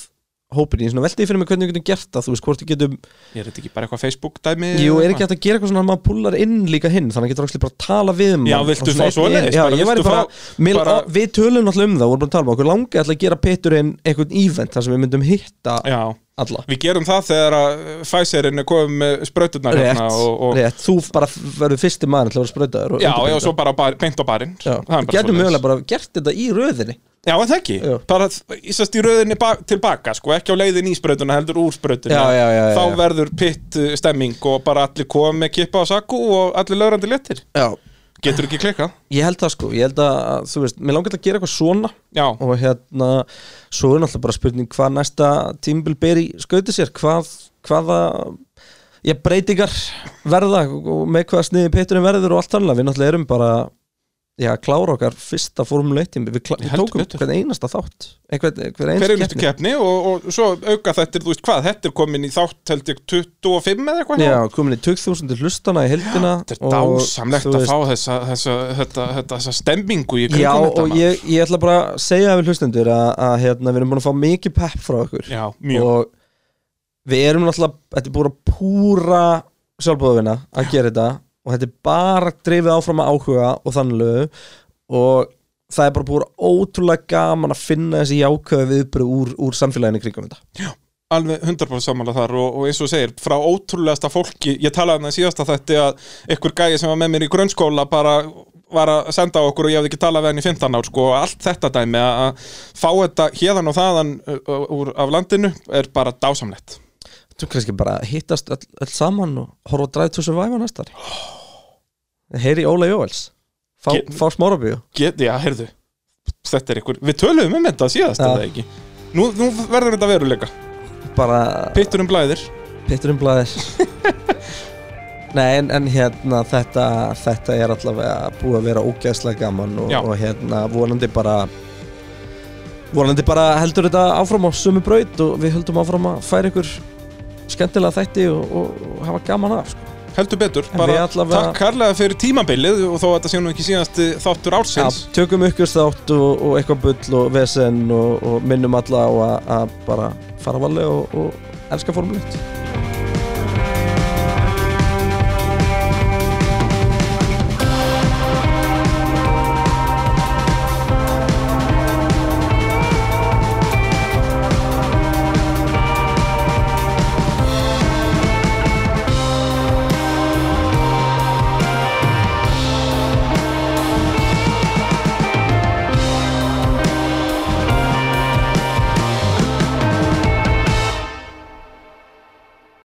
[SPEAKER 1] hópinni, svona veltið fyrir mig hvernig við getum gert það, þú veist, hvort við getum
[SPEAKER 2] Er þetta ekki bara eitthvað Facebook dæmi?
[SPEAKER 1] jú,
[SPEAKER 2] eða
[SPEAKER 1] er ekki hægt að gera eitthvað svona að maður pullar inn líka hinn, þannig að getur ókslega bara að tala við mann
[SPEAKER 2] Já,
[SPEAKER 1] og
[SPEAKER 2] viltu
[SPEAKER 1] svona
[SPEAKER 2] fá
[SPEAKER 1] einn-
[SPEAKER 2] svoleiðis?
[SPEAKER 1] Já,
[SPEAKER 2] Bara
[SPEAKER 1] ég væri
[SPEAKER 2] viltu
[SPEAKER 1] bara,
[SPEAKER 2] fá
[SPEAKER 1] mér,
[SPEAKER 2] bara-
[SPEAKER 1] á- við tölum alltaf um það, vorum bara að tala um okkur langar alltaf að gera Peturinn einhvern event þar sem við myndum hitta
[SPEAKER 2] Já,
[SPEAKER 1] alla
[SPEAKER 2] við gerum það þegar að Pfizerin er komið með sprauturnar
[SPEAKER 1] rétt,
[SPEAKER 2] hérna og, og,
[SPEAKER 1] rétt, þú bara f- verður fyrsti maður til að vera sprautaður og
[SPEAKER 2] Já,
[SPEAKER 1] undirbúin
[SPEAKER 2] já,
[SPEAKER 1] þetta.
[SPEAKER 2] svo bara bar, beint á barinn
[SPEAKER 1] Já,
[SPEAKER 2] Það er bara
[SPEAKER 1] getum
[SPEAKER 2] svoleiðis.
[SPEAKER 1] mögulega bara gert þetta í röðinni
[SPEAKER 2] Já, en það ekki,
[SPEAKER 1] Já.
[SPEAKER 2] bara ísast í rauðinni ba tilbaka, sko, ekki á leiðin í sprautuna heldur úr sprautuna,
[SPEAKER 1] Já, já, já, já,
[SPEAKER 2] þá
[SPEAKER 1] já.
[SPEAKER 2] verður pitt uh, stemming og bara allir koma með kippa á sakku og allir lögrandi letir,
[SPEAKER 1] Já,
[SPEAKER 2] getur ekki klikkað
[SPEAKER 1] ég held það sko, ég held að, þú veist, mér langar til að gera eitthvað svona
[SPEAKER 2] Já,
[SPEAKER 1] og hérna, svo er náttúrulega bara spurning hvað næsta tímbil ber í skauti sér, hvað, hvaða ég breytingar verða og með hvaða sniði Peturinn verður og allt annað, við náttúrulega erum bara já, klára okkar fyrsta formuleitim við, klá, við
[SPEAKER 2] heldur
[SPEAKER 1] tókum
[SPEAKER 2] betur.
[SPEAKER 1] hvern einasta þátt einhver, hver
[SPEAKER 2] hver
[SPEAKER 1] einasta
[SPEAKER 2] einustu
[SPEAKER 1] keppni
[SPEAKER 2] keppni og, og svo auka þetta, þú veist hvað, þetta er komin í þátt held ég 25 eða eitthvað
[SPEAKER 1] Já, komin í 2000 hlustana í heldina
[SPEAKER 2] Þetta er
[SPEAKER 1] og,
[SPEAKER 2] dásamlegt
[SPEAKER 1] þú
[SPEAKER 2] að
[SPEAKER 1] veist,
[SPEAKER 2] fá þessa, þessa, þetta, þetta, þessa stemmingu í
[SPEAKER 1] Já,
[SPEAKER 2] kringum þetta
[SPEAKER 1] og ég, ég ætla bara að segja við hlustendur að, að hérna, við erum búin að fá mikið pepp frá okkur
[SPEAKER 2] Já, mjög
[SPEAKER 1] og við erum náttúrulega, þetta er búin að púra sjálfbóðvinna að gera þetta og þetta er bara drifið áfram að áhuga og þannlegu og það er bara búin ótrúlega gaman að finna þessi jákvæðu viðbröð úr, úr samfélaginu í kringum þetta
[SPEAKER 2] alveg 100% samanlega þar og, og eins og þú segir, frá ótrúlegasta fólki ég talaði um það síðasta þetta að einhver gæi sem var með mér í grunnskóla bara var að senda á okkur og ég hafði ekki talað við hann í 15 ár sko, og allt þetta dæmi að- að fá þetta hérðan og þaðan uh, uh, úr af landinu er bara dásamlegt
[SPEAKER 1] Þú kannski bara hittast öll, öll saman og horfa að dræða þessu væfa næstari Heyri Óla Jóels Fá,
[SPEAKER 2] Ge-
[SPEAKER 1] fá smárabíu
[SPEAKER 2] Get, já, heyrðu, þetta er einhver við töluðum um þetta síðast
[SPEAKER 1] Já.
[SPEAKER 2] eða ekki nú, nú verður þetta veruleika
[SPEAKER 1] bara
[SPEAKER 2] pitturum blæðir
[SPEAKER 1] Pitturum blæðir Nei, en, en hérna þetta, þetta er allavega búið að vera ógæðslega gaman og,
[SPEAKER 2] Já.
[SPEAKER 1] og hérna vonandi bara vonandi bara heldur þetta áfram á sömu braut og við höldum áfram að færa ykkur skemmtilega þætti og, og, og hafa gaman af sko.
[SPEAKER 2] heldur betur,
[SPEAKER 1] En
[SPEAKER 2] bara
[SPEAKER 1] við allavega-
[SPEAKER 2] takk kærlega fyrir tímabilið og þó að þetta sé nú ekki síðast þáttur
[SPEAKER 1] ja,
[SPEAKER 2] ársins
[SPEAKER 1] Tökum ykkur þátt og, og eitthvað bull og vesen og, og minnum alla á að, að bara fara valega og, og elska formuleitt
[SPEAKER 2] já.